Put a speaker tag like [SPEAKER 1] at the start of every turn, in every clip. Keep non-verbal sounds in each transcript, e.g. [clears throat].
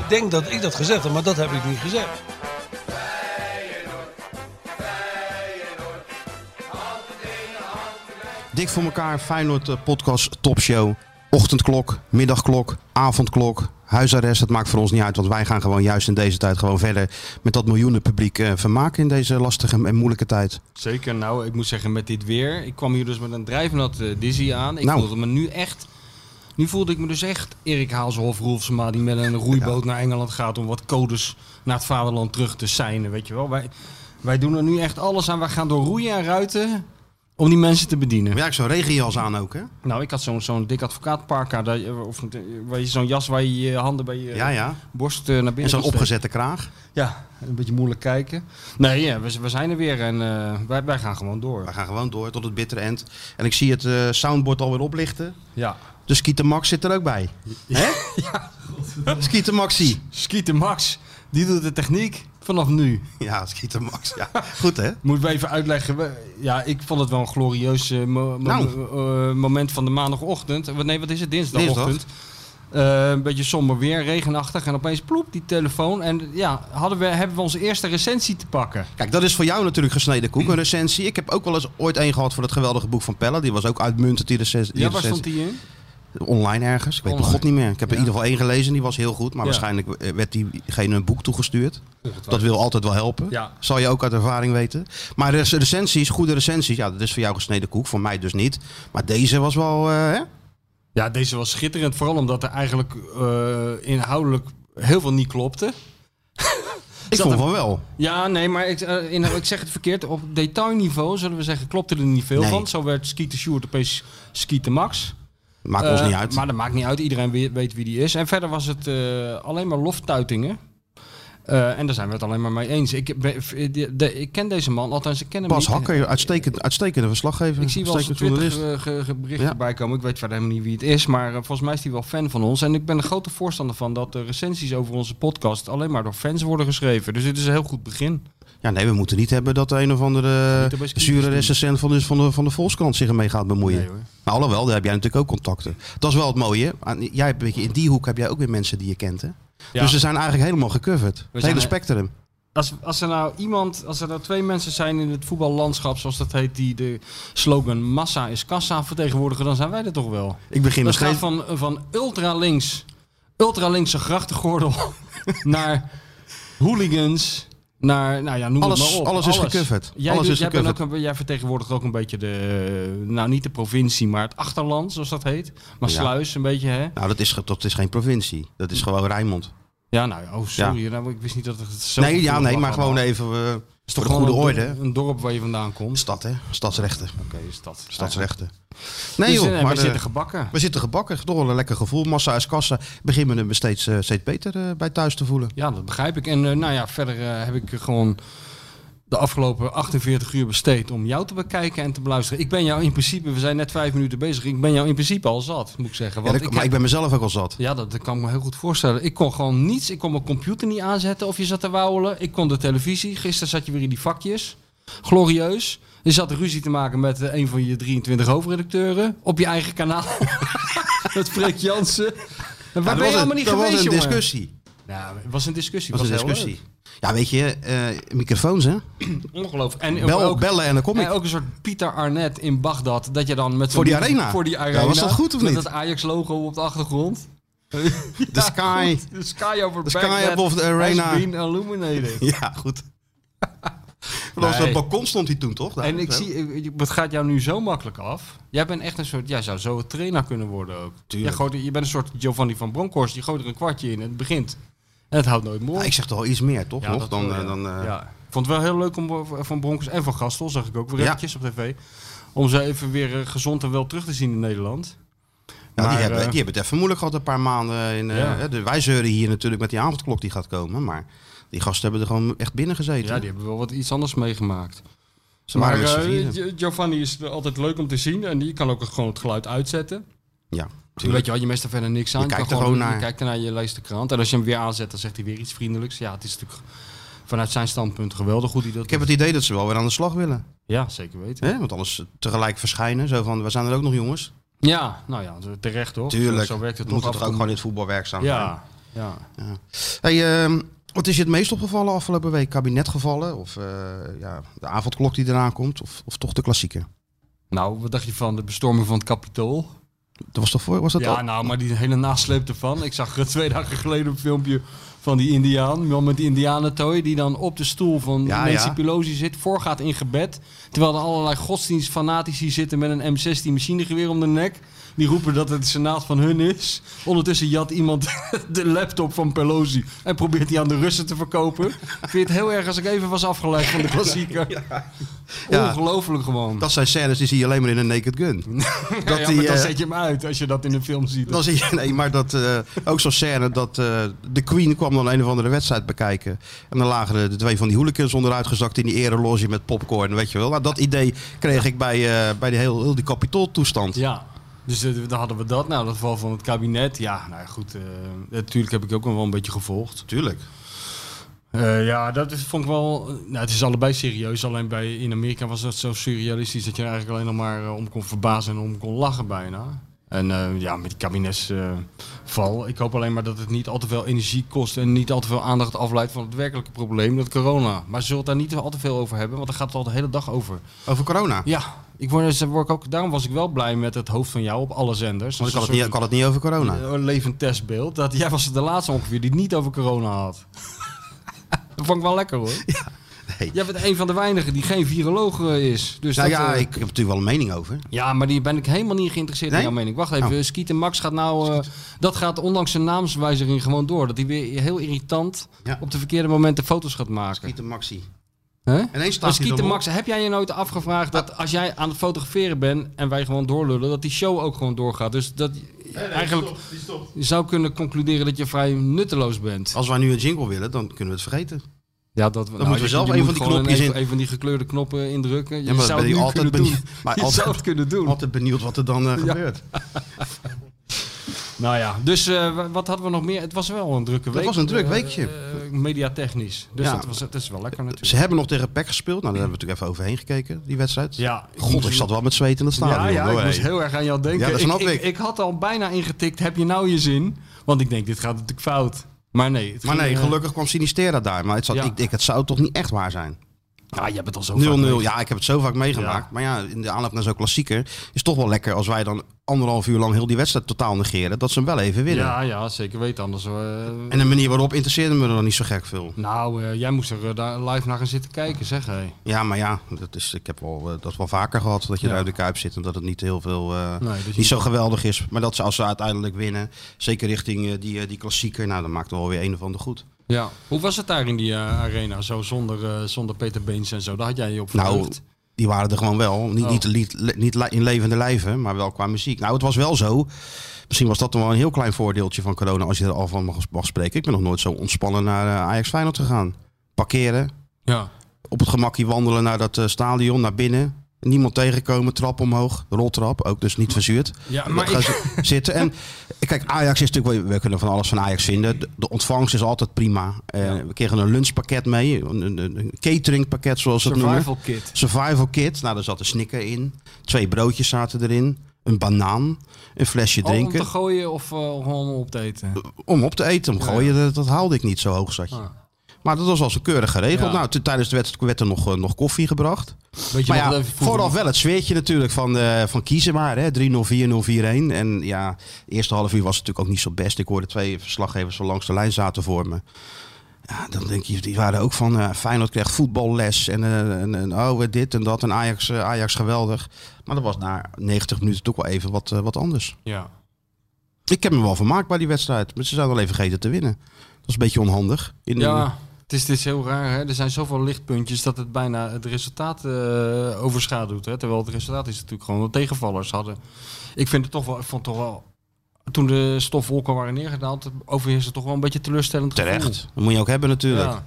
[SPEAKER 1] Ik denk dat ik dat gezegd heb, maar dat heb ik niet gezegd.
[SPEAKER 2] Dik voor elkaar, Feyenoord eh, podcast, topshow. Ochtendklok, middagklok, avondklok, huisarrest. Het maakt voor ons niet uit, want wij gaan gewoon juist in deze tijd gewoon verder met dat miljoenen publiek eh, vermaken in deze lastige en moeilijke tijd.
[SPEAKER 3] Zeker, nou, ik moet zeggen, met dit weer. Ik kwam hier dus met een drijfnat eh, dizzy aan. Ik
[SPEAKER 2] Nou.
[SPEAKER 3] voelde me nu echt... Nu voelde ik me dus echt Erik Haalshoff Roelfsma... die met een roeiboot naar Engeland gaat om wat codes naar het vaderland terug te seinen, weet je wel. Wij, wij doen er nu echt alles aan. Wij gaan door roeien en ruiten om die mensen te bedienen.
[SPEAKER 2] Maar ja, ik zo'n regenjas aan ook, hè?
[SPEAKER 3] Nou, ik had zo'n zo'n dik advocaatparka. daar je- Of eh, waar je zo'n jas waar je je handen bij je
[SPEAKER 2] Ja, ja.
[SPEAKER 3] borst eh, naar
[SPEAKER 2] En
[SPEAKER 3] binnen
[SPEAKER 2] zo'n
[SPEAKER 3] kan steken.
[SPEAKER 2] opgezette kraag.
[SPEAKER 3] Ja, een beetje moeilijk kijken. Nee, ja, we, we zijn er weer en eh, wij, wij gaan gewoon
[SPEAKER 2] We
[SPEAKER 3] door.
[SPEAKER 2] gaan gewoon door tot het bittere end. En ik zie het eh, soundboard alweer oplichten.
[SPEAKER 3] Ja.
[SPEAKER 2] Dus Kieter Max zit er ook bij. Hè? Skieter Maxie.
[SPEAKER 3] Schieten Max, die doet de techniek vanaf nu.
[SPEAKER 2] Ja, Skieter Max. Ja. Goed, hè?
[SPEAKER 3] Moeten we even uitleggen. we- Ja, ik vond het wel een glorieus eh, mo- mo-
[SPEAKER 2] Nou.
[SPEAKER 3] eh, moment van de maandagochtend. Wat- Nee, wat is het? Dinsdagochtend. Eh, een beetje somber weer, regenachtig. En opeens ploep, die telefoon. En ja, hadden we, hebben we onze eerste recensie te pakken.
[SPEAKER 2] Kijk, dat is voor jou natuurlijk gesneden
[SPEAKER 3] Mm.
[SPEAKER 2] koek, een recensie. Ik heb ook wel eens ooit één gehad voor het geweldige boek van Pella. Die was ook uitmuntend, die recensie. die
[SPEAKER 3] Ja, waar stond
[SPEAKER 2] recensie.
[SPEAKER 3] die in?
[SPEAKER 2] Online ergens. Ik weet mijn
[SPEAKER 3] Online.
[SPEAKER 2] god niet meer. Ik heb er
[SPEAKER 3] Ja.
[SPEAKER 2] in ieder geval één gelezen, die was heel goed. Maar
[SPEAKER 3] Ja.
[SPEAKER 2] waarschijnlijk eh, werd diegene een boek toegestuurd. Dat wil altijd wel helpen.
[SPEAKER 3] Ja.
[SPEAKER 2] Zal je ook uit ervaring weten. Maar rec- recensies, goede recensies, ja, dat is voor jou gesneden koek. Voor mij dus niet. Maar deze was wel... eh, hè?
[SPEAKER 3] Ja, deze was schitterend. Vooral omdat er eigenlijk eh, inhoudelijk heel veel niet klopte. [laughs]
[SPEAKER 2] Ik
[SPEAKER 3] Zat
[SPEAKER 2] vond
[SPEAKER 3] er-
[SPEAKER 2] van wel.
[SPEAKER 3] Ja, nee, maar ik, eh, in, ik zeg het verkeerd. Op detailniveau, zullen we zeggen, klopte er niet veel
[SPEAKER 2] Nee.
[SPEAKER 3] van. Zo werd Skieten Sjoerd opeens Skieten Max.
[SPEAKER 2] Maakt ons
[SPEAKER 3] Eh,
[SPEAKER 2] niet uit.
[SPEAKER 3] Maar dat maakt niet uit. Iedereen weet, weet wie die is. En verder was het eh, alleen maar loftuitingen. Eh, en daar zijn we het alleen maar mee eens. Ik, ben- de- de- ik ken deze man, althans ik ken hem
[SPEAKER 2] Pas
[SPEAKER 3] niet.
[SPEAKER 2] Hakker, uitstekend, uitstekende verslaggever.
[SPEAKER 3] Ik zie wel eens op
[SPEAKER 2] uitstekend
[SPEAKER 3] Twitter
[SPEAKER 2] journalist.
[SPEAKER 3] ge- ge- ge- berichten
[SPEAKER 2] Ja.
[SPEAKER 3] bij komen. Ik weet verder helemaal niet wie het is. Maar eh, volgens mij is hij wel fan van ons. En ik ben een grote voorstander van dat de recensies over onze podcast alleen maar door fans worden geschreven. Dus dit is een heel goed begin.
[SPEAKER 2] Ja, nee, we moeten niet hebben dat de een of andere
[SPEAKER 3] Niet erbij skiën
[SPEAKER 2] zure
[SPEAKER 3] doen.
[SPEAKER 2] recensent van de, van, de, van de Volkskrant zich ermee gaat bemoeien.
[SPEAKER 3] Nee, hoor.
[SPEAKER 2] nou, alhoewel, daar heb jij natuurlijk ook contacten. Dat is wel het mooie. hè? Aan- Jij hebt, weet je, in die hoek heb jij ook weer mensen die je kent, hè?
[SPEAKER 3] Ja.
[SPEAKER 2] Dus ze zijn eigenlijk helemaal gecoverd. het
[SPEAKER 3] zijn-
[SPEAKER 2] hele spectrum.
[SPEAKER 3] Als, als er nou iemand, als er nou twee mensen zijn in het voetballandschap, zoals dat heet, die de slogan massa is kassa vertegenwoordigen, dan zijn wij dat toch wel.
[SPEAKER 2] Ik begin nog
[SPEAKER 3] Dat gaat
[SPEAKER 2] steeds...
[SPEAKER 3] van, van ultralinks, ultralinkse grachtengordel, [laughs] naar hooligans, naar, nou ja, noem
[SPEAKER 2] Alles-
[SPEAKER 3] het maar op.
[SPEAKER 2] alles is gecoverd.
[SPEAKER 3] Jij,
[SPEAKER 2] Alles
[SPEAKER 3] doet-
[SPEAKER 2] is
[SPEAKER 3] jij, bent
[SPEAKER 2] gecoverd.
[SPEAKER 3] ook een- jij vertegenwoordigt ook een beetje de, eh, nou niet de provincie, maar het achterland, zoals dat heet. Maar
[SPEAKER 2] Ja.
[SPEAKER 3] Sluis een beetje, hè?
[SPEAKER 2] Nou, dat is, ge- dat is geen provincie. Dat is gewoon Rijnmond.
[SPEAKER 3] Ja, nou, ja, oh sorry, nou, ik wist niet dat het zo...
[SPEAKER 2] nee, ja, nee, maar
[SPEAKER 3] allemaal.
[SPEAKER 2] gewoon even... eh,
[SPEAKER 3] is
[SPEAKER 2] voor de goede
[SPEAKER 3] gewoon een
[SPEAKER 2] orde.
[SPEAKER 3] dorp- Een dorp waar je vandaan komt.
[SPEAKER 2] Stad, hè? Stadsrechten.
[SPEAKER 3] Oké, stad.
[SPEAKER 2] Stadsrechten.
[SPEAKER 3] Nee,
[SPEAKER 2] Nee, joh. maar
[SPEAKER 3] maar Dus eh, we
[SPEAKER 2] de-
[SPEAKER 3] zitten gebakken.
[SPEAKER 2] We zitten gebakken, toch wel een lekker gevoel. Massa is kassa. Ik Begin me er steeds, eh, steeds beter eh, bij thuis te voelen.
[SPEAKER 3] Ja, dat begrijp ik. En eh, nou ja, verder eh, heb ik gewoon de afgelopen 48 uur besteed om jou te bekijken en te beluisteren. Ik ben jou in principe, we zijn net vijf minuten bezig, ik ben jou in principe al zat, moet ik
[SPEAKER 2] Ja,
[SPEAKER 3] zeggen. Want
[SPEAKER 2] dat-
[SPEAKER 3] ik
[SPEAKER 2] maar
[SPEAKER 3] heb-
[SPEAKER 2] ik ben mezelf ook al zat.
[SPEAKER 3] ja, dat, dat kan ik me heel goed voorstellen. Ik kon gewoon niets, ik kon mijn computer niet aanzetten of je zat te wauwelen. Ik kon de televisie, gisteren zat je weer in die vakjes. Glorieus. Je zat ruzie te maken met eh, een van je 23 hoofdredacteuren op je eigen kanaal. [laughs] met Freek Jansen. En
[SPEAKER 2] Ja,
[SPEAKER 3] Waar ben
[SPEAKER 2] dat
[SPEAKER 3] je
[SPEAKER 2] was
[SPEAKER 3] allemaal
[SPEAKER 2] een-
[SPEAKER 3] niet
[SPEAKER 2] dat
[SPEAKER 3] geweest,
[SPEAKER 2] was een
[SPEAKER 3] jongen?
[SPEAKER 2] discussie.
[SPEAKER 3] Nou, het was een discussie.
[SPEAKER 2] Dat was een
[SPEAKER 3] heel
[SPEAKER 2] discussie. Ja, weet je, eh, microfoons
[SPEAKER 3] [laughs]
[SPEAKER 2] hè.
[SPEAKER 3] leuk. Ongelooflijk. En
[SPEAKER 2] Bel,
[SPEAKER 3] ook,
[SPEAKER 2] bellen en dan kom
[SPEAKER 3] en
[SPEAKER 2] ik.
[SPEAKER 3] ook een soort Pieter Arnett in Bagdad. Dat je dan met
[SPEAKER 2] Voor die
[SPEAKER 3] zo'n-
[SPEAKER 2] arena.
[SPEAKER 3] Voor die
[SPEAKER 2] Ja,
[SPEAKER 3] arena.
[SPEAKER 2] was dat goed of
[SPEAKER 3] Met
[SPEAKER 2] niet?
[SPEAKER 3] dat Ajax-logo op de achtergrond.
[SPEAKER 2] The
[SPEAKER 3] [laughs]
[SPEAKER 2] sky.
[SPEAKER 3] goed. The sky over
[SPEAKER 2] The sky
[SPEAKER 3] Baghdad
[SPEAKER 2] above the arena.
[SPEAKER 3] has been
[SPEAKER 2] [laughs]
[SPEAKER 3] illuminated.
[SPEAKER 2] [laughs] Ja,
[SPEAKER 3] [laughs]
[SPEAKER 2] goed. Vanaf
[SPEAKER 3] Nee.
[SPEAKER 2] dat balkon stond hij toen, toch? Daar,
[SPEAKER 3] En ik
[SPEAKER 2] zo.
[SPEAKER 3] zie, ik- ik- het gaat jou nu zo makkelijk af. Jij bent echt een soort, jij zou zo een trainer kunnen worden ook.
[SPEAKER 2] Tuurlijk.
[SPEAKER 3] Jij gooit er- je bent een soort Giovanni van Bronckhorst. Je gooit er een kwartje in en het begint. En het houdt nooit meer
[SPEAKER 2] Ja,
[SPEAKER 3] op.
[SPEAKER 2] ik zeg toch wel iets meer, toch?
[SPEAKER 3] Ja,
[SPEAKER 2] nog?
[SPEAKER 3] dat
[SPEAKER 2] Dan,
[SPEAKER 3] wel,
[SPEAKER 2] eh,
[SPEAKER 3] ja.
[SPEAKER 2] dan, eh,
[SPEAKER 3] Ja. Ik vond het wel heel leuk om eh, van Bronkers en van Gastel, zag ik ook weer
[SPEAKER 2] Ja.
[SPEAKER 3] eventjes op tv, om ze even weer eh, gezond en wel terug te zien in Nederland.
[SPEAKER 2] Ja, die,
[SPEAKER 4] Maar,
[SPEAKER 2] hebben,
[SPEAKER 4] eh,
[SPEAKER 2] die hebben het even moeilijk gehad een paar maanden. In, eh,
[SPEAKER 3] Ja.
[SPEAKER 2] hè, de- wij zeuren hier natuurlijk met die avondklok die gaat komen. Maar die gasten hebben er gewoon echt binnen gezeten.
[SPEAKER 3] Ja, die hebben wel wat iets anders meegemaakt.
[SPEAKER 2] Ze waren
[SPEAKER 3] maar
[SPEAKER 2] met z'n
[SPEAKER 3] eh,
[SPEAKER 2] vieren.
[SPEAKER 3] Gio- Giovanni is altijd leuk om te zien en die kan ook gewoon het geluid uitzetten.
[SPEAKER 2] Ja,
[SPEAKER 3] Toen weet je, wel, je meest er verder niks aan.
[SPEAKER 2] Je kijkt
[SPEAKER 3] kan
[SPEAKER 2] er gewoon
[SPEAKER 3] Je
[SPEAKER 2] naar.
[SPEAKER 3] kijkt ernaar, je leest de krant. En als je hem weer aanzet, dan zegt hij weer iets vriendelijks. Ja, het is natuurlijk vanuit zijn standpunt geweldig hoe hij dat
[SPEAKER 2] Ik heb het idee dat ze wel weer aan de slag willen.
[SPEAKER 3] Ja, zeker weten.
[SPEAKER 2] Hè? Want anders tegelijk verschijnen. Zo van, we zijn er ook nog jongens.
[SPEAKER 3] Ja, nou ja, terecht hoor.
[SPEAKER 2] Tuurlijk.
[SPEAKER 3] Zo werkt het
[SPEAKER 2] we
[SPEAKER 3] toch
[SPEAKER 2] moeten toch ook
[SPEAKER 3] af en
[SPEAKER 2] gewoon in het voetbal werkzaam
[SPEAKER 3] toe. Ja, ja.
[SPEAKER 2] zijn. Hey, ehm, wat is je het meest opgevallen afgelopen week? Kabinetgevallen? Of eh, ja, de avondklok die eraan komt? Of, of toch de klassieker?
[SPEAKER 3] Nou, wat dacht je van de bestorming van het kapitool?
[SPEAKER 2] Dat was toch voor? Was dat
[SPEAKER 3] Ja,
[SPEAKER 2] al?
[SPEAKER 3] nou, maar die hele nasleep ervan. Ik zag er [laughs] twee dagen geleden een filmpje van die indiaan, man met die indianentooi, die dan op de stoel van
[SPEAKER 2] Ja,
[SPEAKER 3] Nancy
[SPEAKER 2] ja.
[SPEAKER 3] Pelosi zit, voorgaat in gebed. Terwijl er allerlei godsdienstfanatici zitten met een M16 machinegeweer om de nek. Die roepen dat het senaat van hun is. Ondertussen jat iemand [laughs] de laptop van Pelosi en probeert die aan de Russen te verkopen. Ik vind het heel erg als ik even was afgeleid van de klassieker.
[SPEAKER 2] Ja.
[SPEAKER 3] Ongelooflijk gewoon.
[SPEAKER 2] Dat zijn scènes die zie je alleen maar in een Naked Gun.
[SPEAKER 3] [laughs] Ja,
[SPEAKER 2] dat
[SPEAKER 3] ja,
[SPEAKER 2] die,
[SPEAKER 3] maar dan
[SPEAKER 2] eh,
[SPEAKER 3] zet je hem uit als je dat in een film ziet.
[SPEAKER 2] Dan zie je, [laughs] nee, maar dat, eh, ook zo'n scène dat eh, de Queen kwam dan een of andere wedstrijd bekijken. En dan lagen de, de twee van die hooligans onderuitgezakt in die ereloge met popcorn, weet je wel. Nou, dat idee kreeg ik bij, eh, bij de heel, heel die kapitooltoestand.
[SPEAKER 3] Ja, dus eh, dan hadden we dat. Nou, dat geval van het kabinet. Ja, nou ja, goed. eh, natuurlijk heb ik ook nog wel een beetje gevolgd.
[SPEAKER 2] Tuurlijk.
[SPEAKER 3] Eh, ja, dat is, vond ik wel... eh, nou, het is allebei serieus. Alleen bij, in Amerika was dat zo surrealistisch... dat je er eigenlijk alleen nog maar eh, om kon verbazen en om kon lachen bijna. En eh, ja, met die kabinetsval. ik hoop alleen maar dat het niet al te veel energie kost... en niet al te veel aandacht afleidt van het werkelijke probleem, dat corona. Maar ze zullen het daar niet al te veel over hebben... want daar gaat het al de hele dag over.
[SPEAKER 2] Over corona.
[SPEAKER 3] Ja, ik word, dus- word ik ook, daarom was ik wel blij met het hoofd van jou op alle zenders.
[SPEAKER 2] Want ik had het,
[SPEAKER 3] Dat is
[SPEAKER 2] niet,
[SPEAKER 3] een
[SPEAKER 2] ik had het niet over corona.
[SPEAKER 3] soort, eh, levend testbeeld. Dat, jij was de laatste ongeveer die het niet over corona had. [laughs] dat vond ik wel lekker hoor.
[SPEAKER 2] nee.
[SPEAKER 3] Jij bent een van de weinigen die geen viroloog eh, is. Dus
[SPEAKER 2] nou
[SPEAKER 3] dat,
[SPEAKER 2] ja,
[SPEAKER 3] eh,
[SPEAKER 2] ik heb natuurlijk wel een mening over.
[SPEAKER 3] ja, maar die ben ik helemaal niet geïnteresseerd
[SPEAKER 2] Nee?
[SPEAKER 3] in jouw mening. Wacht even,
[SPEAKER 2] Oh.
[SPEAKER 3] eh, Skieten Max gaat nou... eh, dat gaat ondanks zijn naamswijziging gewoon door. Dat hij weer heel irritant
[SPEAKER 2] Ja.
[SPEAKER 3] op de verkeerde momenten foto's gaat maken.
[SPEAKER 2] Pieter Maxi.
[SPEAKER 3] Hè?
[SPEAKER 2] Ineens staat
[SPEAKER 3] Maar
[SPEAKER 2] hij
[SPEAKER 3] Skeeter
[SPEAKER 2] erop.
[SPEAKER 3] Max, heb jij je nooit afgevraagd dat als jij aan het fotograferen bent en wij gewoon doorlullen, dat die show ook gewoon doorgaat? Dus dat je eigenlijk je zou kunnen concluderen dat je vrij nutteloos bent.
[SPEAKER 2] Als wij nu een jingle willen, dan kunnen we het vergeten.
[SPEAKER 3] Ja, dat, nou, dan
[SPEAKER 2] Oh. moeten we zelf een van die knopjes
[SPEAKER 3] een,
[SPEAKER 2] in-
[SPEAKER 3] Een van die gekleurde knoppen indrukken. Je
[SPEAKER 2] maar dat
[SPEAKER 3] zou
[SPEAKER 2] ben
[SPEAKER 3] het
[SPEAKER 2] je
[SPEAKER 3] nu
[SPEAKER 2] altijd
[SPEAKER 3] kunnen doen.
[SPEAKER 2] benieuwd. Maar
[SPEAKER 3] [laughs] je
[SPEAKER 2] altijd-
[SPEAKER 3] zou het kunnen doen.
[SPEAKER 2] Altijd benieuwd wat er dan eh,
[SPEAKER 3] Ja.
[SPEAKER 2] gebeurt.
[SPEAKER 3] Nou ja, dus eh, wa- wat hadden we nog meer? Het was wel een drukke week.
[SPEAKER 2] was een druk
[SPEAKER 3] eh,
[SPEAKER 2] weekje.
[SPEAKER 3] eh, mediatechnisch. Dus
[SPEAKER 2] Ja.
[SPEAKER 3] dat, was, dat is wel lekker natuurlijk.
[SPEAKER 2] Ze hebben nog tegen PEC gespeeld. Nou, daar hebben we natuurlijk even overheen gekeken, die wedstrijd.
[SPEAKER 3] Ja, ik
[SPEAKER 2] God,
[SPEAKER 3] moest-
[SPEAKER 2] ik zat wel met zweet in het stadion.
[SPEAKER 3] Ja, ja,
[SPEAKER 2] hoor,
[SPEAKER 3] ik
[SPEAKER 2] hé.
[SPEAKER 3] moest heel erg aan jou denken.
[SPEAKER 2] Ja, dat snap
[SPEAKER 3] ik,
[SPEAKER 2] ik.
[SPEAKER 3] ik. had al bijna ingetikt, heb je nou je zin? Want ik denk, dit gaat natuurlijk fout. Maar nee. het
[SPEAKER 2] Maar
[SPEAKER 3] ging,
[SPEAKER 2] nee,
[SPEAKER 3] eh,
[SPEAKER 2] gelukkig kwam Sinistera daar. Maar het, zat,
[SPEAKER 3] Ja.
[SPEAKER 2] ik, ik, het zou toch niet echt waar zijn.
[SPEAKER 3] Ja, je hebt het al zo
[SPEAKER 2] 0-0.
[SPEAKER 3] vaak mee.
[SPEAKER 2] Ja, ik heb het zo vaak meegemaakt.
[SPEAKER 3] Ja.
[SPEAKER 2] Maar ja, in de aanloop naar zo'n klassieker is het toch wel lekker als wij dan anderhalf uur lang heel die wedstrijd totaal negeren. Dat ze hem wel even winnen.
[SPEAKER 3] Ja, ja, zeker weten. Anders... eh,
[SPEAKER 2] En de manier waarop interesseerde me er dan niet zo gek veel.
[SPEAKER 3] nou, eh, jij moest er eh, daar live naar gaan zitten kijken, zeg hé.
[SPEAKER 2] Ja, maar ja, dat is, ik heb wel, eh, dat wel vaker gehad. Dat je
[SPEAKER 3] Ja.
[SPEAKER 2] daar uit de kuip zit en dat het niet heel veel. eh,
[SPEAKER 3] Nee, dat je-
[SPEAKER 2] niet zo geweldig is. Maar dat ze als ze uiteindelijk winnen. Zeker richting eh, die, eh, die klassieker. Nou, dan maakt het wel weer een of ander goed.
[SPEAKER 3] Ja. Hoe was het daar in die eh, arena? Zo zonder, eh, zonder Peter Beens en zo. Daar had jij je op
[SPEAKER 2] Nou,
[SPEAKER 3] verheugd.
[SPEAKER 2] die waren er gewoon wel. Niet,
[SPEAKER 3] Oh.
[SPEAKER 2] niet, lied- niet li- in levende lijven, maar wel qua muziek. Nou, het was wel zo. Misschien was dat dan wel een heel klein voordeeltje van corona, als je er al van mag, mag spreken. Ik ben nog nooit zo ontspannen naar eh, Ajax Feyenoord gegaan. Parkeren,
[SPEAKER 3] Ja.
[SPEAKER 2] op het gemakje wandelen naar dat eh, stadion, naar binnen. Niemand tegenkomen, trap omhoog, roltrap, ook dus niet verzuurd.
[SPEAKER 3] Ja, maar
[SPEAKER 2] Dan
[SPEAKER 3] ik...
[SPEAKER 2] gaan ze [laughs] zitten. En kijk, Ajax is natuurlijk, wel- we kunnen van alles van Ajax vinden. De, de ontvangst is altijd prima. Eh, We kregen een lunchpakket mee, een, een, een cateringpakket zoals ze het noemen.
[SPEAKER 3] Survival kit.
[SPEAKER 2] Survival kit. Nou, daar zat een snicker in. Twee broodjes zaten erin. Een banaan. Een flesje
[SPEAKER 3] Oh, om
[SPEAKER 2] drinken. Eh.
[SPEAKER 3] te
[SPEAKER 2] Om,
[SPEAKER 3] gooien of eh, gewoon om op te eten?
[SPEAKER 2] op te eten. Om gooien, dat, dat haalde ik niet zo hoog zat je.
[SPEAKER 3] Ah.
[SPEAKER 2] Maar dat was wel zo keurig geregeld.
[SPEAKER 3] Ja.
[SPEAKER 2] Nou, t- tijdens de wedstrijd werd er nog, eh, nog koffie gebracht.
[SPEAKER 3] Weet je
[SPEAKER 2] maar
[SPEAKER 3] nog
[SPEAKER 2] ja,
[SPEAKER 3] dat even vroeger-
[SPEAKER 2] vooraf wel het sfeertje natuurlijk van, eh, van kiezen maar. Hè? 3-0, 4-0, 4-1. En ja, de eerste half uur was het natuurlijk ook niet zo best. Ik hoorde twee verslaggevers van langs de lijn zaten voor me. Ja, dan denk je, die waren ook van eh Feyenoord kreeg voetballes en, eh, en, en oh, eh, dit en dat en Ajax, eh, Ajax geweldig. Maar dat was na 90 minuten toch wel even wat, eh, wat anders.
[SPEAKER 3] Ja.
[SPEAKER 2] Ik heb me wel vermaakt bij die wedstrijd, maar ze zijn wel even vergeten te winnen. Dat is een beetje onhandig. In de-
[SPEAKER 3] Ja, het is, het is heel raar. Hè? Er zijn zoveel lichtpuntjes dat het bijna het resultaat eh, overschaduwt. Hè? Terwijl het resultaat is natuurlijk gewoon dat tegenvallers hadden. Ik vind het toch wel, ik vond het toch wel toen de stofwolken waren neergedaald, overheerste toch wel een beetje teleurstellend gevoel.
[SPEAKER 2] Terecht. Dat moet je ook hebben natuurlijk.
[SPEAKER 3] Ja.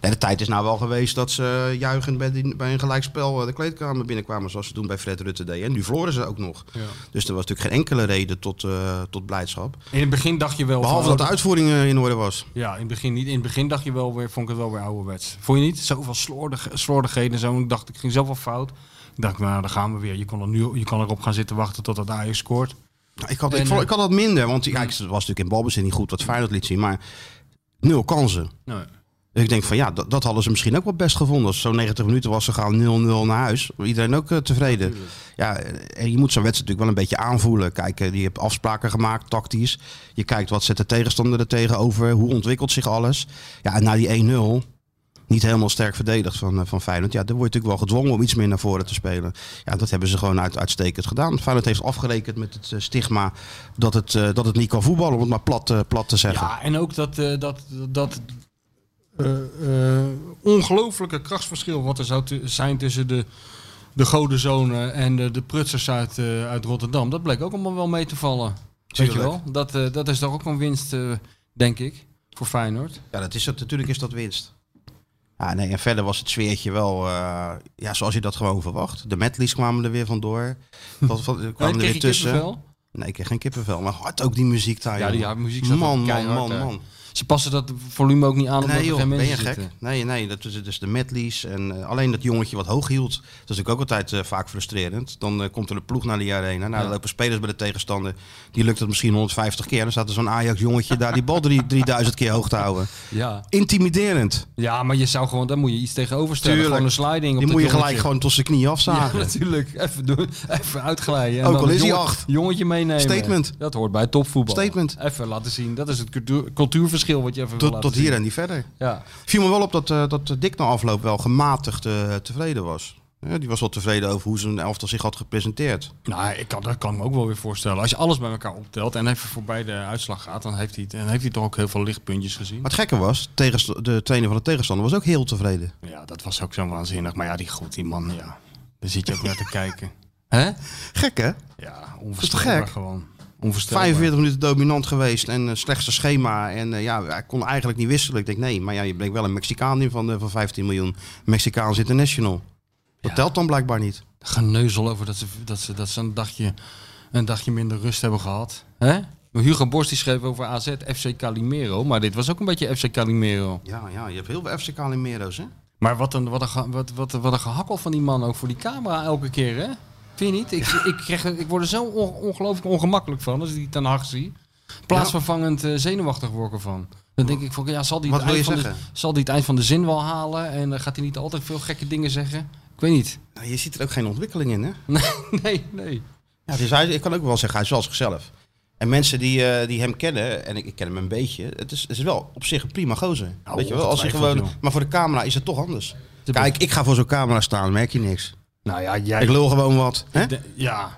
[SPEAKER 2] Nee, de tijd is nou wel geweest dat ze eh, juichend bij, die- bij een gelijkspel eh, de kleedkamer binnenkwamen. Zoals ze toen bij Fred Rutte deden. En nu verloren ze ook nog.
[SPEAKER 3] Ja.
[SPEAKER 2] Dus er was natuurlijk geen enkele reden tot, eh, tot blijdschap.
[SPEAKER 3] In het begin dacht je wel...
[SPEAKER 2] Behalve
[SPEAKER 3] van,
[SPEAKER 2] dat de uitvoering eh, in orde was.
[SPEAKER 3] Ja, in het begin niet. In het begin dacht je wel weer, vond ik het wel weer ouderwets. Vond je niet? Zoveel slordig, slordigheden en zo. Ik dacht, ik ging zelf wel fout. Ik dacht, nou, daar gaan we weer. Je kon, er nu, je kan erop gaan zitten wachten tot dat Ajax scoort.
[SPEAKER 2] Nou, ik, had,
[SPEAKER 3] En,
[SPEAKER 2] ik, vond-
[SPEAKER 3] eh,
[SPEAKER 2] ik had dat minder. Want kijk, het was natuurlijk in balbezit niet goed wat Feyenoord liet zien. Maar nul kansen.
[SPEAKER 3] Nee.
[SPEAKER 2] Dus ik denk van ja, dat, dat hadden ze misschien ook wel best gevonden. Als het zo'n 90 minuten was, ze gaan 0-0 naar huis. Iedereen ook eh, tevreden. Ja, en je moet zo'n wedstrijd natuurlijk wel een beetje aanvoelen. Kijk, eh, je hebt afspraken gemaakt, tactisch. Je kijkt wat zet de tegenstander er tegenover. Hoe ontwikkelt zich alles? Ja, en na die 1-0... Niet helemaal sterk verdedigd van, eh, van Feyenoord. Ja, dan word je natuurlijk wel gedwongen om iets meer naar voren te spelen. Ja, dat hebben ze gewoon uit, uitstekend gedaan. Feyenoord heeft afgerekend met het eh, stigma dat het, eh, dat het niet kan voetballen. Om het maar plat, eh, plat te zeggen.
[SPEAKER 3] Ja, en ook dat, eh, dat, dat eh, eh, ongelooflijke krachtsverschil wat er zou tu- zijn tussen de, de godenzonen en de, de prutsers uit, eh, uit Rotterdam. Dat bleek ook allemaal wel mee te vallen. Weet je
[SPEAKER 2] Tuurlijk.
[SPEAKER 3] wel? Dat, eh, dat is toch ook een winst, eh, denk ik, voor Feyenoord.
[SPEAKER 2] Ja, dat is het. Natuurlijk is dat winst. Ja, nee, en verder was het sfeertje wel eh, ja, zoals je dat gewoon verwacht. De medleys kwamen er weer vandoor. Wat, wat, kwamen
[SPEAKER 3] Ja,
[SPEAKER 2] er
[SPEAKER 3] kreeg
[SPEAKER 2] weer
[SPEAKER 3] je
[SPEAKER 2] tussen.
[SPEAKER 3] kippenvel?
[SPEAKER 2] Nee, ik kreeg geen kippenvel. Maar hard ook die muziek daar.
[SPEAKER 3] Ja, die
[SPEAKER 2] joh.
[SPEAKER 3] ja, muziek zat
[SPEAKER 2] Man,
[SPEAKER 3] ook
[SPEAKER 2] man,
[SPEAKER 3] keihard,
[SPEAKER 2] man,
[SPEAKER 3] hè.
[SPEAKER 2] man.
[SPEAKER 3] Ze passen dat volume ook niet aan omdat
[SPEAKER 2] Nee
[SPEAKER 3] er
[SPEAKER 2] joh,
[SPEAKER 3] geen
[SPEAKER 2] ben
[SPEAKER 3] mensen
[SPEAKER 2] je gek?
[SPEAKER 3] zitten.
[SPEAKER 2] Nee, nee, dat is dus de medleys. En eh, alleen dat jongetje wat hoog hield. Dat is natuurlijk ook altijd eh, vaak frustrerend. Dan eh, komt er een ploeg naar die arena. Nou,
[SPEAKER 3] Ja.
[SPEAKER 2] dan lopen spelers bij de tegenstander. Die lukt het misschien 150 keer. Dan staat er zo'n Ajax jongetje daar die bal drie- 3000 keer hoog te houden.
[SPEAKER 3] Ja.
[SPEAKER 2] Intimiderend.
[SPEAKER 3] ja, maar je zou gewoon, daar moet je iets tegenover stellen.
[SPEAKER 2] Tuurlijk.
[SPEAKER 3] Gewoon een sliding op
[SPEAKER 2] Die
[SPEAKER 3] dat
[SPEAKER 2] moet je gelijk
[SPEAKER 3] jongetje.
[SPEAKER 2] gewoon tot zijn knie
[SPEAKER 3] Ja, [laughs]
[SPEAKER 2] afzagen.
[SPEAKER 3] natuurlijk. Even, doen, even uitglijden. En
[SPEAKER 2] Ook
[SPEAKER 3] dan
[SPEAKER 2] al is
[SPEAKER 3] het
[SPEAKER 2] hij
[SPEAKER 3] jongen-
[SPEAKER 2] acht.
[SPEAKER 3] Jongetje meenemen.
[SPEAKER 2] Statement.
[SPEAKER 3] Dat hoort bij topvoetbal.
[SPEAKER 2] Statement.
[SPEAKER 3] Even laten zien. Dat is het cultuur- cultuurverschil wat je even wil
[SPEAKER 2] tot
[SPEAKER 3] laten
[SPEAKER 2] tot hier
[SPEAKER 3] zien.
[SPEAKER 2] en niet verder.
[SPEAKER 3] Ja.
[SPEAKER 2] Viel me wel op dat, eh, dat Dick na afloop wel gematigd eh, tevreden was. Ja, die was wel tevreden over hoe zijn elftal zich had gepresenteerd.
[SPEAKER 3] Nou, ik kan, dat kan ik me ook wel weer voorstellen. Als je alles bij elkaar optelt en even voorbij de uitslag gaat, dan heeft hij, dan heeft hij toch ook heel veel lichtpuntjes gezien.
[SPEAKER 2] Maar het gekke was, tegenst- de trainer van de tegenstander was ook heel tevreden.
[SPEAKER 3] Ja, dat was ook zo waanzinnig. Maar ja, die goed, die man, ja. Daar zit je ook [laughs] naar te kijken. Hè?
[SPEAKER 2] Gek hè?
[SPEAKER 3] Ja,
[SPEAKER 2] Dat is
[SPEAKER 3] onvoorstelbaar
[SPEAKER 2] toch gek?
[SPEAKER 3] gewoon. Onvoorstelbaar.
[SPEAKER 2] 45 minuten dominant geweest en eh, slechtste schema. En eh, ja, hij kon eigenlijk niet wisselen. Ik denk nee, maar ja, je bleek wel een Mexicaan in van, eh, van 15 miljoen. Mexicaans international. Dat
[SPEAKER 3] Ja.
[SPEAKER 2] telt dan blijkbaar niet.
[SPEAKER 3] geneuzel over dat ze, dat ze, dat ze een, dagje, een dagje minder rust hebben gehad. Hè? Maar Hugo Borst die schreef over AZ FC Calimero, maar dit was ook een beetje FC Calimero.
[SPEAKER 2] Ja, ja, je hebt heel veel FC Calimero's hè?
[SPEAKER 3] Maar wat een, wat een, ge- wat, wat, wat een gehakkel van die man ook voor die camera elke keer, hè? Vind je niet? Ik, ik, krijg, er- ik word er zo on- ongelooflijk ongemakkelijk van als ik die ten Hag zie. Plaatsvervangend eh, zenuwachtig word ik ervan. Dan denk ik van, ja, zal die,
[SPEAKER 2] Wat
[SPEAKER 3] het eind
[SPEAKER 2] wil je
[SPEAKER 3] van de, zal die het eind van de zin wel halen? En eh, gaat hij niet altijd veel gekke dingen zeggen? Ik weet niet. [laughs]
[SPEAKER 2] Nou, je ziet er ook geen ontwikkeling in hè?
[SPEAKER 3] Nee, nee.
[SPEAKER 2] Ja, dus hij, ik kan ook wel zeggen, hij is wel zichzelf. En mensen die, eh, die hem kennen, en ik, ik ken hem een beetje, het is, het is wel op zich een prima gozer.
[SPEAKER 3] Nou,
[SPEAKER 2] Weet je wel, als hij
[SPEAKER 3] ongetwijfeld,
[SPEAKER 2] gewoon, maar voor de camera is het toch anders.
[SPEAKER 3] De-
[SPEAKER 2] Kijk, ik ga voor zo'n camera staan, merk je niks.
[SPEAKER 3] Nou ja, jij...
[SPEAKER 2] Ik lul gewoon wat. Hè?
[SPEAKER 3] De- ja.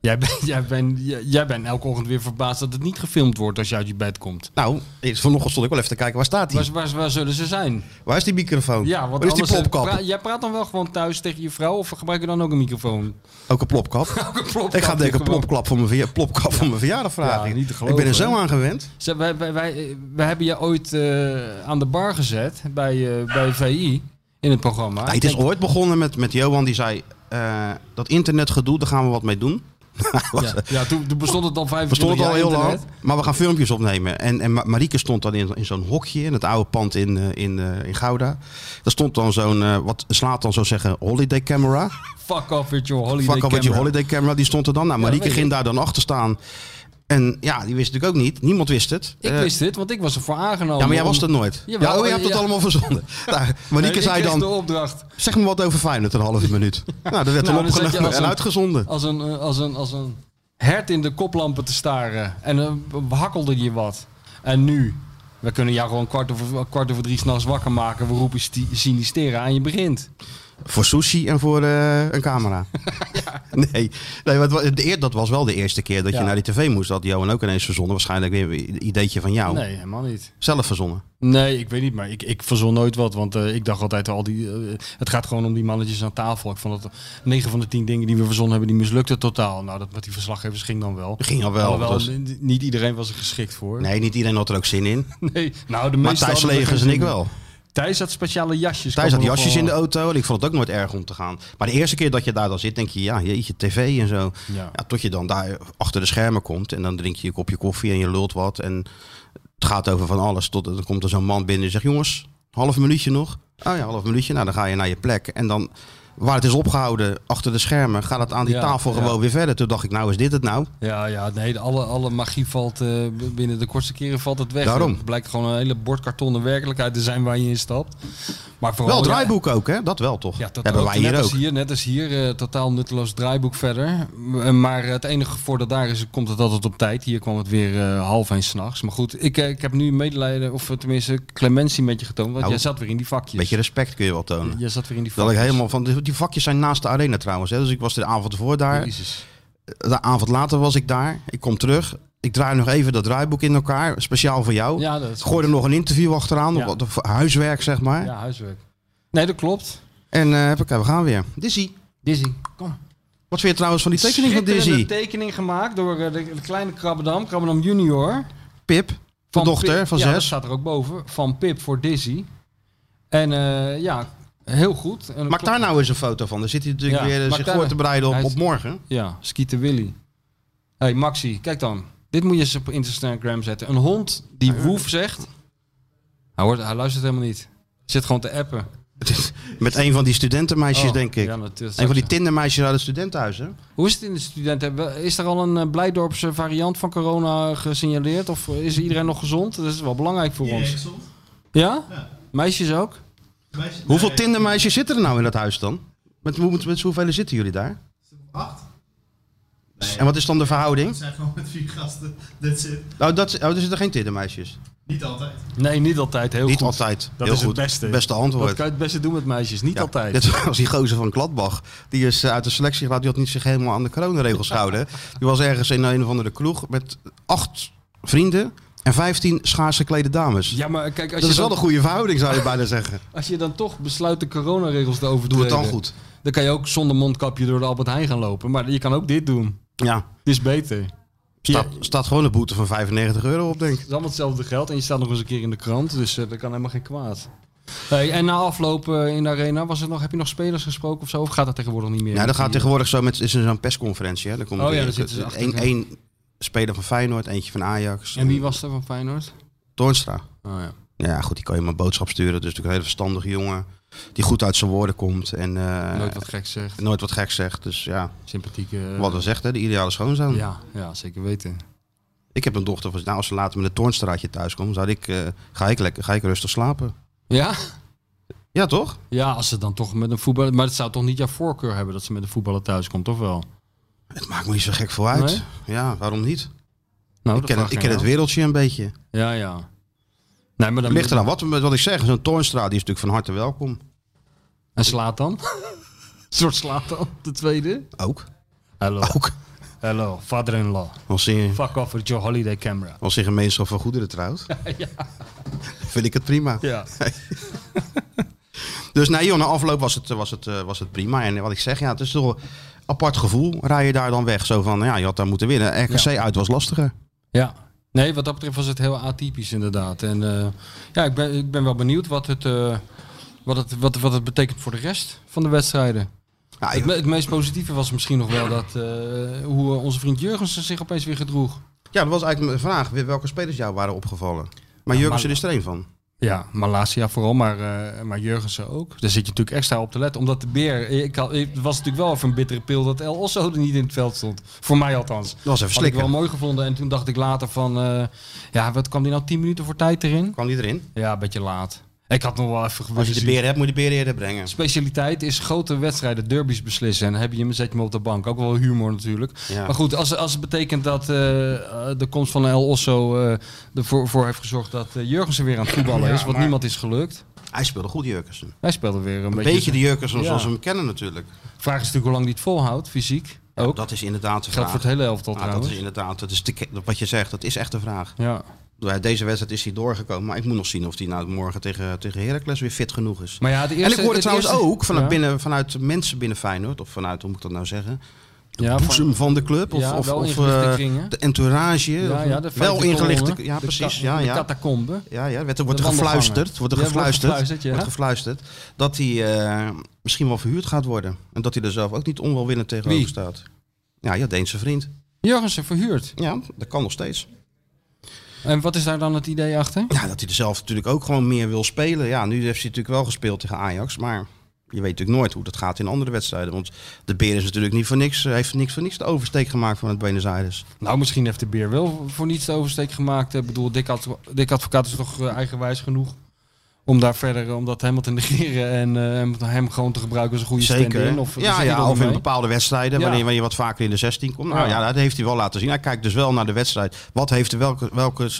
[SPEAKER 3] Jij bent, [laughs] jij, bent, jij, jij bent elke ochtend weer verbaasd dat het niet gefilmd wordt als je uit je bed komt.
[SPEAKER 2] Nou, eerst vanochtend stond ik wel even te kijken, waar staat hij?
[SPEAKER 3] Waar, waar, waar zullen ze zijn?
[SPEAKER 2] Waar is die microfoon?
[SPEAKER 3] Ja, want
[SPEAKER 2] waar is die
[SPEAKER 3] anders- eh,
[SPEAKER 2] plopkap?
[SPEAKER 3] pra- jij praat dan wel gewoon thuis tegen je vrouw of gebruik je dan ook een microfoon?
[SPEAKER 2] Ook een
[SPEAKER 3] [laughs]
[SPEAKER 2] plopkap.
[SPEAKER 3] Ook een plopkap
[SPEAKER 2] ik ga denk ik een
[SPEAKER 3] die gewoon-
[SPEAKER 2] plopkap voor mijn, verja- plopkap voor mijn verjaardag vragen.
[SPEAKER 3] Ja, niet te
[SPEAKER 2] ik ben
[SPEAKER 3] geloven,
[SPEAKER 2] er zo
[SPEAKER 3] hè?
[SPEAKER 2] aan gewend.
[SPEAKER 3] Ze- Wij, wij, wij, wij hebben je ooit eh, aan de bar gezet bij, eh, bij VI in het programma.
[SPEAKER 2] Nou, het is
[SPEAKER 3] Ik denk-
[SPEAKER 2] ooit begonnen met, met Johan, die zei, eh, dat internetgedoe, daar gaan we wat mee doen. [laughs]
[SPEAKER 3] ja, ja, toen, toen bestond het al 25
[SPEAKER 2] We stonden al
[SPEAKER 3] jaar
[SPEAKER 2] heel lang,
[SPEAKER 3] internet.
[SPEAKER 2] maar we gaan filmpjes opnemen. En, en Ma- Marieke stond dan in, in zo'n hokje in het oude pand in, eh, in, eh, in Gouda. Daar stond dan zo'n, eh, wat slaat dan zo zeggen, holiday camera.
[SPEAKER 3] Fuck off with your holiday
[SPEAKER 2] Fuck al met je
[SPEAKER 3] camera.
[SPEAKER 2] holiday camera, die stond er dan. Nou, Marieke
[SPEAKER 3] weet
[SPEAKER 2] ging
[SPEAKER 3] ik.
[SPEAKER 2] daar dan achter staan. En ja, die wist natuurlijk ook niet. Niemand wist het.
[SPEAKER 3] Ik
[SPEAKER 2] Eh,
[SPEAKER 3] wist dit, want ik was ervoor aangenomen.
[SPEAKER 2] ja, maar jij was
[SPEAKER 3] om-
[SPEAKER 2] er nooit.
[SPEAKER 3] Jawel,
[SPEAKER 2] ja, oh, je
[SPEAKER 3] eh,
[SPEAKER 2] hebt dat
[SPEAKER 3] ja.
[SPEAKER 2] allemaal
[SPEAKER 3] [laughs]
[SPEAKER 2] verzonnen. Nou,
[SPEAKER 3] Nee,
[SPEAKER 2] Marieke
[SPEAKER 3] ik
[SPEAKER 2] zei
[SPEAKER 3] kreeg
[SPEAKER 2] dan,
[SPEAKER 3] de opdracht.
[SPEAKER 2] zeg me wat over Feyenoord een halve minuut. Nou,
[SPEAKER 3] [laughs]
[SPEAKER 2] dat werd
[SPEAKER 3] Nou,
[SPEAKER 2] dan
[SPEAKER 3] dan zat je
[SPEAKER 2] opgenomen
[SPEAKER 3] als
[SPEAKER 2] en
[SPEAKER 3] een-
[SPEAKER 2] uitgezonden.
[SPEAKER 3] als een, eh, als een, als een hert in de koplampen te staren. En dan hakkelde je wat. En nu, we kunnen jou gewoon kwart over, kwart over drie s'nachts wakker maken. We roepen sti- Sinistera en je begint.
[SPEAKER 2] Voor sushi en voor eh, een
[SPEAKER 3] [laughs]
[SPEAKER 2] camera. Nee, nee want wa- de eer, dat was wel de eerste keer dat
[SPEAKER 3] Ja.
[SPEAKER 2] je naar die tv moest. Dat had Johan ook ineens verzonnen. Waarschijnlijk weer een ideetje van jou.
[SPEAKER 3] Nee, helemaal niet.
[SPEAKER 2] Zelf verzonnen.
[SPEAKER 3] Nee, ik weet niet, maar ik, ik verzon nooit wat. Want eh, ik dacht altijd al die. eh, het gaat gewoon om die mannetjes aan tafel. Ik vond dat 9 van de 10 dingen die we verzonnen hebben, die mislukten totaal. Nou, dat met die verslaggevers ging dan wel.
[SPEAKER 2] Ging al wel.
[SPEAKER 3] Alhoewel,
[SPEAKER 2] dat was-
[SPEAKER 3] n- niet iedereen was er geschikt voor.
[SPEAKER 2] nee, niet iedereen had er ook zin
[SPEAKER 3] [laughs]
[SPEAKER 2] in.
[SPEAKER 3] Nee, nou, de
[SPEAKER 2] Maar
[SPEAKER 3] meeste
[SPEAKER 2] Thijs
[SPEAKER 3] hadden er
[SPEAKER 2] Legers
[SPEAKER 3] geen
[SPEAKER 2] en ik
[SPEAKER 3] zin in.
[SPEAKER 2] wel.
[SPEAKER 3] Thijs had speciale
[SPEAKER 2] Thijs
[SPEAKER 3] jasjes. kan
[SPEAKER 2] had
[SPEAKER 3] ik me nog
[SPEAKER 2] jasjes in de
[SPEAKER 3] wel-
[SPEAKER 2] auto en ik vond het ook nooit erg om te gaan. Maar de eerste keer dat je daar dan zit, denk je, ja, jeetje, tv en zo.
[SPEAKER 3] Ja.
[SPEAKER 2] Ja, tot je dan daar achter de schermen komt en dan drink je je kopje koffie en je lult wat. En het gaat over van alles. Tot dan komt er zo'n man binnen en zegt, jongens, half minuutje nog. Oh ja, half minuutje. Nou, dan ga je naar je plek. En dan, waar het is opgehouden, achter de schermen, gaat het aan die
[SPEAKER 3] Ja,
[SPEAKER 2] tafel
[SPEAKER 3] ja.
[SPEAKER 2] gewoon weer verder. Toen dacht ik, nou is dit het nou?
[SPEAKER 3] Ja, ja, nee, de- alle, alle magie valt eh, b- binnen de kortste keren valt het weg.
[SPEAKER 2] Daarom.
[SPEAKER 3] Het blijkt gewoon een hele bord kartonnen werkelijkheid te zijn waar je in stapt. Maar vooral,
[SPEAKER 2] wel
[SPEAKER 3] Oh, ja,
[SPEAKER 2] draaiboek ook, hè? Dat wel toch?
[SPEAKER 3] Ja, dat
[SPEAKER 2] Hebben
[SPEAKER 3] ook.
[SPEAKER 2] wij
[SPEAKER 3] net
[SPEAKER 2] hier
[SPEAKER 3] als
[SPEAKER 2] ook.
[SPEAKER 3] hier, net als hier, eh, totaal nutteloos draaiboek verder. M- Maar het enige voordeel daar is, komt het altijd op tijd. Hier kwam het weer eh, half één s'nachts. Maar goed, ik, eh, ik heb nu medelijden, of eh, tenminste clementie met je getoond. Want
[SPEAKER 2] Nou,
[SPEAKER 3] jij zat weer in die vakjes.
[SPEAKER 2] Beetje respect kun je wel tonen.
[SPEAKER 3] Jij zat weer in die
[SPEAKER 2] Dat
[SPEAKER 3] vakjes.
[SPEAKER 2] ik helemaal van die vakjes zijn naast de arena trouwens. Hè? Dus ik was de avond ervoor daar.
[SPEAKER 3] Jezus.
[SPEAKER 2] De avond later was ik daar. Ik kom terug. Ik draai nog even dat draaiboek in elkaar. Speciaal voor jou.
[SPEAKER 3] Ja, dat is
[SPEAKER 2] Gooi er nog een interview achteraan.
[SPEAKER 3] Ja.
[SPEAKER 2] Wat- Huiswerk zeg maar.
[SPEAKER 3] Ja, huiswerk. Nee, dat klopt.
[SPEAKER 2] En eh, heb ik, we gaan weer.
[SPEAKER 3] Dizzy. Dizzy, kom.
[SPEAKER 2] Wat vind je trouwens van die tekening van Dizzy?
[SPEAKER 3] tekening gemaakt door eh, de, de kleine Krabbedam, Krabbedam junior.
[SPEAKER 2] Pip. Van dochter
[SPEAKER 3] Pip-
[SPEAKER 2] van
[SPEAKER 3] ja, dat
[SPEAKER 2] zes.
[SPEAKER 3] staat er ook boven. Van Pip voor Dizzy. En eh, ja, heel goed. En
[SPEAKER 2] Maak daar nou eens een foto van. Dan zit hij natuurlijk
[SPEAKER 3] Ja,
[SPEAKER 2] weer eh,
[SPEAKER 3] maak
[SPEAKER 2] zich
[SPEAKER 3] daar-
[SPEAKER 2] voor te bereiden op,
[SPEAKER 3] Hij is-
[SPEAKER 2] op morgen.
[SPEAKER 3] Ja, Skeeter Willy. hey, Maxi, kijk dan. Dit moet je eens op Instagram zetten. Een hond die woef zegt. Hij, hoort, hij luistert helemaal niet. Zit gewoon te appen.
[SPEAKER 2] Met een van die studentenmeisjes
[SPEAKER 3] Oh,
[SPEAKER 2] denk ik.
[SPEAKER 3] ja, dat- dat-
[SPEAKER 2] een van die tindermeisjes uit het studentenhuis. Hè?
[SPEAKER 3] Hoe is het in de studenten? Is er al een eh, Blijdorpse variant van corona gesignaleerd? Of eh, is iedereen nog gezond? Dat is wel belangrijk voor ons. Ja? Meisjes ook?
[SPEAKER 2] Hoeveel tindermeisjes zitten er nou in dat huis dan? Met, met, met hoeveel zitten jullie daar?
[SPEAKER 5] Acht?
[SPEAKER 2] En wat is dan de
[SPEAKER 5] We
[SPEAKER 2] verhouding?
[SPEAKER 5] zijn gewoon met vier gasten. That's it.
[SPEAKER 2] Nou, dat, oh, er zitten geen tindermeisjes.
[SPEAKER 5] Niet altijd.
[SPEAKER 3] Nee, niet altijd. Heel
[SPEAKER 2] Niet
[SPEAKER 3] goed.
[SPEAKER 2] altijd. Heel
[SPEAKER 3] Dat is het
[SPEAKER 2] goed.
[SPEAKER 3] beste.
[SPEAKER 2] Beste antwoord.
[SPEAKER 3] Dat kan je het beste doen met meisjes. Niet
[SPEAKER 2] Ja,
[SPEAKER 3] altijd.
[SPEAKER 2] Dit was die gozer van Gladbach. Die is eh, uit de selectie geraakt. Die had niet zich helemaal aan de coronaregels
[SPEAKER 3] [laughs]
[SPEAKER 2] gehouden. Die was ergens in een of andere kroeg met acht vrienden en vijftien schaars geklede dames.
[SPEAKER 3] Ja, maar kijk, als
[SPEAKER 2] dat
[SPEAKER 3] je,
[SPEAKER 2] is wel
[SPEAKER 3] dan,
[SPEAKER 2] een goede verhouding, zou je bijna
[SPEAKER 3] [laughs]
[SPEAKER 2] zeggen.
[SPEAKER 3] als je dan toch besluit de coronaregels te overdoen.
[SPEAKER 2] Doe het dan goed.
[SPEAKER 3] Dan kan je ook zonder mondkapje door de Albert Heijn gaan lopen. Maar je kan ook dit doen.
[SPEAKER 2] Ja,
[SPEAKER 3] Dit is beter. Ja,
[SPEAKER 2] staat, staat gewoon een boete van 95 euro op, denk ik.
[SPEAKER 3] Het is allemaal hetzelfde geld en je staat nog eens een keer in de krant, dus eh, dat kan helemaal geen kwaad. Hey, en na afloop eh, in de arena, was het nog, heb je nog spelers gesproken of zo? Of gaat dat tegenwoordig niet meer?
[SPEAKER 2] Ja, Nou, dat gaat
[SPEAKER 3] Die-
[SPEAKER 2] tegenwoordig zo met is er zo'n persconferentie. Hè? Dan komt
[SPEAKER 3] Oh
[SPEAKER 2] er
[SPEAKER 3] ja,
[SPEAKER 2] een-
[SPEAKER 3] dan zitten ze achter
[SPEAKER 2] één-
[SPEAKER 3] elkaar.
[SPEAKER 2] één speler van Feyenoord, eentje van Ajax.
[SPEAKER 3] En wie was er van Feyenoord?
[SPEAKER 2] Toornstra.
[SPEAKER 3] Oh, ja.
[SPEAKER 2] Ja, goed, die kan je maar een boodschap sturen. Dus natuurlijk een hele verstandige jongen. Die goed uit zijn woorden komt en eh,
[SPEAKER 3] Nooit wat gek zegt.
[SPEAKER 2] nooit wat gek zegt. Dus ja,
[SPEAKER 3] Sympathieke. eh,
[SPEAKER 2] wat we zegt, hè, de ideale schoonzoon.
[SPEAKER 3] ja, ja, zeker weten.
[SPEAKER 2] Ik heb een dochter van, nou, als ze later met een Toornstraatje thuis komt, zou ik, eh, ga, ik lekker, ga ik rustig slapen.
[SPEAKER 3] Ja?
[SPEAKER 2] Ja, toch?
[SPEAKER 3] ja, als ze dan toch met een voetballer. Maar het zou toch niet jouw voorkeur hebben dat ze met een voetballer thuis komt, toch wel?
[SPEAKER 2] Het maakt me niet zo gek voor uit.
[SPEAKER 3] Nee?
[SPEAKER 2] Ja, waarom niet?
[SPEAKER 3] Nou,
[SPEAKER 2] ik ken,
[SPEAKER 3] dat vraag
[SPEAKER 2] het, ik
[SPEAKER 3] aan
[SPEAKER 2] ken het
[SPEAKER 3] jou.
[SPEAKER 2] wereldje een beetje.
[SPEAKER 3] Ja, ja. Nee, maar dan
[SPEAKER 2] ligt eraan. Wat, wat ik zeg, zo'n Toornstra die is natuurlijk van harte welkom.
[SPEAKER 3] En slaat dan? [laughs] een soort slaat dan, de tweede?
[SPEAKER 2] Ook.
[SPEAKER 3] Hello.
[SPEAKER 2] Ook.
[SPEAKER 3] Hello, father-in-law.
[SPEAKER 2] Als je,
[SPEAKER 3] Fuck off with your holiday camera.
[SPEAKER 2] als je gemeenschap van goederen trouwt.
[SPEAKER 3] [laughs]
[SPEAKER 2] Vind ik het prima.
[SPEAKER 3] Ja.
[SPEAKER 2] Dus nee, joh, na afloop was het, was, het, eh, was het prima. En wat ik zeg, ja, het is toch een apart gevoel. Rij je daar dan weg? Zo van, ja, je had daar moeten winnen. RKC uit was lastiger.
[SPEAKER 3] Ja. Nee, wat dat betreft was het heel atypisch inderdaad. En eh, ja, ik ben, ik ben wel benieuwd wat het, eh, wat, het, wat, wat het betekent voor de rest van de wedstrijden.
[SPEAKER 2] Ja,
[SPEAKER 3] Het,
[SPEAKER 2] ik,
[SPEAKER 3] me- het meest positieve was misschien nog wel dat, eh, hoe eh, onze vriend Jurgensen zich opeens weer gedroeg.
[SPEAKER 2] ja, dat was eigenlijk mijn vraag. Weer Welke spelers jou waren opgevallen? Maar Jurgensen is er één van.
[SPEAKER 3] Ja, Malasia vooral, maar, eh, maar Jurgensen ook. Daar zit je natuurlijk extra op te letten. Omdat de beer, eh, ik had, het was natuurlijk wel even een bittere pil dat El Osso er niet in het veld stond. Voor mij althans.
[SPEAKER 2] Dat was even
[SPEAKER 3] Had ik wel
[SPEAKER 2] slikken.
[SPEAKER 3] mooi gevonden. En toen dacht ik later van, eh, ja, wat kwam die nou 10 minuten voor tijd erin?
[SPEAKER 2] Kwam die erin?
[SPEAKER 3] Ja, een beetje laat. Ik had nog wel even
[SPEAKER 2] Als je
[SPEAKER 3] gewild.
[SPEAKER 2] de beer hebt, moet je de beer eerder brengen.
[SPEAKER 3] Specialiteit is grote wedstrijden, derbies beslissen. En dan heb je hem, zet je hem op de bank. Ook wel humor natuurlijk.
[SPEAKER 2] Ja.
[SPEAKER 3] Maar goed, als, als het betekent dat eh, eh, de komst van El Osso eh ervoor voor heeft gezorgd dat eh, Jurgensen weer aan het voetballen is. Wat niemand is gelukt.
[SPEAKER 2] Hij speelde goed, Jurkensen.
[SPEAKER 3] Hij speelde weer een,
[SPEAKER 2] Een
[SPEAKER 3] beetje.
[SPEAKER 2] beetje de Jurkensen
[SPEAKER 3] Ja.
[SPEAKER 2] zoals we hem kennen natuurlijk.
[SPEAKER 3] Vraag is natuurlijk hoe lang die het volhoudt, fysiek. Ook.
[SPEAKER 2] Dat is inderdaad de
[SPEAKER 3] Geldt
[SPEAKER 2] vraag.
[SPEAKER 3] voor het hele elftal
[SPEAKER 2] Ja, dat
[SPEAKER 3] trouwens.
[SPEAKER 2] is inderdaad, dat is de, ke- wat je zegt, dat is echt de vraag.
[SPEAKER 3] Ja.
[SPEAKER 2] Ja, Deze wedstrijd is hij doorgekomen, maar ik moet nog zien of hij nou morgen tegen, tegen Heracles weer fit genoeg is.
[SPEAKER 3] Maar ja, de eerste,
[SPEAKER 2] en ik hoorde trouwens
[SPEAKER 3] eerste-
[SPEAKER 2] ook vanuit,
[SPEAKER 3] Ja.
[SPEAKER 2] binnen, vanuit mensen binnen Feyenoord, of vanuit, hoe moet ik dat nou zeggen, de
[SPEAKER 3] Ja, van-
[SPEAKER 2] boezem van, de club, of,
[SPEAKER 3] Ja,
[SPEAKER 2] of,
[SPEAKER 3] wel
[SPEAKER 2] of,
[SPEAKER 3] ingelichte
[SPEAKER 2] eh,
[SPEAKER 3] kringen.
[SPEAKER 2] de entourage,
[SPEAKER 3] Ja,
[SPEAKER 2] of-
[SPEAKER 3] ja, de
[SPEAKER 2] wel
[SPEAKER 3] vijfde
[SPEAKER 2] ingelichte,
[SPEAKER 3] kolonne.
[SPEAKER 2] ja
[SPEAKER 3] De
[SPEAKER 2] precies,
[SPEAKER 3] ka-
[SPEAKER 2] ja,
[SPEAKER 3] de
[SPEAKER 2] ja.
[SPEAKER 3] catacombe.
[SPEAKER 2] Ja, ja, werd, er wordt
[SPEAKER 3] De
[SPEAKER 2] er gefluisterd,
[SPEAKER 3] wandelgangen.
[SPEAKER 2] wordt er
[SPEAKER 3] Ja, wordt
[SPEAKER 2] gefluisterd,
[SPEAKER 3] gefluisterd, ja.
[SPEAKER 2] wordt gefluisterd dat hij eh, misschien wel verhuurd gaat worden. En dat hij er zelf ook niet onwelwillend tegenover
[SPEAKER 3] Wie?
[SPEAKER 2] staat. Ja, je Deense vriend.
[SPEAKER 3] Jurgensen verhuurd.
[SPEAKER 2] Ja, dat kan nog steeds.
[SPEAKER 3] En wat is daar dan het idee achter?
[SPEAKER 2] Ja, dat hij er zelf natuurlijk ook gewoon meer wil spelen. Ja, nu heeft hij natuurlijk wel gespeeld tegen Ajax, maar je weet natuurlijk nooit hoe dat gaat in andere wedstrijden. Want de Beer is natuurlijk niet voor niks, eh, heeft niks voor niks de oversteek gemaakt van het Buenos Aires.
[SPEAKER 3] Nou, misschien heeft de Beer wel voor niets de oversteek gemaakt. Ik bedoel, Dick, Ad- Dick Advocaat is toch eh, eigenwijs genoeg om daar verder, eh, om dat helemaal te negeren [laughs] en eh, hem- hem gewoon te gebruiken als een goede stand-in. Of,
[SPEAKER 2] ja, ja, of in bepaalde wedstrijden,
[SPEAKER 3] Ja.
[SPEAKER 2] wanneer, wanneer je wat vaker in de 16 komt. Nou
[SPEAKER 3] Ja.
[SPEAKER 2] ja, dat heeft hij wel laten zien. Hij kijkt dus wel naar de wedstrijd. Wat heeft de, welke, welke,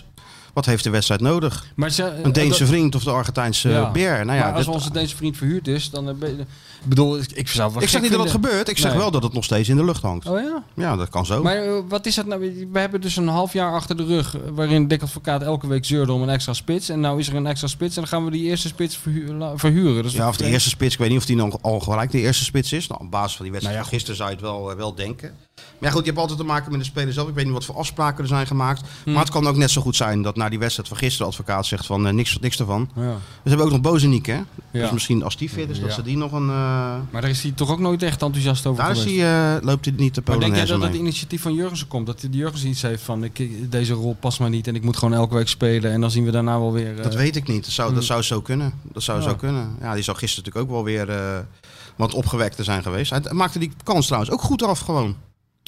[SPEAKER 2] wat heeft de wedstrijd nodig?
[SPEAKER 3] maar ze- eh,
[SPEAKER 2] Een Deense
[SPEAKER 3] dat-
[SPEAKER 2] vriend of de Argentijnse
[SPEAKER 3] Ja.
[SPEAKER 2] beer? Nou ja,
[SPEAKER 3] maar als
[SPEAKER 2] dit-
[SPEAKER 3] onze Deense vriend verhuurd is, dan... eh, ben je- ik bedoel, ik, ik zou het wel
[SPEAKER 2] ik zeg
[SPEAKER 3] gek
[SPEAKER 2] niet dat dat
[SPEAKER 3] vinden.
[SPEAKER 2] gebeurt. Ik zeg
[SPEAKER 3] Nee.
[SPEAKER 2] wel dat het nog steeds in de lucht hangt.
[SPEAKER 3] Oh ja?
[SPEAKER 2] Ja, dat kan zo.
[SPEAKER 3] Maar eh, wat is dat nou? We hebben dus een half jaar achter de rug eh, waarin Dick Advocaat elke week zeurde om een extra spits. En nou is er een extra spits en dan gaan we die eerste spits verhu- la- verhuren. Dus
[SPEAKER 2] Ja, of de eerste spits. Ik weet niet of die dan al gelijk de eerste spits is. Nou, op basis van die wedstrijd
[SPEAKER 3] Nou ja,
[SPEAKER 2] van gisteren zou je het wel, eh, wel denken. Maar ja, goed, je hebt altijd te maken met de speler zelf. Ik weet niet wat voor afspraken er zijn gemaakt.
[SPEAKER 3] Hmm.
[SPEAKER 2] Maar het kan ook net zo goed zijn dat na die wedstrijd van gisteren advocaat zegt van eh, niks, niks ervan.
[SPEAKER 3] Ja.
[SPEAKER 2] Dus we hebben ook nog Bozeniek, hè?
[SPEAKER 3] Ja.
[SPEAKER 2] Dus misschien als die fit is, dat
[SPEAKER 3] Ja.
[SPEAKER 2] ze die nog een... eh,
[SPEAKER 3] Maar daar is hij toch ook nooit echt enthousiast over
[SPEAKER 2] Daar is
[SPEAKER 3] geweest.
[SPEAKER 2] die, eh, loopt hij niet te
[SPEAKER 3] maar denk jij
[SPEAKER 2] Polonaise
[SPEAKER 3] dat
[SPEAKER 2] mee.
[SPEAKER 3] het initiatief van Jurgensen komt? Dat die Jurgensen iets heeft van ik, deze rol past mij niet en ik moet gewoon elke week spelen. En dan zien we daarna wel weer... eh,
[SPEAKER 2] Dat weet ik niet. Dat zou, dat zou zo kunnen. Dat zou
[SPEAKER 3] Hmm. Ja.
[SPEAKER 2] zo kunnen. Ja, die zou gisteren natuurlijk ook wel weer eh, wat opgewekter zijn geweest. Hij maakte die kans trouwens ook goed af gewoon.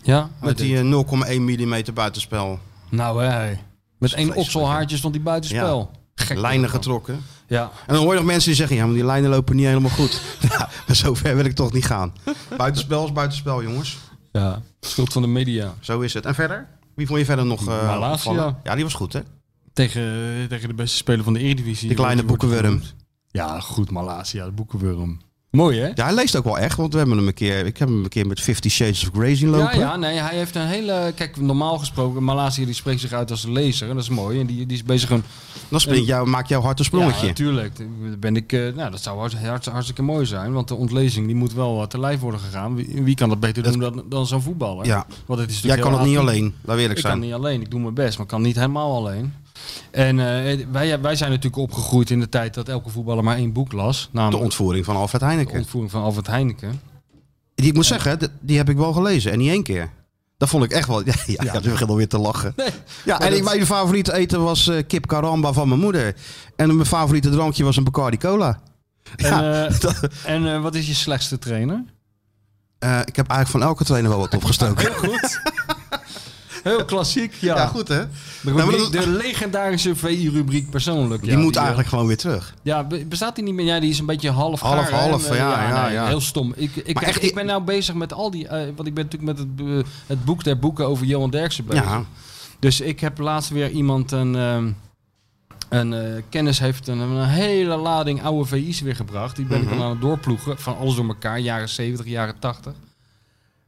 [SPEAKER 3] Ja, met
[SPEAKER 2] Met die eh, 0,1 mm buitenspel.
[SPEAKER 3] Nou hé. Met één
[SPEAKER 2] vreselijk,
[SPEAKER 3] okselhaartje stond hij buitenspel. Gek.
[SPEAKER 2] Lijnen getrokken.
[SPEAKER 3] Ja.
[SPEAKER 2] En dan hoor je nog mensen die zeggen, ja, maar die lijnen lopen niet helemaal goed. [laughs] ja, maar zover wil ik toch niet
[SPEAKER 3] [laughs]
[SPEAKER 2] gaan. Buitenspel is buitenspel, jongens.
[SPEAKER 3] ja. Schuld van de media.
[SPEAKER 2] Zo is het. En verder? Wie vond je verder nog eh
[SPEAKER 3] Malasia.
[SPEAKER 2] opvallen? Ja, die was goed, hè?
[SPEAKER 3] Tegen, tegen de beste speler van de Eredivisie.
[SPEAKER 2] Die kleine
[SPEAKER 3] Wordt- wordt
[SPEAKER 2] boekenwurm.
[SPEAKER 3] genoemd. Ja, goed, Malasia, de boekenwurm. Mooi, hè?
[SPEAKER 2] Ja, hij leest ook wel echt, want we hebben hem een keer, ik heb hem een keer met 50 Shades of Grey zien lopen.
[SPEAKER 3] Ja, ja, nee, hij heeft een hele... Kijk, normaal gesproken, Malasia die spreekt zich uit als een lezer. En dat is mooi. En die, die is bezig een...
[SPEAKER 2] Dan springt jou, maakt jouw hart een
[SPEAKER 3] Ja,
[SPEAKER 2] sprongetje.
[SPEAKER 3] natuurlijk. Daar Ben ik, eh, nou, dat zou hart, hart- hartstikke mooi zijn. Want de ontlezing die moet wel eh, te lijf worden gegaan. Wie, wie kan dat beter doen dan, dan zo'n voetballer?
[SPEAKER 2] Ja.
[SPEAKER 3] Want het is natuurlijk
[SPEAKER 2] Jij kan
[SPEAKER 3] heel
[SPEAKER 2] het niet
[SPEAKER 3] atypisch.
[SPEAKER 2] alleen, laat we eerlijk
[SPEAKER 3] Ik
[SPEAKER 2] zijn.
[SPEAKER 3] kan niet alleen, ik doe mijn best, maar ik kan niet helemaal alleen. En eh, wij, wij zijn natuurlijk opgegroeid in de tijd dat elke voetballer maar één boek las.
[SPEAKER 2] De
[SPEAKER 3] Namelijk
[SPEAKER 2] ontvoering van Alfred
[SPEAKER 3] de
[SPEAKER 2] Heineken.
[SPEAKER 3] ontvoering van Alfred Heineken.
[SPEAKER 2] Die ik moet zeggen, d- die heb ik wel gelezen. En niet één keer. Dat vond ik echt wel... [laughs] Ja, ja, ja, nu begint alweer te lachen. ja, en ik, mijn favoriete eten was eh, kip caramba van mijn moeder. En mijn favoriete drankje was een Bacardi Cola. Ja,
[SPEAKER 3] en eh,
[SPEAKER 2] [laughs] dat-
[SPEAKER 3] en eh, wat is je slechtste trainer?
[SPEAKER 2] eh, ik heb eigenlijk van elke trainer wel wat opgestoken.
[SPEAKER 3] Goed. Heel klassiek, ja.
[SPEAKER 2] ja, goed hè?
[SPEAKER 3] De,
[SPEAKER 2] Nou, maar
[SPEAKER 3] rubriek-
[SPEAKER 2] dat is-
[SPEAKER 3] de legendarische VI-rubriek persoonlijk.
[SPEAKER 2] Die
[SPEAKER 3] ja,
[SPEAKER 2] moet
[SPEAKER 3] eh,
[SPEAKER 2] eigenlijk gewoon weer terug.
[SPEAKER 3] Ja, be- bestaat die niet meer? Ja, die is een beetje half
[SPEAKER 2] Half,
[SPEAKER 3] gaar, hè?
[SPEAKER 2] half,
[SPEAKER 3] En, eh,
[SPEAKER 2] ja, ja,
[SPEAKER 3] nee,
[SPEAKER 2] ja.
[SPEAKER 3] Heel stom. Ik, ik,
[SPEAKER 2] Maar
[SPEAKER 3] kijk,
[SPEAKER 2] echt-
[SPEAKER 3] ik ben nou bezig met al die... eh, want ik ben natuurlijk met het, eh, het boek der boeken over Johan Derksen bezig.
[SPEAKER 2] Ja,
[SPEAKER 3] Dus ik heb laatst weer iemand een, ehm, een eh, kennis heeft een, een hele lading oude VI's weer gebracht. Die ben
[SPEAKER 2] Mhm.
[SPEAKER 3] ik dan aan het doorploegen van alles door elkaar, jaren 70, jaren 80.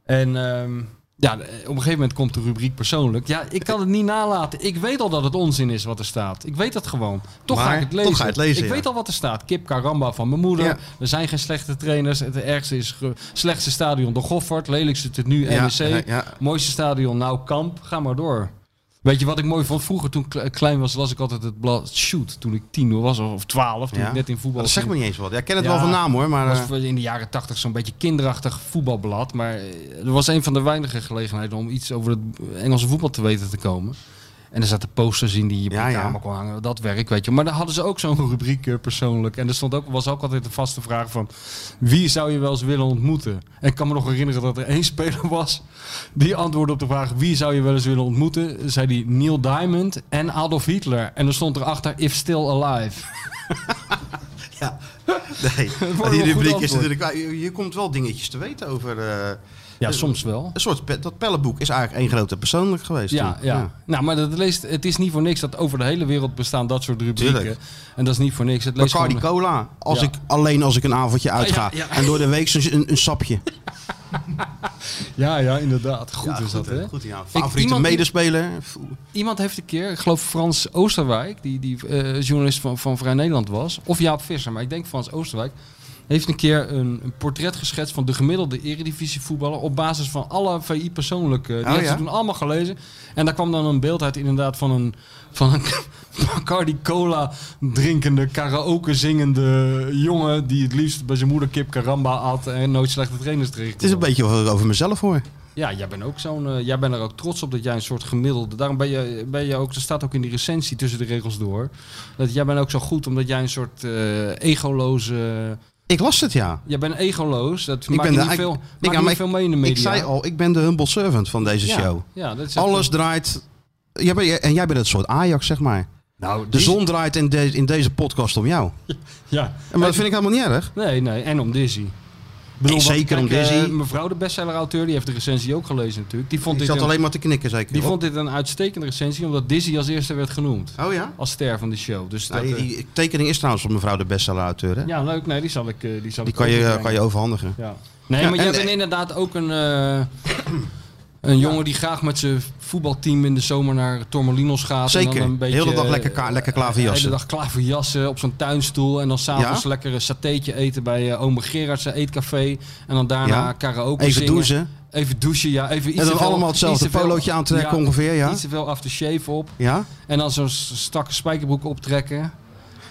[SPEAKER 3] En ehm, ja, op een gegeven moment komt de rubriek persoonlijk. Ja, ik kan het niet nalaten. Ik weet al dat het onzin is wat er staat. Ik weet dat gewoon. Toch ga
[SPEAKER 2] Maar
[SPEAKER 3] ik het
[SPEAKER 2] toch
[SPEAKER 3] lezen.
[SPEAKER 2] ga je het lezen,
[SPEAKER 3] ik
[SPEAKER 2] ja.
[SPEAKER 3] weet al wat er staat. Kip Karamba van mijn moeder.
[SPEAKER 2] Ja.
[SPEAKER 3] Er zijn geen slechte trainers. Het ergste is ge- slechtste stadion de Goffert. Lelijkste tot nu
[SPEAKER 2] Ja,
[SPEAKER 3] NEC.
[SPEAKER 2] ja, ja.
[SPEAKER 3] Mooiste stadion nou Kamp. Ga maar door. Weet je wat ik mooi vond? Vroeger toen ik kle- klein was, las ik altijd het blad Shoot. Toen ik tien was of twaalf, toen
[SPEAKER 2] Ja.
[SPEAKER 3] ik net in voetbal
[SPEAKER 2] dat
[SPEAKER 3] was.
[SPEAKER 2] zegt me niet eens wat. Ja, ik ken het
[SPEAKER 3] Ja.
[SPEAKER 2] wel van naam hoor, maar... eh,
[SPEAKER 3] was in de jaren tachtig zo'n beetje kinderachtig voetbalblad. Maar eh, er was een van de weinige gelegenheden om iets over het Engelse voetbal te weten te komen. En er zaten posters in die je op
[SPEAKER 2] Ja,
[SPEAKER 3] de
[SPEAKER 2] ja.
[SPEAKER 3] kamer kon hangen. Dat werk, weet je. Maar daar hadden ze ook zo'n rubriek eh, persoonlijk. En er stond ook, was ook altijd de vaste vraag van... Wie zou je wel eens willen ontmoeten? En ik kan me nog herinneren dat er één speler was... die antwoordde op de vraag... Wie zou je wel eens willen ontmoeten? Zei die Neil Diamond [laughs] en Adolf Hitler. En er stond erachter... If still alive.
[SPEAKER 2] Nee,
[SPEAKER 3] wel
[SPEAKER 2] maar
[SPEAKER 3] een
[SPEAKER 2] die
[SPEAKER 3] goed
[SPEAKER 2] rubriek is
[SPEAKER 3] antwoord.
[SPEAKER 2] natuurlijk... Je, je komt wel dingetjes te weten over... eh,
[SPEAKER 3] Ja, soms wel.
[SPEAKER 2] een soort pe- dat pellenboek is eigenlijk één grote persoonlijk geweest.
[SPEAKER 3] Ja,
[SPEAKER 2] toen.
[SPEAKER 3] ja. Nou, maar dat leest, het is niet voor niks dat over de hele wereld bestaan dat soort rubrieken.
[SPEAKER 2] Tuurlijk.
[SPEAKER 3] En dat is niet voor niks. Het leest
[SPEAKER 2] Bacardi
[SPEAKER 3] gewoon-
[SPEAKER 2] Cola. Als
[SPEAKER 3] Ja. Ah,
[SPEAKER 2] ik, alleen als ik een avondje uitga.
[SPEAKER 3] ja, ja.
[SPEAKER 2] En door de week zo'n- een, een sapje.
[SPEAKER 3] Ja, ja, inderdaad. Goed is dat, hè?
[SPEAKER 2] Goed, ja. Favoriete
[SPEAKER 3] iemand die-
[SPEAKER 2] medespeler. Pff,
[SPEAKER 3] Iemand heeft een keer, ik geloof Frans Oosterwijk, die, die eh, journalist van, van Vrij Nederland was, of Jaap Visser, maar ik denk Frans Oosterwijk, heeft een keer een, een portret geschetst van de gemiddelde eredivisie voetballer op basis van alle VI persoonlijk. eh, die
[SPEAKER 2] Oh,
[SPEAKER 3] heeft
[SPEAKER 2] ja?
[SPEAKER 3] ze toen allemaal gelezen. En daar kwam dan een beeld uit inderdaad van een, van een [laughs] Bacardi Cola drinkende, karaoke zingende jongen die het liefst bij zijn moeder kip karamba at en nooit slechte trainers kreeg.
[SPEAKER 2] het is een beetje wat ik over mezelf hoor.
[SPEAKER 3] Ja, jij bent ook zo'n. eh, jij bent er ook trots op dat jij een soort gemiddelde. Daarom ben je, ben je ook. Er staat ook in die recensie tussen de regels door. Dat jij bent ook zo goed omdat jij een soort eh, egoloze.
[SPEAKER 2] Ik las het, ja.
[SPEAKER 3] Jij bent egoloos. Dat maakt
[SPEAKER 2] ben de-
[SPEAKER 3] niet
[SPEAKER 2] ik-
[SPEAKER 3] veel,
[SPEAKER 2] ik-
[SPEAKER 3] maakt
[SPEAKER 2] ja,
[SPEAKER 3] niet
[SPEAKER 2] maar
[SPEAKER 3] veel mee in de media.
[SPEAKER 2] Ik zei al, ik ben de humble servant van deze
[SPEAKER 3] ja,
[SPEAKER 2] show.
[SPEAKER 3] Ja, dat is echt-
[SPEAKER 2] Alles draait... Jij bent- en jij bent het soort Ajax, zeg maar.
[SPEAKER 3] Nou,
[SPEAKER 2] De
[SPEAKER 3] die-
[SPEAKER 2] zon draait in, de- in deze podcast om jou.
[SPEAKER 3] Ja.
[SPEAKER 2] Maar dat vind ik helemaal niet erg.
[SPEAKER 3] Nee, nee. En om Dizzy. Ik
[SPEAKER 2] Nee,
[SPEAKER 3] want
[SPEAKER 2] zeker om
[SPEAKER 3] kijk, eh,
[SPEAKER 2] Dizzy.
[SPEAKER 3] mevrouw, de bestseller-auteur, die heeft de recensie ook gelezen natuurlijk. Die vond,
[SPEAKER 2] Ik
[SPEAKER 3] dit
[SPEAKER 2] zat
[SPEAKER 3] een,
[SPEAKER 2] alleen maar te knikken, zeker.
[SPEAKER 3] die
[SPEAKER 2] Rob.
[SPEAKER 3] vond dit een uitstekende recensie, omdat Dizzy als eerste werd genoemd.
[SPEAKER 2] Oh ja?
[SPEAKER 3] Als ster van de show. Dus
[SPEAKER 2] Nou,
[SPEAKER 3] dat,
[SPEAKER 2] die,
[SPEAKER 3] eh,
[SPEAKER 2] die tekening is trouwens van mevrouw de bestseller-auteur. hè?
[SPEAKER 3] Ja, leuk. Nee, die zal ik, eh, die zal
[SPEAKER 2] Die
[SPEAKER 3] ik
[SPEAKER 2] kan je,
[SPEAKER 3] overbrengen.
[SPEAKER 2] kan je overhandigen.
[SPEAKER 3] Ja. Nee,
[SPEAKER 2] Ja,
[SPEAKER 3] maar jij
[SPEAKER 2] en-
[SPEAKER 3] bent inderdaad ook een, eh, een jongen die graag met zijn voetbalteam in de zomer naar Tormelinos gaat. En
[SPEAKER 2] Zeker.
[SPEAKER 3] dan een
[SPEAKER 2] De
[SPEAKER 3] beetje,
[SPEAKER 2] hele dag lekker, ka-
[SPEAKER 3] eh,
[SPEAKER 2] lekker
[SPEAKER 3] de hele
[SPEAKER 2] klaverjassen.
[SPEAKER 3] dag klaverjassen op zo'n tuinstoel. En dan s'avonds
[SPEAKER 2] Ja?
[SPEAKER 3] lekker een satéetje eten bij eh ome Gerard's eetcafé. En dan daarna
[SPEAKER 2] Ja.
[SPEAKER 3] karaoke
[SPEAKER 2] Even
[SPEAKER 3] zingen.
[SPEAKER 2] douchen.
[SPEAKER 3] Even douchen, ja. Even iets
[SPEAKER 2] En
[SPEAKER 3] te
[SPEAKER 2] dan
[SPEAKER 3] veel-
[SPEAKER 2] allemaal hetzelfde
[SPEAKER 3] iets te veel-
[SPEAKER 2] polootje aantrekken
[SPEAKER 3] ja, Nou,
[SPEAKER 2] ongeveer, ja?
[SPEAKER 3] Iets te veel aftershave op.
[SPEAKER 2] Ja?
[SPEAKER 3] En dan zo'n s- strakke spijkerbroek optrekken.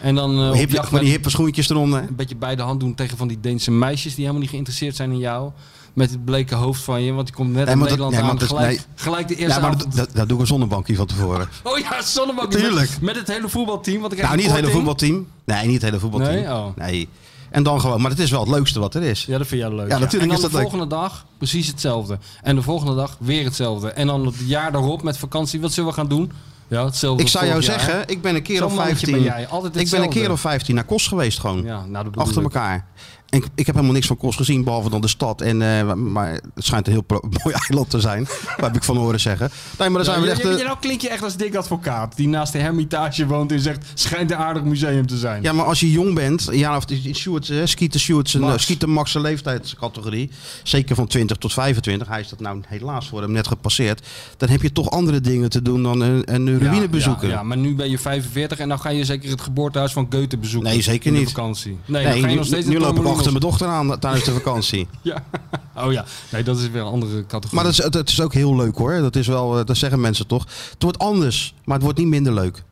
[SPEAKER 3] En dan eh, op
[SPEAKER 2] Hip,
[SPEAKER 3] jacht
[SPEAKER 2] van
[SPEAKER 3] met-
[SPEAKER 2] die hippe schoentjes eronder.
[SPEAKER 3] een beetje bij de hand doen tegen van die Deense meisjes die helemaal niet geïnteresseerd zijn in jou. Met het bleke hoofd van je, want die komt net
[SPEAKER 2] Nee,
[SPEAKER 3] in
[SPEAKER 2] maar dat-
[SPEAKER 3] Nederland
[SPEAKER 2] nee,
[SPEAKER 3] aan.
[SPEAKER 2] maar dat-
[SPEAKER 3] gelijk,
[SPEAKER 2] nee.
[SPEAKER 3] gelijk de
[SPEAKER 2] Ja,
[SPEAKER 3] eerste
[SPEAKER 2] maar
[SPEAKER 3] avond.
[SPEAKER 2] dat, dat, dat doe ik een zonnebankje van tevoren.
[SPEAKER 3] Oh ja, zonnebank.
[SPEAKER 2] Tuurlijk.
[SPEAKER 3] Met, met het hele voetbalteam. Want ik
[SPEAKER 2] Nou, niet het hele voetbalteam. Nee, niet het hele voetbalteam.
[SPEAKER 3] Nee? Oh.
[SPEAKER 2] Nee. En dan gewoon, maar het is wel het leukste wat er is.
[SPEAKER 3] Ja, dat vind jij leuk.
[SPEAKER 2] Ja, natuurlijk
[SPEAKER 3] en dan
[SPEAKER 2] is dat
[SPEAKER 3] de
[SPEAKER 2] leuk.
[SPEAKER 3] volgende dag precies hetzelfde. En de volgende dag weer hetzelfde. En dan het jaar daarop met vakantie. Wat zullen we gaan doen? Ja, hetzelfde.
[SPEAKER 2] Ik zou jou
[SPEAKER 3] vorig jaar.
[SPEAKER 2] zeggen, ik ben een keer
[SPEAKER 3] Zo'n
[SPEAKER 2] of
[SPEAKER 3] mannetje
[SPEAKER 2] 15.
[SPEAKER 3] ben jij, altijd
[SPEAKER 2] ik ben een
[SPEAKER 3] hetzelfde.
[SPEAKER 2] keer of 15 naar Kos geweest gewoon.
[SPEAKER 3] Ja, nou, dat bedoel
[SPEAKER 2] achter
[SPEAKER 3] ik.
[SPEAKER 2] elkaar. En ik, ik heb helemaal niks van Kos gezien, behalve dan de stad. En, eh, maar het schijnt een heel pro- [laughs] mooi eiland te zijn. dat heb ik van horen zeggen. Nee, maar dan zijn
[SPEAKER 3] Ja,
[SPEAKER 2] we
[SPEAKER 3] je-
[SPEAKER 2] echt...
[SPEAKER 3] je-
[SPEAKER 2] eh,
[SPEAKER 3] je- nou klink je echt als Dick Advocaat. Die naast de Hermitage woont en zegt, schijnt een aardig museum te zijn.
[SPEAKER 2] Ja, maar als je jong bent, een jaar of in Sjoerd, eh, Skeeter Sjoerd, zijn,
[SPEAKER 3] Max.
[SPEAKER 2] eh, Skeeter Max zijn leeftijdscategorie, zeker van 20 tot 25, hij is dat nou helaas voor hem net gepasseerd, dan heb je toch andere dingen te doen dan een, een ruïne bezoeken.
[SPEAKER 3] Ja, ja, maar nu ben je 45 en dan ga je zeker het geboortehuis van Goethe bezoeken.
[SPEAKER 2] Nee, zeker
[SPEAKER 3] in de
[SPEAKER 2] niet.
[SPEAKER 3] vakantie. Nee, dan
[SPEAKER 2] Nee,
[SPEAKER 3] ga je
[SPEAKER 2] nu,
[SPEAKER 3] nog
[SPEAKER 2] nu
[SPEAKER 3] steeds naar
[SPEAKER 2] loop ik
[SPEAKER 3] Torremolinos.
[SPEAKER 2] achter mijn dochter aan tijdens de
[SPEAKER 3] [laughs]
[SPEAKER 2] vakantie.
[SPEAKER 3] Ja. Oh ja, nee, dat is weer een andere categorie.
[SPEAKER 2] Maar dat is, dat is ook heel leuk hoor. Dat, is wel, eh, dat zeggen mensen toch. Het wordt anders, maar het wordt niet minder leuk.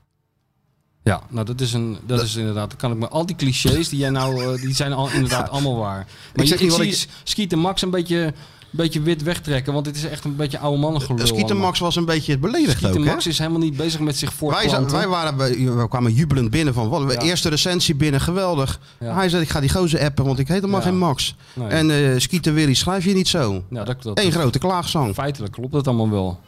[SPEAKER 3] Ja, nou dat is, een, dat is inderdaad, dan kan ik me al die clichés die jij nou, eh, die zijn al, inderdaad allemaal waar. Maar ik,
[SPEAKER 2] zeg
[SPEAKER 3] je,
[SPEAKER 2] niet
[SPEAKER 3] ik
[SPEAKER 2] wat
[SPEAKER 3] zie Skeet en Max een beetje, een beetje wit wegtrekken, want dit is echt een beetje oude mannen gelul.
[SPEAKER 2] Skeeter Eh, Max was een beetje beledigd ook. hè?
[SPEAKER 3] Max is helemaal niet bezig met zich
[SPEAKER 2] Wij, za-
[SPEAKER 3] voortplanten.
[SPEAKER 2] wij waren bij- we kwamen jubelend binnen van wat,
[SPEAKER 3] Ja.
[SPEAKER 2] eerste recensie binnen, geweldig.
[SPEAKER 3] Ja.
[SPEAKER 2] Hij zei, ik ga die gozer appen, want ik heet helemaal
[SPEAKER 3] Ja.
[SPEAKER 2] geen Max.
[SPEAKER 3] Nee.
[SPEAKER 2] En eh Skeeter Willy, schrijf je niet zo.
[SPEAKER 3] Nou, dat, dat,
[SPEAKER 2] Eén grote klaagzang.
[SPEAKER 3] feitelijk klopt dat allemaal wel.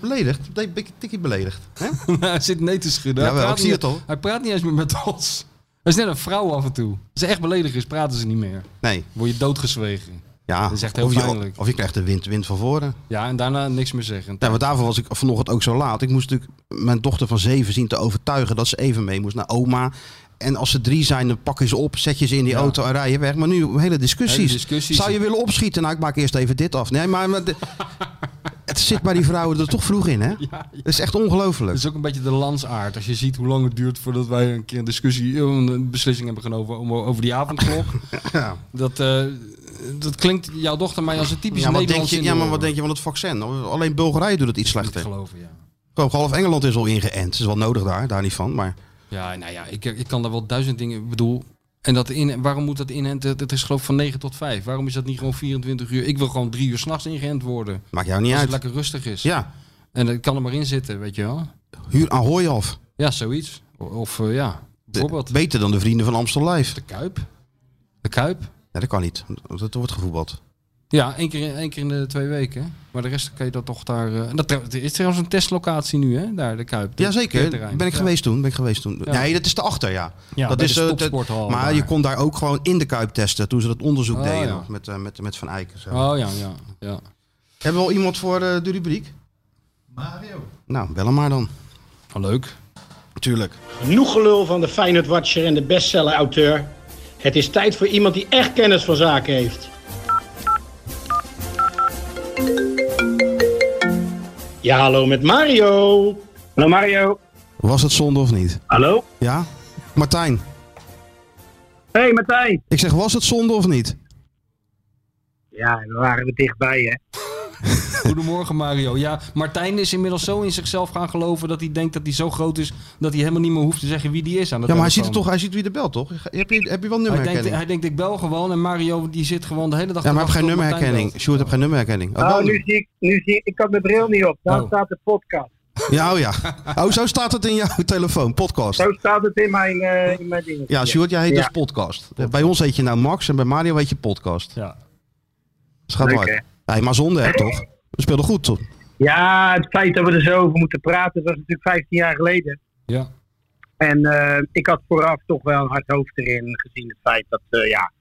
[SPEAKER 2] Beledigd, een beetje- tikkie beledigd.
[SPEAKER 3] [laughs]
[SPEAKER 2] Hè?
[SPEAKER 3] Hij zit nee te schudden.
[SPEAKER 2] Jawel,
[SPEAKER 3] hij
[SPEAKER 2] ik zie
[SPEAKER 3] niet-
[SPEAKER 2] het al.
[SPEAKER 3] Hij praat niet eens meer met ons. Hij is net een vrouw af en toe. Als ze echt beledigd is, praten ze niet meer.
[SPEAKER 2] Nee,
[SPEAKER 3] Word je doodgezwegen.
[SPEAKER 2] ja.
[SPEAKER 3] Dat is echt heel
[SPEAKER 2] of, je,
[SPEAKER 3] pijnlijk.
[SPEAKER 2] of je krijgt de wind, wind van voren.
[SPEAKER 3] Ja, en daarna niks meer zeggen.
[SPEAKER 2] Ja, want daarvoor was ik vanochtend ook zo laat. Ik moest natuurlijk mijn dochter van zeven zien te overtuigen dat ze even mee moest naar oma. En als ze drie zijn, dan pak je ze op, zet je ze in die
[SPEAKER 3] Ja.
[SPEAKER 2] auto en rij je weg. Maar nu hele discussies.
[SPEAKER 3] Hele discussies.
[SPEAKER 2] Zou je willen opschieten? Nou, ik maak eerst even dit af. Nee, maar, maar
[SPEAKER 3] [laughs]
[SPEAKER 2] de- het zit bij die vrouwen er toch vroeg in, hè? Dat is echt
[SPEAKER 3] Dat
[SPEAKER 2] ongelooflijk.
[SPEAKER 3] is ook een beetje de landsaard. Als je ziet hoe lang het duurt voordat wij een keer een discussie, eh, een beslissing hebben genomen om- over die avondklok.
[SPEAKER 2] [laughs] Ja.
[SPEAKER 3] dat, eh, dat klinkt jouw dochter mij als een typisch
[SPEAKER 2] Ja, wat denk
[SPEAKER 3] Nederlands
[SPEAKER 2] je, ja, maar wat denk je van het vaccin? Alleen Bulgarije doet het iets
[SPEAKER 3] Niet te
[SPEAKER 2] slechter.
[SPEAKER 3] geloven, ja.
[SPEAKER 2] Gewoon half Engeland is al ingeënt. Het is wel nodig daar, daar niet van. Maar
[SPEAKER 3] Ja, nou ja, ik, ik kan daar wel duizend dingen. Ik bedoel, en dat in, waarom moet dat inhent? Het het is geloof ik van 9 tot 5. Waarom is dat niet gewoon 24 uur? Ik wil gewoon drie uur s'nachts ingeënt worden.
[SPEAKER 2] maakt jou niet
[SPEAKER 3] Als het
[SPEAKER 2] uit.
[SPEAKER 3] lekker rustig is.
[SPEAKER 2] Ja,
[SPEAKER 3] En ik kan er maar in zitten, weet je wel.
[SPEAKER 2] huur aan hooi af.
[SPEAKER 3] Ja, zoiets. O- Of eh, ja, bijvoorbeeld de,
[SPEAKER 2] Beter dan de vrienden van Amstel Live.
[SPEAKER 3] Kuip. De Kuip.
[SPEAKER 2] Ja, dat kan niet. Dat wordt gevoetbald.
[SPEAKER 3] Ja, één keer, in- één keer in de twee weken. Maar de rest kan je dat toch daar... eh, en dat, er is trouwens een testlocatie nu, hè? Daar, de Kuip. dit
[SPEAKER 2] Jazeker,
[SPEAKER 3] keerterrein.
[SPEAKER 2] ben ik
[SPEAKER 3] Ja.
[SPEAKER 2] geweest toen. Ben ik geweest toen.
[SPEAKER 3] Ja.
[SPEAKER 2] Nee, dat is erachter, ja.
[SPEAKER 3] Ja,
[SPEAKER 2] dat
[SPEAKER 3] bij de
[SPEAKER 2] eh,
[SPEAKER 3] topsporthal
[SPEAKER 2] maar
[SPEAKER 3] daar.
[SPEAKER 2] je kon daar ook gewoon in de Kuip testen toen ze dat onderzoek
[SPEAKER 3] Oh,
[SPEAKER 2] deden
[SPEAKER 3] ja.
[SPEAKER 2] nog met, eh, met, met Van Eyck. Zo.
[SPEAKER 3] Oh ja, ja, ja.
[SPEAKER 2] Hebben we al iemand voor eh, de rubriek?
[SPEAKER 5] Mario.
[SPEAKER 2] Nou, bel hem maar dan.
[SPEAKER 3] Oh, leuk.
[SPEAKER 2] Tuurlijk.
[SPEAKER 6] Genoeg gelul van de Feyenoord Watcher en de bestseller auteur. Het is tijd voor iemand die echt kennis van zaken heeft. Ja, hallo met Mario.
[SPEAKER 7] Hallo Mario.
[SPEAKER 2] Was het zonde of niet?
[SPEAKER 7] Hallo.
[SPEAKER 2] Ja? Martijn,
[SPEAKER 7] Hey Martijn.
[SPEAKER 2] ik zeg was het zonde of niet?
[SPEAKER 7] Ja, we waren er dichtbij hè.
[SPEAKER 3] Goedemorgen Mario. Ja, Martijn is inmiddels zo in zichzelf gaan geloven dat hij denkt dat hij zo groot is dat hij helemaal niet meer hoeft te zeggen wie die is aan de
[SPEAKER 2] Ja, maar hij ziet, het
[SPEAKER 3] telefoon.
[SPEAKER 2] toch, hij ziet wie er belt, toch? Heb je, heb je wel
[SPEAKER 3] Hij denkt,
[SPEAKER 2] nummerherkenning?
[SPEAKER 3] hij denkt ik bel gewoon en Mario die zit gewoon de hele dag
[SPEAKER 2] ja, maar
[SPEAKER 3] te
[SPEAKER 2] hij heeft geen
[SPEAKER 3] wachten op Martijn
[SPEAKER 2] nummerherkenning. Sjoerd heeft geen nummerherkenning.
[SPEAKER 7] Oh,
[SPEAKER 2] wel-
[SPEAKER 7] nu zie ik, nu zie ik, ik had mijn bril niet op. Daar
[SPEAKER 3] Oh.
[SPEAKER 7] staat de podcast.
[SPEAKER 2] Ja, oh ja. Oh, zo staat het in jouw [laughs] telefoon, podcast.
[SPEAKER 7] Zo staat het in mijn, eh in mijn ding.
[SPEAKER 2] Ja, Sjoerd, jij heet
[SPEAKER 7] Ja.
[SPEAKER 2] dus podcast. Bij ons heet je nou Max en bij Mario heet je podcast.
[SPEAKER 3] belt. Ja.
[SPEAKER 2] Het gaat
[SPEAKER 7] Leuk,
[SPEAKER 2] hard. Nee, maar zonde, hè, toch? We speelden goed, toch?
[SPEAKER 7] Ja, het feit dat we er zo over moeten praten, dat was natuurlijk 15 jaar geleden.
[SPEAKER 3] Ja.
[SPEAKER 7] En eh, ik had vooraf toch wel een hard hoofd erin, gezien het feit dat eh, ja,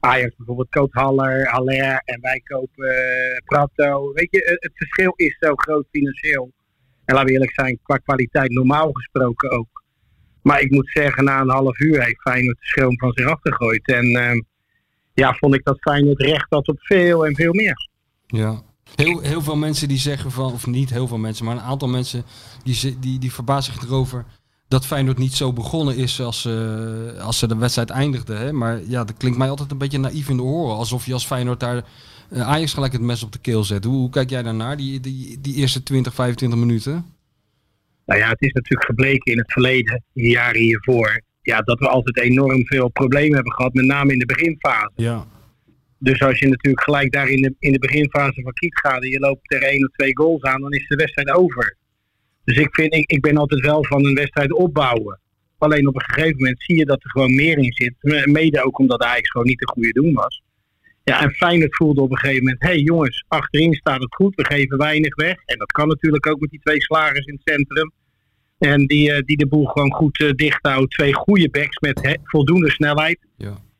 [SPEAKER 7] Ajax bijvoorbeeld koopt Haller, Haller en wij kopen eh, Prato. Weet je, eh, het verschil is zo groot financieel. En laten we eerlijk zijn, qua kwaliteit normaal gesproken ook. Maar ik moet zeggen, na een half uur heeft Feyenoord de schroom van zich afgegooid. En eh, ja, vond ik dat Feyenoord recht had op veel en veel meer.
[SPEAKER 3] Ja. Heel, heel veel mensen die zeggen van, of niet heel veel mensen, maar een aantal mensen die, ze- die, die verbazen zich erover dat Feyenoord niet zo begonnen is als, eh, als ze de wedstrijd eindigden. Hè? Maar ja, dat klinkt mij altijd een beetje naïef in de oren. Alsof je als Feyenoord daar eh, Ajax gelijk het mes op de keel zet. Hoe, hoe kijk jij daarnaar, die, die, die eerste 20, 25 minuten?
[SPEAKER 7] Nou ja, het is natuurlijk gebleken in het verleden, de jaren hiervoor, ja, dat we altijd enorm veel problemen hebben gehad, met name in de beginfase.
[SPEAKER 3] Ja.
[SPEAKER 7] Dus als je natuurlijk gelijk daar in de, in de beginfase van Kiet gaat en je loopt er één of twee goals aan, dan is de wedstrijd over. Dus ik, vind, ik, ik ben altijd wel van een wedstrijd opbouwen. Alleen op een gegeven moment zie je dat er gewoon meer in zit. Me- Mede ook omdat Ajax gewoon niet de goede doen was. Ja, en Feyenoord voelde op een gegeven moment... hé hey jongens, achterin staat het goed, we geven weinig weg. En dat kan natuurlijk ook met die twee slagers in het centrum. En die, eh, die de boel gewoon goed eh, dicht houdt. Twee goede backs met hè, voldoende snelheid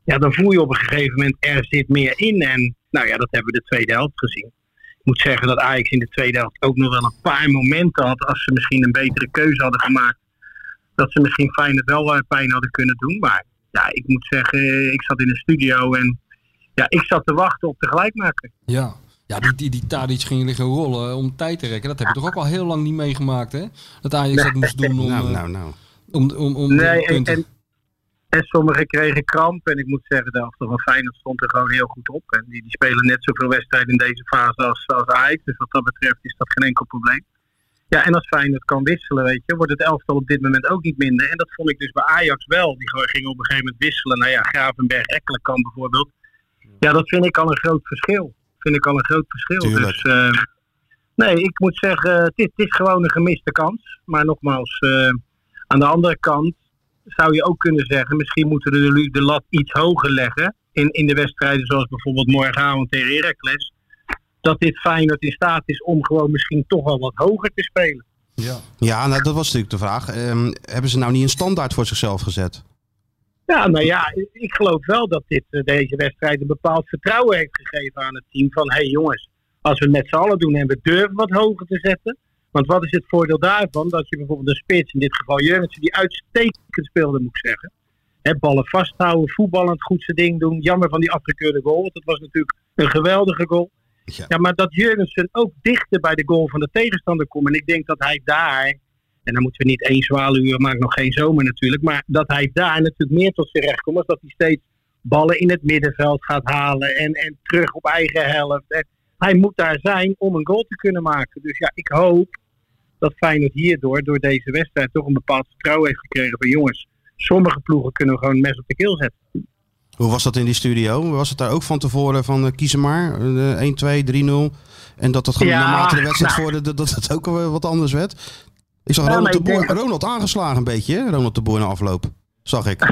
[SPEAKER 7] ja, dan voel je op een gegeven moment er zit meer in. En nou ja, dat hebben we de tweede helft gezien. Ik moet zeggen dat Ajax in de tweede helft ook nog wel een paar momenten had. Als ze misschien een betere keuze hadden gemaakt. Dat ze misschien Feyenoord wel eh, pijn hadden kunnen doen. Maar ja, ik moet zeggen, eh, ik zat in de studio en ja, ik zat te wachten op de gelijkmaker.
[SPEAKER 3] Ja. Ja, die, die, die Tadic ging liggen rollen eh, om tijd te rekken. Dat heb je toch ook al heel lang niet meegemaakt, hè? Dat Ajax dat moest doen om,
[SPEAKER 2] Nou,
[SPEAKER 3] eh,
[SPEAKER 2] nou, nou.
[SPEAKER 3] om, om, om
[SPEAKER 7] Nee, en,
[SPEAKER 3] punten-
[SPEAKER 7] en, en sommigen kregen kramp. En ik moet zeggen, de helft van Feyenoord stond er gewoon heel goed op. En die, die spelen net zoveel wedstrijden in deze fase als, als Ajax. Dus wat dat betreft is dat geen enkel probleem. Ja, en als Feyenoord kan wisselen, weet je, wordt het elftal op dit moment ook niet minder. En dat vond ik dus bij Ajax wel. Die gewoon gingen op een gegeven moment wisselen. Nou ja, Gravenberg, Ekkelenkamp bijvoorbeeld. Ja, dat vind ik al een groot verschil. Vind ik al een groot verschil.
[SPEAKER 2] Tuurlijk.
[SPEAKER 7] Dus eh, nee, ik moet zeggen, eh, het is, het is gewoon een gemiste kans. Maar nogmaals, eh, aan de andere kant zou je ook kunnen zeggen, misschien moeten we de, de lat iets hoger leggen. In, in de wedstrijden zoals bijvoorbeeld morgenavond tegen Heracles. Dat dit Feyenoord in staat is om gewoon misschien toch wel wat hoger te spelen.
[SPEAKER 3] ja.
[SPEAKER 2] Ja, nou, dat was natuurlijk de vraag. Ehm, hebben ze nou niet een standaard voor zichzelf gezet?
[SPEAKER 7] Ja, nou ja, ik geloof wel dat dit, eh, deze wedstrijd een bepaald vertrouwen heeft gegeven aan het team. Van hé hey jongens, als we het met z'n allen doen en we durven wat hoger te zetten. Want wat is het voordeel daarvan? Dat je bijvoorbeeld een spits, in dit geval Jurgensen, die uitstekend speelde, moet ik zeggen. Hè, ballen vasthouden, voetballend goed zijn ding doen. Jammer van die afgekeurde goal, want dat was natuurlijk een geweldige goal.
[SPEAKER 2] Ja.
[SPEAKER 7] Ja, maar dat Jurgensen ook dichter bij de goal van de tegenstander komt. En ik denk dat hij daar en dan moeten we niet één zwaluw, maakt nog geen zomer natuurlijk. Maar dat hij daar natuurlijk meer tot zijn recht komt. Als dat hij steeds ballen in het middenveld gaat halen. En, en terug op eigen helft. En hij moet daar zijn om een goal te kunnen maken. Dus ja, ik hoop dat Feyenoord hierdoor, door deze wedstrijd, toch een bepaald vertrouwen heeft gekregen van jongens. Sommige ploegen kunnen we gewoon een mes op de keel zetten.
[SPEAKER 2] Hoe was dat in die studio? Was het daar ook van tevoren van eh, kiezen maar? eh, 1, 2, 3, 0. En dat dat gewoon
[SPEAKER 7] Ja,
[SPEAKER 2] naarmate de wedstrijd
[SPEAKER 7] nou.
[SPEAKER 2] vorderde, dat het ook wel wat anders werd? Ik zag
[SPEAKER 7] Ja,
[SPEAKER 2] Ronald,
[SPEAKER 7] maar
[SPEAKER 2] de
[SPEAKER 7] ik
[SPEAKER 2] Boer,
[SPEAKER 7] denk-
[SPEAKER 2] Ronald aangeslagen een beetje, hè? Ronald de Boer na afloop. Zag ik.
[SPEAKER 7] [laughs]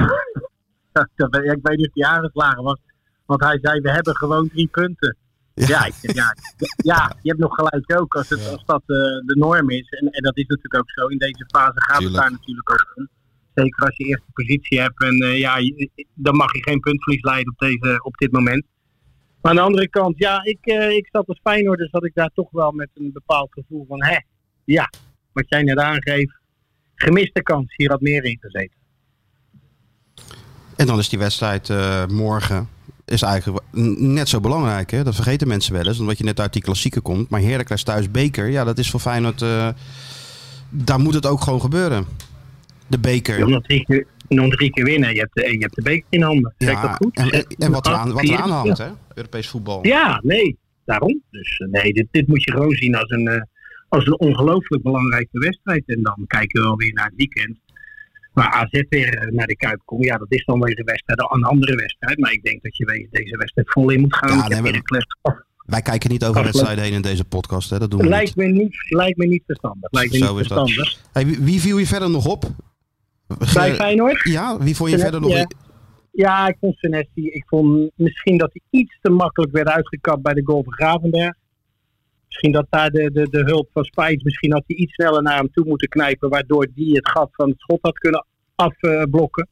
[SPEAKER 7] Dat- dat- Ik weet niet of die aangeslagen was. Want hij zei, we hebben gewoon drie punten.
[SPEAKER 2] Ja.
[SPEAKER 7] Ja, ik zeg, ja, ja, je hebt nog gelijk ook als, het, als dat eh, de norm is. En, en dat is natuurlijk ook zo. In deze fase gaat
[SPEAKER 8] Tuurlijk.
[SPEAKER 7] het daar natuurlijk ook om. Zeker als je eerste positie hebt. En eh, ja, je- dan mag je geen puntverlies leiden op, deze, op dit moment. Maar aan de andere kant, ja, ik, eh, ik zat als Feyenoorder zat ik daar toch wel met een bepaald gevoel van... Hè, ja, wat jij net aangeeft. Gemiste kans. Hier had meer in gezeten.
[SPEAKER 2] En dan is die wedstrijd eh, morgen is eigenlijk n- net zo belangrijk. Hè? Dat vergeten mensen wel eens, omdat je net uit die klassieken komt. Maar Heracles thuis beker, ja, dat is voor Feyenoord... eh, daar moet het ook gewoon gebeuren. De
[SPEAKER 7] Je
[SPEAKER 2] beker.
[SPEAKER 7] wil nog drie keer, nog drie keer winnen. Je hebt, de- je hebt de beker in handen. Zeg ik dat goed?
[SPEAKER 2] en, en- en wat er aan, wat er aan
[SPEAKER 7] Vier?
[SPEAKER 2] hangt, hè? Europees voetbal.
[SPEAKER 7] Ja, nee, daarom. Dus eh, nee, dit, dit moet je gewoon zien als een, eh, als een ongelooflijk belangrijke wedstrijd. En dan kijken we wel weer naar het weekend. Waar AZ weer eh, naar de Kuip komt. Ja, dat is dan weer een wedstrijd, een andere wedstrijd. Maar ik denk dat je weer deze wedstrijd vol in moet gaan.
[SPEAKER 2] Ja,
[SPEAKER 7] Ik
[SPEAKER 2] nee,
[SPEAKER 7] heb
[SPEAKER 2] maar-
[SPEAKER 7] Heracles-
[SPEAKER 2] Wij kijken niet over
[SPEAKER 7] Afgelopen-
[SPEAKER 2] wedstrijden heen in deze podcast, hè? Dat doen we
[SPEAKER 7] lijkt,
[SPEAKER 2] niet.
[SPEAKER 7] me niet, lijkt me niet verstandig. Lijkt me
[SPEAKER 2] Zo
[SPEAKER 7] niet
[SPEAKER 2] is dat.
[SPEAKER 7] verstandig.
[SPEAKER 2] Hey, wie, wie viel je verder nog op?
[SPEAKER 7] Bij
[SPEAKER 2] Ge-
[SPEAKER 7] Feyenoord?
[SPEAKER 2] Ja, wie vond je
[SPEAKER 7] Ja.
[SPEAKER 2] verder nog?
[SPEAKER 7] Ja. Ja, ik vond Senesi. Ik vond misschien dat hij iets te makkelijk werd uitgekapt bij de goal van Gravenberg. Misschien dat daar de, de, de hulp van Spijs, misschien had hij iets sneller naar hem toe moeten knijpen, waardoor die het gat van het schot had kunnen afblokken.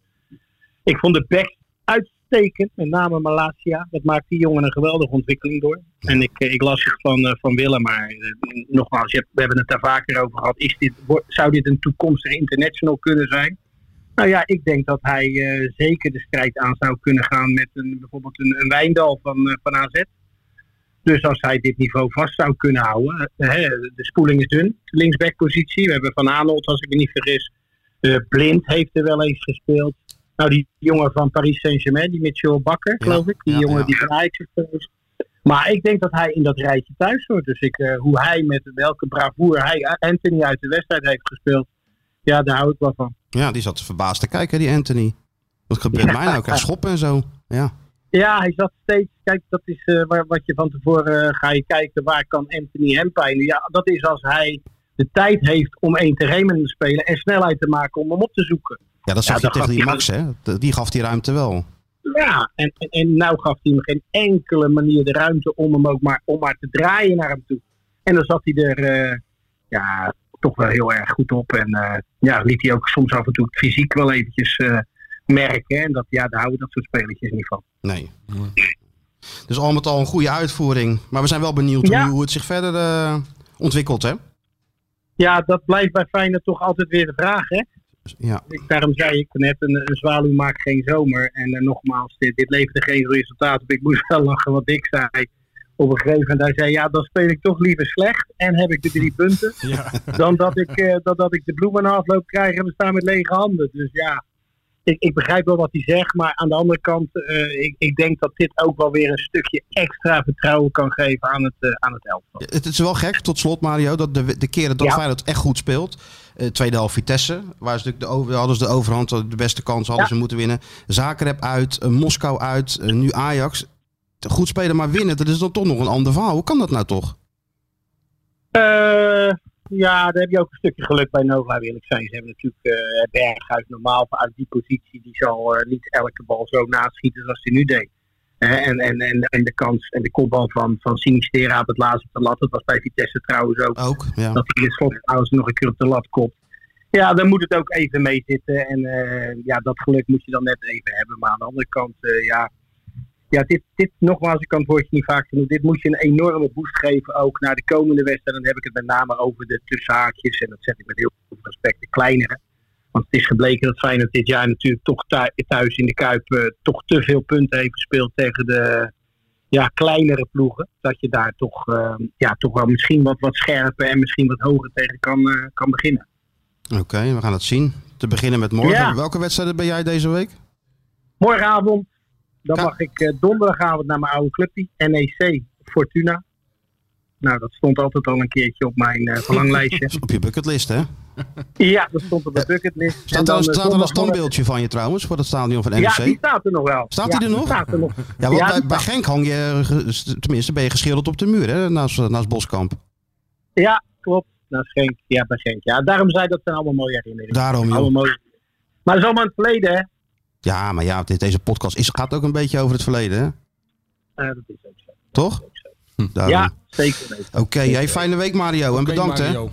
[SPEAKER 7] ik vond de back uitstekend, met name Malasia. Dat maakt die jongen een geweldige ontwikkeling door. En ik, eh, ik las het van, eh, van Willem, maar eh, nogmaals, je hebt- we hebben het daar vaker over gehad. Is dit, wordt- zou dit een toekomstige international kunnen zijn? Nou ja, ik denk dat hij eh, zeker de strijd aan zou kunnen gaan met een, bijvoorbeeld een, een Wijndal van, eh, van AZ. Dus als hij dit niveau vast zou kunnen houden. eh, hè, de spoeling is dun, de linksbackpositie. We hebben Van Aanholt, als ik me niet vergis. Eh, Blind heeft er wel eens gespeeld. Nou, die jongen van Paris Saint-Germain, die Mitchell Bakker,
[SPEAKER 2] Ja,
[SPEAKER 7] geloof ik. Die
[SPEAKER 2] ja,
[SPEAKER 7] jongen
[SPEAKER 2] ja.
[SPEAKER 7] die van Ajax is geweest. Maar ik denk dat hij in dat rijtje thuis hoort. Dus ik, eh, hoe hij met welke bravoer hij Anthony uit de wedstrijd heeft gespeeld. Ja, daar hou ik wel van.
[SPEAKER 2] Ja, die zat verbaasd te kijken, die Anthony. Wat gebeurt mij nou? Ik krijg schoppen en zo. Ja.
[SPEAKER 7] Ja, hij zat steeds. Kijk, dat is eh, waar, wat je van tevoren eh, ga je kijken. Waar kan Anthony hem pijnen? Ja, dat is als hij de tijd heeft om één terrein met hem te spelen en snelheid te maken om hem op te zoeken.
[SPEAKER 2] ja, dat zag je
[SPEAKER 7] Ja, dat
[SPEAKER 2] tegen
[SPEAKER 7] gaf
[SPEAKER 2] die
[SPEAKER 7] hij
[SPEAKER 2] Max, hè? De- Die gaf die ruimte wel.
[SPEAKER 7] Ja, en, en, en nou gaf hij hem geen enkele manier de ruimte om hem ook maar, om maar te draaien naar hem toe. En dan zat hij er eh, ja, toch wel heel erg goed op. En eh, ja, liet hij ook soms af en toe het fysiek wel eventjes eh, merken. En dat, ja, daar houden dat soort spelletjes niet van.
[SPEAKER 2] Nee. Dus al met al een goede uitvoering. Maar we zijn wel benieuwd
[SPEAKER 7] Ja.
[SPEAKER 2] hoe, hoe het zich verder eh, ontwikkelt, hè?
[SPEAKER 7] Ja, dat blijft bij Feyenoord toch altijd weer de vraag, hè?
[SPEAKER 2] Ja.
[SPEAKER 7] Ik, Dus daarom zei ik net, een, een zwaluw maakt geen zomer. En eh, nogmaals, dit, dit leverde geen resultaat op. Ik moest wel lachen wat ik zei. Op een gegeven moment, hij zei, ja, dan speel ik toch liever slecht. En heb ik de drie punten. Dan dat ik, eh, dan dat ik de bloemen na afloop krijg en we staan met lege handen. Dus ja, ik, ik begrijp wel wat hij zegt. Maar aan de andere kant, eh, ik, ik denk dat dit ook wel weer een stukje extra vertrouwen kan geven aan het, eh, aan het elftal.
[SPEAKER 2] Het is wel gek, tot slot Mario, dat de, de keren dat
[SPEAKER 7] Ja.
[SPEAKER 2] Feyenoord echt goed speelt. eh, tweede half Vitesse, waar ze natuurlijk de, over, hadden ze de overhand, hadden de beste kans hadden
[SPEAKER 7] Ja.
[SPEAKER 2] ze moeten winnen. Zagreb uit, eh, Moskou uit, eh, nu Ajax. Goed spelen, maar winnen, dat is dan toch nog een ander verhaal. Hoe kan dat nou toch?
[SPEAKER 7] Eh, ja, daar heb je ook een stukje geluk bij Nova, wil ik zijn. Ze hebben natuurlijk eh Berghuis normaal uit die positie. Die zal eh, niet elke bal zo naschieten zoals hij nu deed. Eh, en, en, en, en de kans en de kopbal van, van Sinistera op het laatste op de lat. Dat was bij Vitesse trouwens ook.
[SPEAKER 2] Ook, ja.
[SPEAKER 7] Dat hij in het slot trouwens nog een keer op de lat kopt. Ja, daar moet het ook even mee zitten. En eh, ja, dat geluk moet je dan net even hebben. Maar aan de andere kant, eh, ja. Ja, dit, dit, nogmaals, ik kan het woordje niet vaak genoeg. Dit moet je een enorme boost geven ook naar de komende wedstrijd. Dan heb ik het met name over de tussenhaakjes. En dat zet ik met heel veel respect, de kleinere. Want het is gebleken dat Feyenoord dit jaar natuurlijk toch thu- thuis in de Kuip eh, toch te veel punten heeft gespeeld tegen de ja, kleinere ploegen. Dat je daar toch, eh, ja, toch wel misschien wat, wat scherper en misschien wat hoger tegen kan, eh, kan beginnen.
[SPEAKER 2] Oké, we gaan het zien. Te beginnen met morgen.
[SPEAKER 7] Ja.
[SPEAKER 2] Welke wedstrijden ben jij deze week?
[SPEAKER 7] Morgenavond, dan
[SPEAKER 2] Ka-
[SPEAKER 7] mag ik eh, donderdagavond naar mijn oude clubje, NEC Fortuna. Nou, dat stond altijd al een keertje op mijn eh,
[SPEAKER 2] [laughs]
[SPEAKER 7] verlanglijstje.
[SPEAKER 2] Op je bucketlist, hè?
[SPEAKER 7] ja, dat stond op de bucketlist. En
[SPEAKER 2] Staat er,
[SPEAKER 7] dan, eh,
[SPEAKER 2] staat er een
[SPEAKER 7] zondagmorgen-
[SPEAKER 2] standbeeldje van je trouwens voor dat stadion van NEC?
[SPEAKER 7] Ja, die staat er nog wel.
[SPEAKER 2] E Staat
[SPEAKER 7] Ja,
[SPEAKER 2] die er nog?
[SPEAKER 7] staat er nog.
[SPEAKER 2] Ja, want
[SPEAKER 7] Ja,
[SPEAKER 2] bij,
[SPEAKER 7] die
[SPEAKER 2] bij
[SPEAKER 7] staat-
[SPEAKER 2] Genk hang je, eh, ge- tenminste ben je geschilderd op de muur hè, naast, eh, naast Boskamp.
[SPEAKER 7] Ja, klopt. Nou, Genk. Ja, bij Genk. Ja, daarom zei ik, dat zijn allemaal mooie herinneringen.
[SPEAKER 2] Daarom, joh.
[SPEAKER 7] Allemaal mooie. Maar dat is allemaal in het verleden, hè?
[SPEAKER 2] Ja, maar ja, dit, deze podcast is, gaat ook een beetje over het verleden, hè?
[SPEAKER 7] Eh, dat is ook zo.
[SPEAKER 2] toch? Daarom.
[SPEAKER 7] Ja, zeker weten.
[SPEAKER 2] Oké, hey, fijne week Mario. en
[SPEAKER 3] Oké,
[SPEAKER 2] bedankt hè.
[SPEAKER 3] Mario.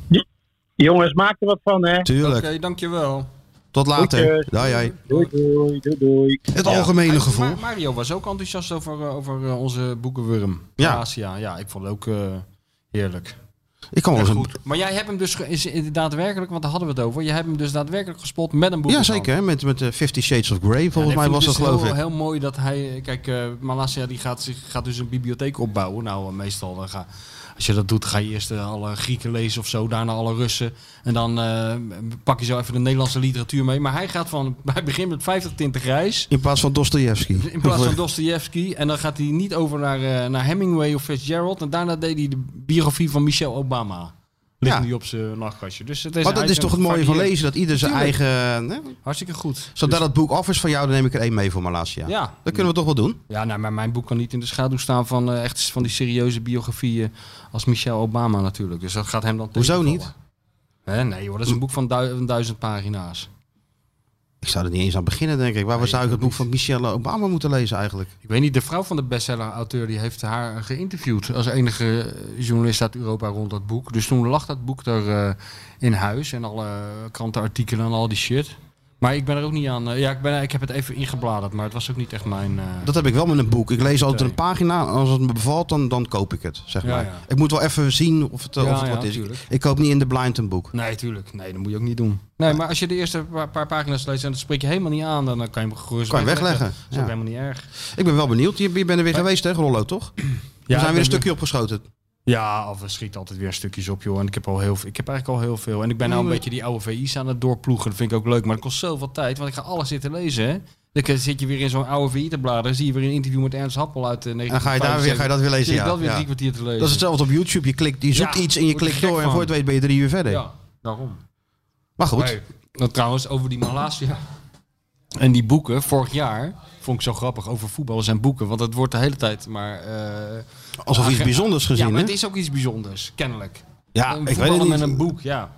[SPEAKER 7] Jongens, maak er wat van, hè.
[SPEAKER 3] Oké,
[SPEAKER 2] Tuurlijk.
[SPEAKER 3] dankjewel.
[SPEAKER 2] Tot later.
[SPEAKER 7] Groetjes.
[SPEAKER 2] Doei, doei.
[SPEAKER 7] Doei, doei, doei, doei.
[SPEAKER 2] Het algemene
[SPEAKER 3] Hey,
[SPEAKER 2] gevoel.
[SPEAKER 3] Ma- Mario was ook enthousiast over, eh, over eh, onze boekenwurm.
[SPEAKER 2] Ja.
[SPEAKER 3] Ja. Asia. Ja, ik vond het ook eh, heerlijk.
[SPEAKER 2] Ik kan wel
[SPEAKER 3] Echt
[SPEAKER 2] eens een...
[SPEAKER 3] goed. Maar jij hebt hem dus ge- is is daadwerkelijk, want daar hadden we het over. Jij hebt hem dus daadwerkelijk gespot met een boek.
[SPEAKER 2] Ja, zeker. hè, Met, met eh, Fifty Shades of Grey
[SPEAKER 3] Ja,
[SPEAKER 2] volgens
[SPEAKER 3] nee,
[SPEAKER 2] mij
[SPEAKER 3] ik
[SPEAKER 2] was dat
[SPEAKER 3] vond het dus
[SPEAKER 2] geloof ik.
[SPEAKER 3] heel, heel mooi dat hij... Kijk, eh Malasia die gaat, zich, gaat dus een bibliotheek opbouwen. Nou, eh, meestal eh, ga, als je dat doet, ga je eerst eh, alle Grieken lezen of zo. Daarna alle Russen. En dan eh, pak je zo even de Nederlandse literatuur mee. Maar hij gaat van... [laughs] Hij begint met 50 tinten grijs.
[SPEAKER 2] In plaats van Dostoevsky.
[SPEAKER 3] In plaats
[SPEAKER 2] [laughs]
[SPEAKER 3] van Dostoevsky. En dan gaat hij niet over naar, eh, naar Hemingway of Fitzgerald. En daarna deed hij de biografie van Michelle Obama. Ligt
[SPEAKER 2] Ja.
[SPEAKER 3] nu op zijn nachtkastje. Dus het is,
[SPEAKER 2] maar
[SPEAKER 3] hij
[SPEAKER 2] dat is toch het mooie van
[SPEAKER 3] varieert.
[SPEAKER 2] lezen, dat ieder zijn
[SPEAKER 3] Tuurlijk.
[SPEAKER 2] eigen... eh, Hè?
[SPEAKER 3] Hartstikke goed.
[SPEAKER 2] Zodra dat boek af is van jou, dan neem ik er één mee voor Malasia.
[SPEAKER 3] Dus- Ja.
[SPEAKER 2] Dat kunnen we toch wel doen?
[SPEAKER 3] Ja, nou, maar mijn boek kan niet in de schaduw staan van, eh, echt van die serieuze biografieën als Michelle Obama natuurlijk. Dus dat gaat hem dan
[SPEAKER 2] Hoezo
[SPEAKER 3] tegenvallen.
[SPEAKER 2] niet?
[SPEAKER 3] Hè, nee hoor, dat is een boek van du- duizend pagina's.
[SPEAKER 2] Ik zou er niet eens aan beginnen, denk ik. Waar zou ik het boek van Michelle Obama moeten lezen eigenlijk?
[SPEAKER 3] Ik weet niet, de vrouw van de bestseller-auteur die heeft haar geïnterviewd als enige eh, journalist uit Europa rond dat boek. Dus toen lag dat boek er eh, in huis en alle krantenartikelen en al die shit. Maar ik ben er ook niet aan. eh, ja, ik, ben, ik heb het even ingebladerd, maar het was ook niet echt mijn. eh,
[SPEAKER 2] Dat heb ik wel met een boek. Ik lees altijd
[SPEAKER 3] Oké.
[SPEAKER 2] een pagina. Als het me bevalt, dan, dan koop ik het, zeg
[SPEAKER 3] Ja,
[SPEAKER 2] maar.
[SPEAKER 3] ja.
[SPEAKER 2] Ik moet wel even zien of het, eh,
[SPEAKER 3] Ja,
[SPEAKER 2] of het
[SPEAKER 3] ja,
[SPEAKER 2] wat is. Ik,
[SPEAKER 3] tuurlijk.
[SPEAKER 2] ik koop niet in de blind een boek.
[SPEAKER 3] Nee, tuurlijk. Nee, dat moet je ook niet doen. Nee, maar als je de eerste paar, paar pagina's leest en dat spreek je helemaal niet aan, dan eh, kan je hem gerust
[SPEAKER 2] Kan je
[SPEAKER 3] Dat
[SPEAKER 2] wegleggen,
[SPEAKER 3] is ook
[SPEAKER 2] ja.
[SPEAKER 3] helemaal niet erg.
[SPEAKER 2] Ik ben wel benieuwd. Je, je bent er weer geweest, hè, Rollo, toch? we zijn weer een stukje opgeschoten.
[SPEAKER 3] Ja, of we schieten altijd weer stukjes op, joh. En ik heb, al heel, veel- ik heb eigenlijk al heel veel. En ik ben nou een beetje die oude VI's aan het doorploegen. Dat vind ik ook leuk, maar het kost zoveel tijd, want ik ga alles zitten lezen, hè. Dan zit je weer in zo'n oude VI te bladeren. Zie je weer een interview met Ernst Happel uit eh, 1975.
[SPEAKER 2] En ga je, daar weer, ga je dat weer lezen?
[SPEAKER 3] Zit ik
[SPEAKER 2] Ja.
[SPEAKER 3] dat weer
[SPEAKER 2] ja.
[SPEAKER 3] drie kwartier te lezen.
[SPEAKER 2] Dat is hetzelfde op YouTube. Je, klikt, je zoekt
[SPEAKER 3] Ja,
[SPEAKER 2] iets en je
[SPEAKER 3] word je
[SPEAKER 2] klikt
[SPEAKER 3] gek
[SPEAKER 2] door. En
[SPEAKER 3] van.
[SPEAKER 2] voor het weet ben je drie uur verder.
[SPEAKER 3] Ja, daarom.
[SPEAKER 2] Maar goed.
[SPEAKER 3] Hey, nou, trouwens, over die Malasia. En die boeken, vorig jaar, vond ik zo grappig over voetballers en boeken. Want het wordt de hele tijd maar... eh,
[SPEAKER 2] Alsof iets
[SPEAKER 3] agen-
[SPEAKER 2] bijzonders gezien,
[SPEAKER 3] Ja, maar
[SPEAKER 2] hè?
[SPEAKER 3] het is ook iets bijzonders, kennelijk.
[SPEAKER 2] Ja,
[SPEAKER 3] Een
[SPEAKER 2] ik weet het
[SPEAKER 3] voetballer
[SPEAKER 2] niet.
[SPEAKER 3] met een boek, ja.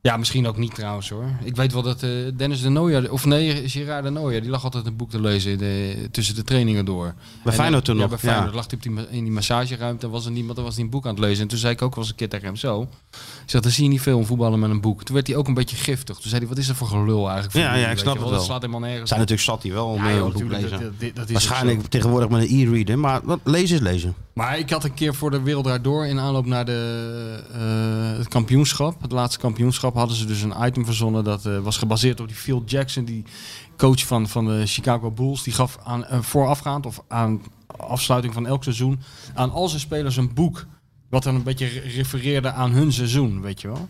[SPEAKER 3] Ja, misschien ook niet trouwens hoor. Ik weet wel dat eh, Dennis de Nooijer, of nee, Gerard de Nooijer, die lag altijd een boek te lezen in de- tussen de trainingen door. En,
[SPEAKER 2] Feyenoord
[SPEAKER 3] eh,
[SPEAKER 2] toen
[SPEAKER 3] ja,
[SPEAKER 2] nog,
[SPEAKER 3] Bij
[SPEAKER 2] ja.
[SPEAKER 3] Feyenoord lag hij op die, ma- in die massageruimte en was er niemand, dan was hij een boek aan het lezen. En toen zei ik ook wel eens een keer tegen hem zo. Ik zeg, dan zie je niet veel een voetballer met een boek. Toen werd hij ook een beetje giftig. Toen zei hij, wat is dat voor gelul eigenlijk? voor
[SPEAKER 2] Ja,
[SPEAKER 3] jullie,
[SPEAKER 2] ja, ik
[SPEAKER 3] weet
[SPEAKER 2] snap
[SPEAKER 3] je
[SPEAKER 2] het
[SPEAKER 3] Dat
[SPEAKER 2] wel.
[SPEAKER 3] slaat helemaal nergens.
[SPEAKER 2] zijn
[SPEAKER 3] op.
[SPEAKER 2] natuurlijk zat die wel om
[SPEAKER 3] Ja,
[SPEAKER 2] eh,
[SPEAKER 3] joh,
[SPEAKER 2] een boek
[SPEAKER 3] natuurlijk,
[SPEAKER 2] lezen.
[SPEAKER 3] dat- dat- dat is ook
[SPEAKER 2] Waarschijnlijk
[SPEAKER 3] zo.
[SPEAKER 2] tegenwoordig met een e-reader. Maar wat, lezen is lezen.
[SPEAKER 3] Maar ik had een keer voor de Wereld Draait Door in aanloop naar de, eh, het kampioenschap, het laatste kampioenschap, hadden ze dus een item verzonnen dat eh, was gebaseerd op die Phil Jackson, die coach van, van de Chicago Bulls. Die gaf aan, eh, voorafgaand of aan afsluiting van elk seizoen aan al zijn spelers een boek. Wat dan een beetje re- refereerde aan hun seizoen, weet je wel.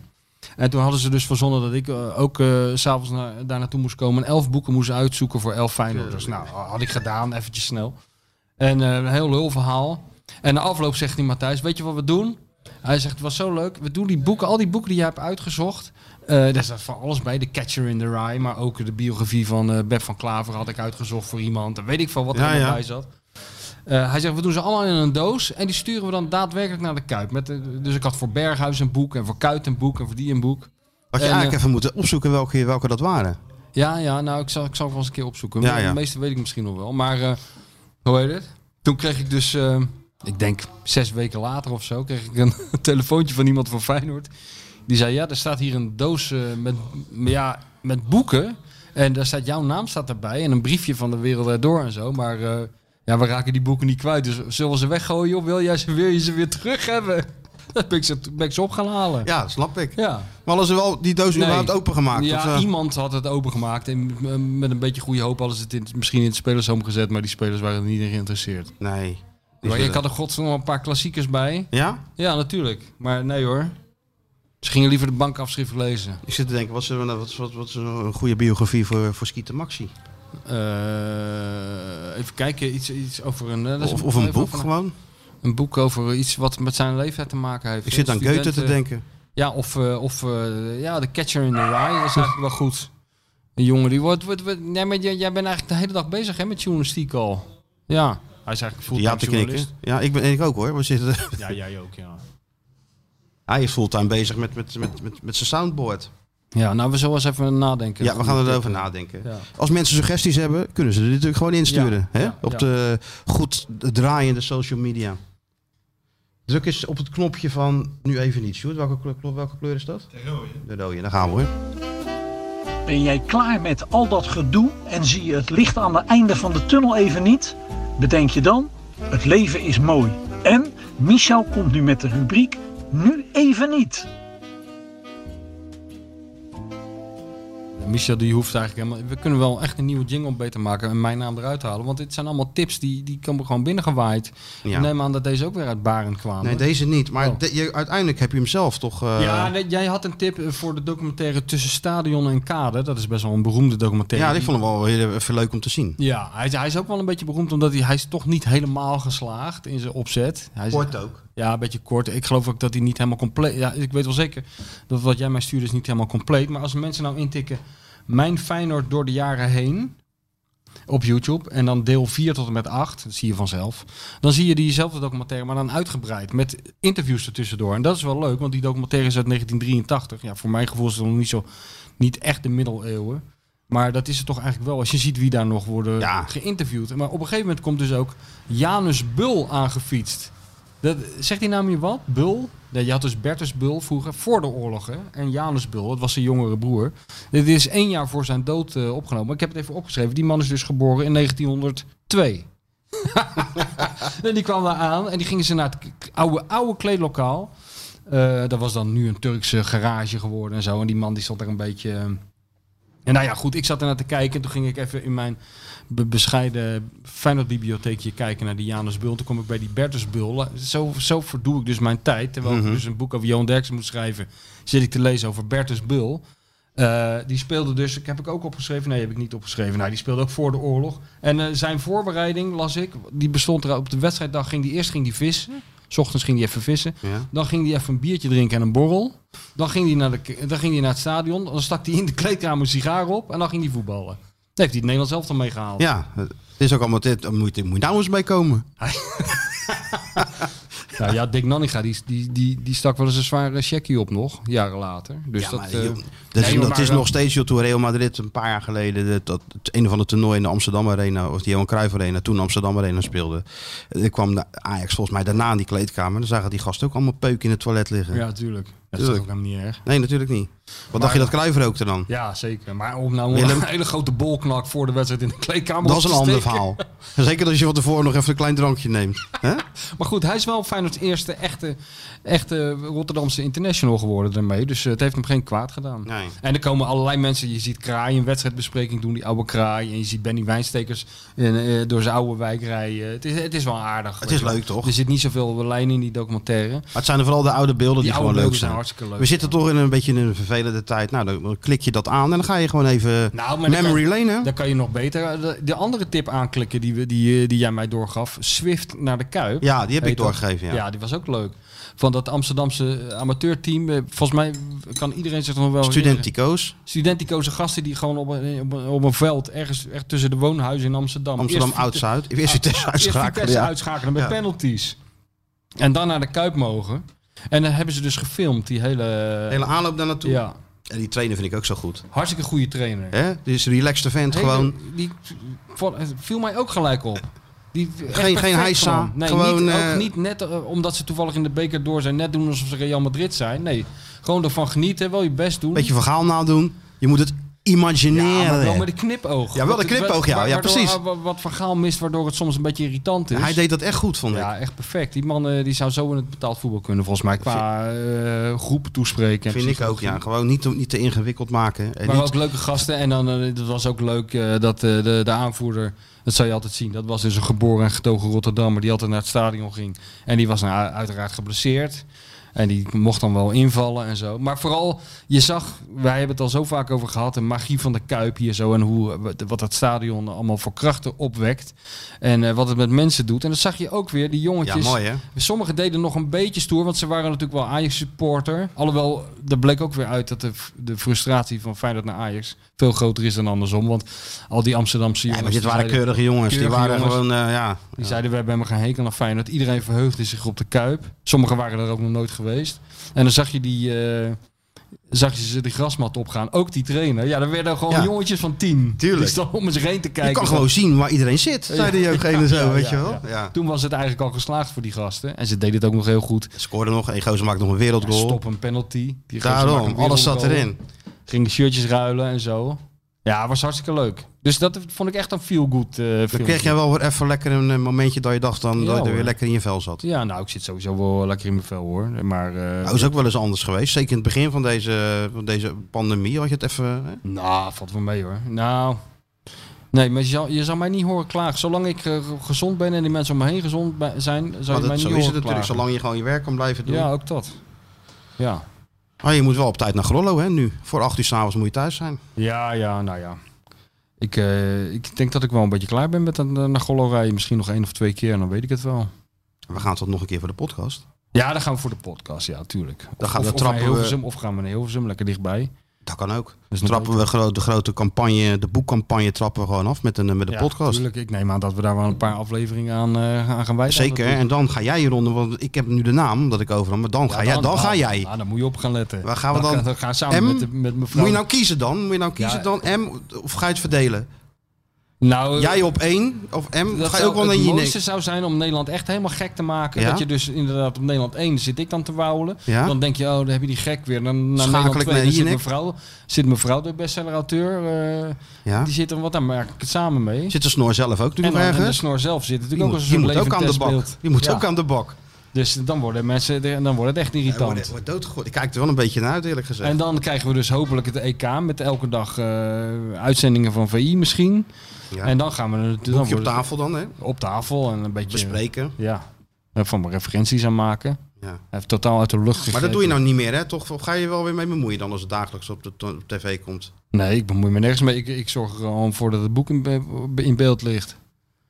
[SPEAKER 3] En toen hadden ze dus verzonnen dat ik eh, ook eh, s s'avonds naar, daar naartoe moest komen. En elf boeken moest uitzoeken voor elf Feyenoorders. Nou, had ik gedaan, eventjes snel. En eh, een heel lul verhaal. En na afloop zegt die Matthijs, weet je wat we doen? Hij zegt, het was zo leuk. We doen die boeken, al die boeken die jij hebt uitgezocht. eh, daar staat van alles bij. De Catcher in the Rye. Maar ook de biografie van eh Beb van Klaver had ik uitgezocht voor iemand. En weet ik van wat er
[SPEAKER 2] Ja,
[SPEAKER 3] allemaal
[SPEAKER 2] ja.
[SPEAKER 3] bij zat. Eh, hij zegt, we doen ze allemaal in een doos. En die sturen we dan daadwerkelijk naar de Kuip. Met, de- dus ik had voor Berghuis een boek. En voor Kuit een boek. En voor die een boek.
[SPEAKER 2] Had je
[SPEAKER 3] En, eh,
[SPEAKER 2] eigenlijk even moeten opzoeken welke, welke dat waren.
[SPEAKER 3] Ja, ja, nou, ik zal, ik zal het wel eens een keer opzoeken.
[SPEAKER 2] Ja,
[SPEAKER 3] De
[SPEAKER 2] ja.
[SPEAKER 3] meeste weet ik misschien nog wel. Maar eh, hoe heet het? Toen kreeg ik dus, eh, ik denk zes weken later of zo, kreeg ik een [laughs] telefoontje van iemand van Feyenoord. Die zei, ja, er staat hier een doos eh, met, ja, met boeken. En daar staat, jouw naam staat erbij. En een briefje van de wereld erdoor en zo. Maar eh, ja, we raken die boeken niet kwijt. Dus zullen we ze weggooien of wil jij ze, wil je ze weer terug hebben? [laughs] Dat ben ik ze, ben ik ze op gaan halen.
[SPEAKER 2] Ja, dat snap ik.
[SPEAKER 3] ja.
[SPEAKER 2] Maar hadden ze wel die doos
[SPEAKER 3] Nee.
[SPEAKER 2] überhaupt opengemaakt?
[SPEAKER 3] Ja,
[SPEAKER 2] Of, eh,
[SPEAKER 3] iemand had het opengemaakt. En eh, met een beetje goede hoop hadden ze het in, misschien in het spelershome gezet. Maar die spelers waren er niet in geïnteresseerd.
[SPEAKER 2] nee. Die
[SPEAKER 3] Maar
[SPEAKER 2] zullen-
[SPEAKER 3] ik had er godsnaam wel een paar klassiekers bij.
[SPEAKER 2] Ja?
[SPEAKER 3] Ja, natuurlijk. Maar nee hoor. Ze gingen liever de bankafschrift lezen.
[SPEAKER 2] Ik zit te denken, wat is, er- wat, is- wat, wat is er een goede biografie voor, voor Skeeter Maxi?
[SPEAKER 3] Eh, even kijken, iets, iets over een... eh, dat is
[SPEAKER 2] Of, of een boek
[SPEAKER 3] over
[SPEAKER 2] gewoon?
[SPEAKER 3] Een boek over iets wat met zijn leeftijd te maken heeft.
[SPEAKER 2] Ik zit aan Goethe te
[SPEAKER 3] Studenten-
[SPEAKER 2] denken.
[SPEAKER 3] Ja, of, eh, of eh, ja, de catcher in the rye is eigenlijk wel goed. Een jongen die wordt... wordt, wordt nee, maar jij, jij bent eigenlijk de hele dag bezig hè, met journalistiek al. Ja, hij is eigenlijk
[SPEAKER 2] Ja,
[SPEAKER 3] fulltime
[SPEAKER 2] te knikken.
[SPEAKER 3] journalist.
[SPEAKER 2] Ja, ik ben ik ook hoor. We zitten, [laughs]
[SPEAKER 3] Ja, jij ook, ja.
[SPEAKER 2] hij is fulltime bezig met, met, met, met, met zijn soundboard.
[SPEAKER 3] Ja, nou, we zullen eens even nadenken.
[SPEAKER 2] Ja, we gaan erover nadenken.
[SPEAKER 3] eh, Ja.
[SPEAKER 2] Als mensen suggesties hebben, kunnen ze er natuurlijk gewoon insturen.
[SPEAKER 3] Ja,
[SPEAKER 2] Hè?
[SPEAKER 3] ja,
[SPEAKER 2] Op
[SPEAKER 3] ja.
[SPEAKER 2] de goed draaiende social media. Druk eens op het knopje van nu even niet, Sjoerd. Welke kleur, kleur- welke kleur is dat?
[SPEAKER 5] De rode.
[SPEAKER 2] De rode, daar gaan we hoor.
[SPEAKER 8] Ben jij klaar met al dat gedoe en zie je het licht aan het einde van de tunnel even niet? Bedenk je dan, het leven is mooi. En Michel komt nu met de rubriek Nu even niet.
[SPEAKER 3] Michel die hoeft eigenlijk helemaal... We kunnen wel echt een nieuwe jingle beter maken en mijn naam eruit halen. Want dit zijn allemaal tips die, die komen gewoon binnengewaaid.
[SPEAKER 2] Ja.
[SPEAKER 3] Ik neem aan dat deze ook weer uit Barend kwamen.
[SPEAKER 2] Nee, deze niet. Maar
[SPEAKER 3] Oh.
[SPEAKER 2] de- je, uiteindelijk heb je hem zelf toch... eh,
[SPEAKER 3] Ja, nee, jij had een tip eh, voor de documentaire Tussen Stadion en Kade. Dat is best wel een beroemde documentaire.
[SPEAKER 2] ja, ik vond hem wel heel even leuk om te zien.
[SPEAKER 3] Ja, hij is, hij is ook wel een beetje beroemd omdat hij, hij is toch niet helemaal geslaagd in zijn opzet. Hij is,
[SPEAKER 2] ook.
[SPEAKER 3] Ja, een beetje kort. Ik geloof ook dat hij niet helemaal compleet... Ja, ik weet wel zeker dat wat jij mij stuurde is niet helemaal compleet. Maar als mensen nou intikken... Mijn Feyenoord door de jaren heen op YouTube en dan deel 4 tot en met 8, dat zie je vanzelf. Dan zie je diezelfde documentaire, maar dan uitgebreid met interviews ertussendoor. En dat is wel leuk, want die documentaire is uit 1983. Ja, voor mijn gevoel is het nog niet zo, niet echt de middeleeuwen. Maar dat is het toch eigenlijk wel, als je ziet wie daar nog worden
[SPEAKER 2] Ja.
[SPEAKER 3] geïnterviewd. Maar op een gegeven moment komt dus ook Janus Bul aangefietst. Dat, zegt die naam je wat? Bul? Nee, je had dus Bertus Bul vroeger, voor de oorlog. Hè? En Janus Bul, dat was zijn jongere broer. Dit is één jaar voor zijn dood eh, opgenomen. Ik heb het even opgeschreven. Die man is dus geboren in 1902. [laughs] en die kwam daar aan en die gingen ze naar het k- oude, oude kleedlokaal. Eh, dat was dan nu een Turkse garage geworden en zo. En die man die stond daar een beetje... eh, En nou ja, goed, ik zat ernaar te kijken. En toen ging ik even in mijn be- bescheiden Feyenoord-bibliotheekje kijken naar die Janus Bul. Toen kom ik bij die Bertus Bul. Zo, zo verdoe ik dus mijn tijd. Terwijl
[SPEAKER 2] Mhm.
[SPEAKER 3] ik dus een boek over Johan Derksen moet schrijven, zit ik te lezen over Bertus Bul. Eh, die speelde dus, ik heb ik ook opgeschreven, nee heb ik niet opgeschreven. Nou, die speelde ook voor de oorlog. En eh, zijn voorbereiding, las ik, die bestond er op de wedstrijddag. Ging die, eerst ging die vissen, S ochtends ging hij even vissen.
[SPEAKER 2] Ja.
[SPEAKER 3] Dan ging hij even een biertje drinken en een borrel. Dan ging hij naar, de, k- dan ging hij naar het stadion. Dan stak hij in de kleedkamer een sigaar op. En dan ging hij voetballen. Dan heeft hij het Nederlands elftal meegehaald.
[SPEAKER 2] ja, het is ook allemaal... Dit, moet, je- moet je nou eens mee komen.
[SPEAKER 3] Nou ja, Dick Nanninga, die, die, die, die stak wel eens een zware checkie op nog, jaren later. Dus
[SPEAKER 2] ja,
[SPEAKER 3] dat,
[SPEAKER 2] maar,
[SPEAKER 3] eh,
[SPEAKER 2] joh, dat is,
[SPEAKER 3] nee, joh,
[SPEAKER 2] dat is
[SPEAKER 3] maar-
[SPEAKER 2] nog steeds, joh, toen Real Madrid een paar jaar geleden dat, dat het een of ander toernooi in de Amsterdam Arena, of de Johan Cruijff Arena, toen Amsterdam Arena speelde. Er kwam de Ajax volgens mij daarna in die kleedkamer, dan zagen die gasten ook allemaal peuk in het toilet liggen.
[SPEAKER 3] ja, tuurlijk. Dat is
[SPEAKER 2] Tuurlijk.
[SPEAKER 3] ook helemaal niet erg.
[SPEAKER 2] Nee, natuurlijk niet. Wat dacht je dat Cruijff rookte dan?
[SPEAKER 3] Ja, zeker. Maar om nou
[SPEAKER 2] Willem?
[SPEAKER 3] een hele grote bolknak voor de wedstrijd in de kleedkamer
[SPEAKER 2] Dat
[SPEAKER 3] op
[SPEAKER 2] is een
[SPEAKER 3] te
[SPEAKER 2] ander
[SPEAKER 3] steken.
[SPEAKER 2] verhaal. [laughs] Zeker als je van tevoren nog even een klein drankje neemt. hè?
[SPEAKER 3] Maar goed, hij is wel Feyenoord's eerste echte, echte Rotterdamse international geworden daarmee. Dus eh, het heeft hem geen kwaad gedaan.
[SPEAKER 2] Nee.
[SPEAKER 3] En er komen allerlei mensen. Je ziet Kraai een wedstrijdbespreking doen, die oude Kraai. En je ziet Benny Wijnstekers in, eh, door zijn oude wijk rijden. Het is, het is wel aardig.
[SPEAKER 2] Het
[SPEAKER 3] weet
[SPEAKER 2] is
[SPEAKER 3] je wel.
[SPEAKER 2] leuk, toch?
[SPEAKER 3] Er zit niet zoveel lijn in die documentaire.
[SPEAKER 2] Maar het zijn er vooral de oude beelden die,
[SPEAKER 3] Die oude
[SPEAKER 2] gewoon leuk
[SPEAKER 3] beelden
[SPEAKER 2] zijn.
[SPEAKER 3] zijn hartstikke leuk.
[SPEAKER 2] We zitten toch in een beetje in een vervelende tijd. Nou, dan dan klik je dat aan en dan ga je gewoon even
[SPEAKER 3] Nou, maar dan
[SPEAKER 2] memory lane, hè?
[SPEAKER 3] Dan kan je nog beter eh, de, de andere tip aanklikken die, we, die, eh, die jij mij doorgaf. Swift naar de Kuip.
[SPEAKER 2] Ja, die heb ik
[SPEAKER 3] Heet dat.
[SPEAKER 2] doorgegeven, ja.
[SPEAKER 3] Ja. die was ook leuk. Van dat Amsterdamse amateurteam. eh, Volgens mij kan iedereen zich nog wel herinneren.
[SPEAKER 2] Studentico's.
[SPEAKER 3] studenticoze gasten die gewoon op een, op een, op een veld ergens echt tussen de woonhuizen in Amsterdam.
[SPEAKER 2] Amsterdam
[SPEAKER 3] Eerst Vite-
[SPEAKER 2] Oud-Zuid. Eerst Vitesse
[SPEAKER 3] Eerst
[SPEAKER 2] uitschakelen.
[SPEAKER 3] Vitesse
[SPEAKER 2] Ja.
[SPEAKER 3] uitschakelen met
[SPEAKER 2] Ja.
[SPEAKER 3] penalties. En dan naar de Kuip mogen. En dan hebben ze dus gefilmd, die hele...
[SPEAKER 2] De hele aanloop daar naartoe.
[SPEAKER 3] ja,
[SPEAKER 2] En die trainer vind ik ook zo goed.
[SPEAKER 3] hartstikke goede trainer.
[SPEAKER 2] Hè? Die is een relaxte vent,
[SPEAKER 3] Hele-
[SPEAKER 2] gewoon.
[SPEAKER 3] Die vo- viel mij ook gelijk op. Die, echt
[SPEAKER 2] Geen- geen
[SPEAKER 3] perfect
[SPEAKER 2] heisa,
[SPEAKER 3] gewoon. Nee,
[SPEAKER 2] gewoon,
[SPEAKER 3] niet,
[SPEAKER 2] eh,
[SPEAKER 3] ook niet net eh, omdat ze toevallig in de beker door zijn. Net doen alsof ze Real Madrid zijn. Nee, gewoon ervan genieten. Wel je best doen.
[SPEAKER 2] Beetje verhaal nadoen. Je moet het imagineren.
[SPEAKER 3] Ja, maar wel met een knipoog.
[SPEAKER 2] Ja, wel een knipoog, ja. Ja,
[SPEAKER 3] Waardoor-
[SPEAKER 2] precies.
[SPEAKER 3] wa- Wat Van Gaal mist, waardoor het soms een beetje irritant is.
[SPEAKER 2] Hij deed dat echt goed, vond ik.
[SPEAKER 3] ja, echt perfect. Die man eh, die zou zo in het betaald voetbal kunnen, volgens mij. Qua eh, groep toespreken. en
[SPEAKER 2] vind ik ook,
[SPEAKER 3] psychologie.
[SPEAKER 2] ja. Gewoon niet, te- niet te ingewikkeld maken. En
[SPEAKER 3] Maar
[SPEAKER 2] niet,
[SPEAKER 3] ook leuke gasten. En dan, eh, dat was ook leuk eh, dat eh, de, de aanvoerder, dat zou je altijd zien. Dat was dus een geboren en getogen Rotterdammer die altijd naar het stadion ging. En die was nou, uiteraard geblesseerd. En die mocht dan wel invallen en zo. Maar vooral, je zag, wij hebben het al zo vaak over gehad, de magie van de Kuip hier zo. En hoe, eh, wat dat stadion allemaal voor krachten opwekt. En eh, wat het met mensen doet. En dat zag je ook weer, die
[SPEAKER 2] ja,
[SPEAKER 3] jongetjes.
[SPEAKER 2] mooi, hè?
[SPEAKER 3] Sommigen deden nog een beetje stoer, want ze waren natuurlijk wel Ajax-supporter. Alhoewel, daar bleek ook weer uit dat de, de frustratie van Feyenoord naar Ajax veel groter is dan andersom. Want al die Amsterdamse
[SPEAKER 2] Ja,
[SPEAKER 3] jongens...
[SPEAKER 2] maar dit
[SPEAKER 3] die
[SPEAKER 2] waren
[SPEAKER 3] zeiden-
[SPEAKER 2] keurige jongens. die
[SPEAKER 3] keurige
[SPEAKER 2] waren
[SPEAKER 3] jongens.
[SPEAKER 2] gewoon, eh, ja.
[SPEAKER 3] Die zeiden, we hebben helemaal geen hekel aan Feyenoord. Iedereen verheugde zich op de Kuip. Sommigen waren er ook nog nooit geweest. En dan zag je die, eh, zag je ze de grasmat opgaan. Ook die trainer. Ja, er werden gewoon
[SPEAKER 2] Ja.
[SPEAKER 3] jongetjes van tien.
[SPEAKER 2] Tuurlijk.
[SPEAKER 3] Die [laughs] stonden om eens heen te kijken.
[SPEAKER 2] Je kan
[SPEAKER 3] van-
[SPEAKER 2] gewoon zien waar iedereen zit, zei de jeugdgene zo,
[SPEAKER 3] [laughs] Ja,
[SPEAKER 2] weet
[SPEAKER 3] ja,
[SPEAKER 2] je wel.
[SPEAKER 3] ja.
[SPEAKER 2] Ja.
[SPEAKER 3] Toen was het eigenlijk al geslaagd voor die gasten. En ze deden het ook nog heel goed.
[SPEAKER 2] Scoorde nog, een gozer maakt nog een wereldgoal.
[SPEAKER 3] Stop een penalty. Die gozer maakte
[SPEAKER 2] Daarom,
[SPEAKER 3] een
[SPEAKER 2] alles zat
[SPEAKER 3] wereldgoal.
[SPEAKER 2] erin.
[SPEAKER 3] Gingen shirtjes ruilen en zo. Ja, was hartstikke leuk. Dus dat vond ik echt een feel-good eh
[SPEAKER 2] Dan
[SPEAKER 3] filmpje.
[SPEAKER 2] kreeg jij wel weer even lekker een eh, momentje dat je dacht dan,
[SPEAKER 3] Ja,
[SPEAKER 2] dat je er weer
[SPEAKER 3] hoor.
[SPEAKER 2] lekker in je vel zat.
[SPEAKER 3] Ja, nou, ik zit sowieso wel lekker in mijn vel hoor. Maar, eh,
[SPEAKER 2] Dat is ook wel eens anders geweest. Zeker in het begin van deze, van deze pandemie had je het even... hè?
[SPEAKER 3] Nou, valt wel mee hoor. Nou, nee, maar je zal, je zal mij niet horen klagen. Zolang ik eh, gezond ben en die mensen om me heen gezond bij- zijn, zal
[SPEAKER 2] Maar
[SPEAKER 3] je mij
[SPEAKER 2] Nou, dat,
[SPEAKER 3] niet
[SPEAKER 2] zo
[SPEAKER 3] horen
[SPEAKER 2] is het natuurlijk,
[SPEAKER 3] klagen.
[SPEAKER 2] zolang je gewoon je werk kan blijven doen.
[SPEAKER 3] Ja, ook dat. Ja.
[SPEAKER 2] Maar je moet wel op tijd naar Grollo hè, nu. Voor acht uur s'avonds moet je thuis zijn.
[SPEAKER 3] Ja, ja, nou ja. Ik, eh, ik denk dat ik wel een beetje klaar ben met dat eh, naar Gollo rijden. Misschien nog één of twee keer en dan weet ik het wel.
[SPEAKER 2] We gaan tot nog een keer voor de podcast.
[SPEAKER 3] Ja, dan gaan we voor de podcast, ja, tuurlijk. Of-
[SPEAKER 2] Dan gaan we
[SPEAKER 3] of, of
[SPEAKER 2] trappen
[SPEAKER 3] naar
[SPEAKER 2] we-
[SPEAKER 3] Hilversum, of gaan we naar Hilversum, lekker dichtbij.
[SPEAKER 2] Dat kan ook.
[SPEAKER 3] Dus nog
[SPEAKER 2] Trappen we gro- de grote campagne, de boekcampagne trappen we gewoon af met een, eh, met een
[SPEAKER 3] Ja,
[SPEAKER 2] podcast.
[SPEAKER 3] Tuurlijk, ik neem aan dat we daar wel een paar afleveringen aan, eh, aan gaan wijden.
[SPEAKER 2] Zeker, en dan ga jij hieronder, want ik heb nu de naam dat ik over hem, maar dan, ga, jij, dan, ga jij.
[SPEAKER 3] Ja, Nou, dan moet je op gaan letten.
[SPEAKER 2] Waar gaan we dan?
[SPEAKER 3] Dan, gaan we samen
[SPEAKER 2] M?
[SPEAKER 3] met, de- met mevrouw.
[SPEAKER 2] Moet je nou kiezen dan? Moet je nou kiezen
[SPEAKER 3] Ja. eh,
[SPEAKER 2] dan M of ga je het verdelen?
[SPEAKER 3] Nou, eh,
[SPEAKER 2] Jij op één of M?
[SPEAKER 3] dat
[SPEAKER 2] Ga je
[SPEAKER 3] zou-
[SPEAKER 2] ook wel naar
[SPEAKER 3] het
[SPEAKER 2] je
[SPEAKER 3] mooiste
[SPEAKER 2] nek?
[SPEAKER 3] zou zijn om Nederland echt helemaal gek te maken.
[SPEAKER 2] Ja?
[SPEAKER 3] Dat je dus inderdaad op Nederland 1 zit ik dan te wauwelen.
[SPEAKER 2] Ja?
[SPEAKER 3] Dan denk je, oh, dan heb je die gek weer. Dan naar
[SPEAKER 2] Schakel ik
[SPEAKER 3] Nederland 2
[SPEAKER 2] naar
[SPEAKER 3] dan zit
[SPEAKER 2] Jinek?
[SPEAKER 3] mevrouw, zit mevrouw de bestseller-auteur. eh,
[SPEAKER 2] Ja?
[SPEAKER 3] Die zit er, wat dan maak ik het samen mee.
[SPEAKER 2] Zit de snor zelf ook
[SPEAKER 3] en,
[SPEAKER 2] natuurlijk
[SPEAKER 3] dan, en de
[SPEAKER 2] ergens?
[SPEAKER 3] snor zelf zit
[SPEAKER 2] Die
[SPEAKER 3] natuurlijk ook
[SPEAKER 2] moet,
[SPEAKER 3] als een
[SPEAKER 2] die
[SPEAKER 3] soort
[SPEAKER 2] moet ook
[SPEAKER 3] levend
[SPEAKER 2] aan de bak.
[SPEAKER 3] testbeeld.
[SPEAKER 2] Die moet
[SPEAKER 3] Ja.
[SPEAKER 2] ook aan de bak.
[SPEAKER 3] Dus dan worden mensen, en dan wordt het echt
[SPEAKER 2] Ja,
[SPEAKER 3] irritant.
[SPEAKER 2] wordt, wordt doodgegooid. Ik kijk er wel een beetje naar uit eerlijk gezegd.
[SPEAKER 3] En dan krijgen we dus hopelijk het EK met elke dag eh, uitzendingen van VI misschien.
[SPEAKER 2] Ja.
[SPEAKER 3] En dan gaan we natuurlijk dan
[SPEAKER 2] Boekje op
[SPEAKER 3] wordt het
[SPEAKER 2] tafel dan, hè?
[SPEAKER 3] op tafel en een beetje
[SPEAKER 2] Bespreken.
[SPEAKER 3] Ja, En van mijn referenties aan maken.
[SPEAKER 2] Ja.
[SPEAKER 3] Hij heeft totaal uit de lucht gegrepen.
[SPEAKER 2] Maar dat doe je nou niet meer, hè? Toch of ga je wel weer mee bemoeien dan als het dagelijks op de to- op tv komt?
[SPEAKER 3] Nee, ik bemoei me nergens mee. Ik, ik zorg er gewoon voor dat het boek in, be- in beeld ligt.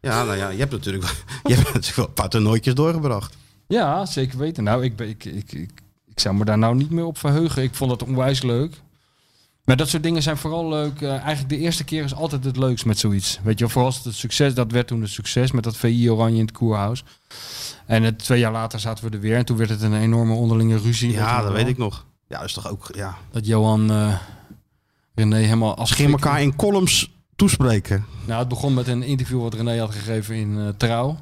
[SPEAKER 2] Ja, nou ja, je hebt natuurlijk, je hebt natuurlijk wel [laughs] een paar toernooitjes doorgebracht.
[SPEAKER 3] Ja, zeker weten. Nou, ik, ben- ik, ik, ik, ik zou me daar nou niet meer op verheugen. Ik vond dat onwijs leuk. Maar dat soort dingen zijn vooral leuk. Eh, eigenlijk de eerste keer is altijd het leukst met zoiets. Weet je, wel, vooral als het een succes, dat werd toen een succes met dat VI Oranje in het Koerhuis. En het, twee jaar later zaten we er weer en toen werd het een enorme onderlinge ruzie.
[SPEAKER 2] Ja,
[SPEAKER 3] je
[SPEAKER 2] dat
[SPEAKER 3] wel.
[SPEAKER 2] weet ik nog. Ja, dat is toch ook, ja.
[SPEAKER 3] Dat Johan eh René helemaal als
[SPEAKER 2] Ging elkaar in columns toespreken.
[SPEAKER 3] Nou, het begon met een interview wat René had gegeven in eh, Trouw.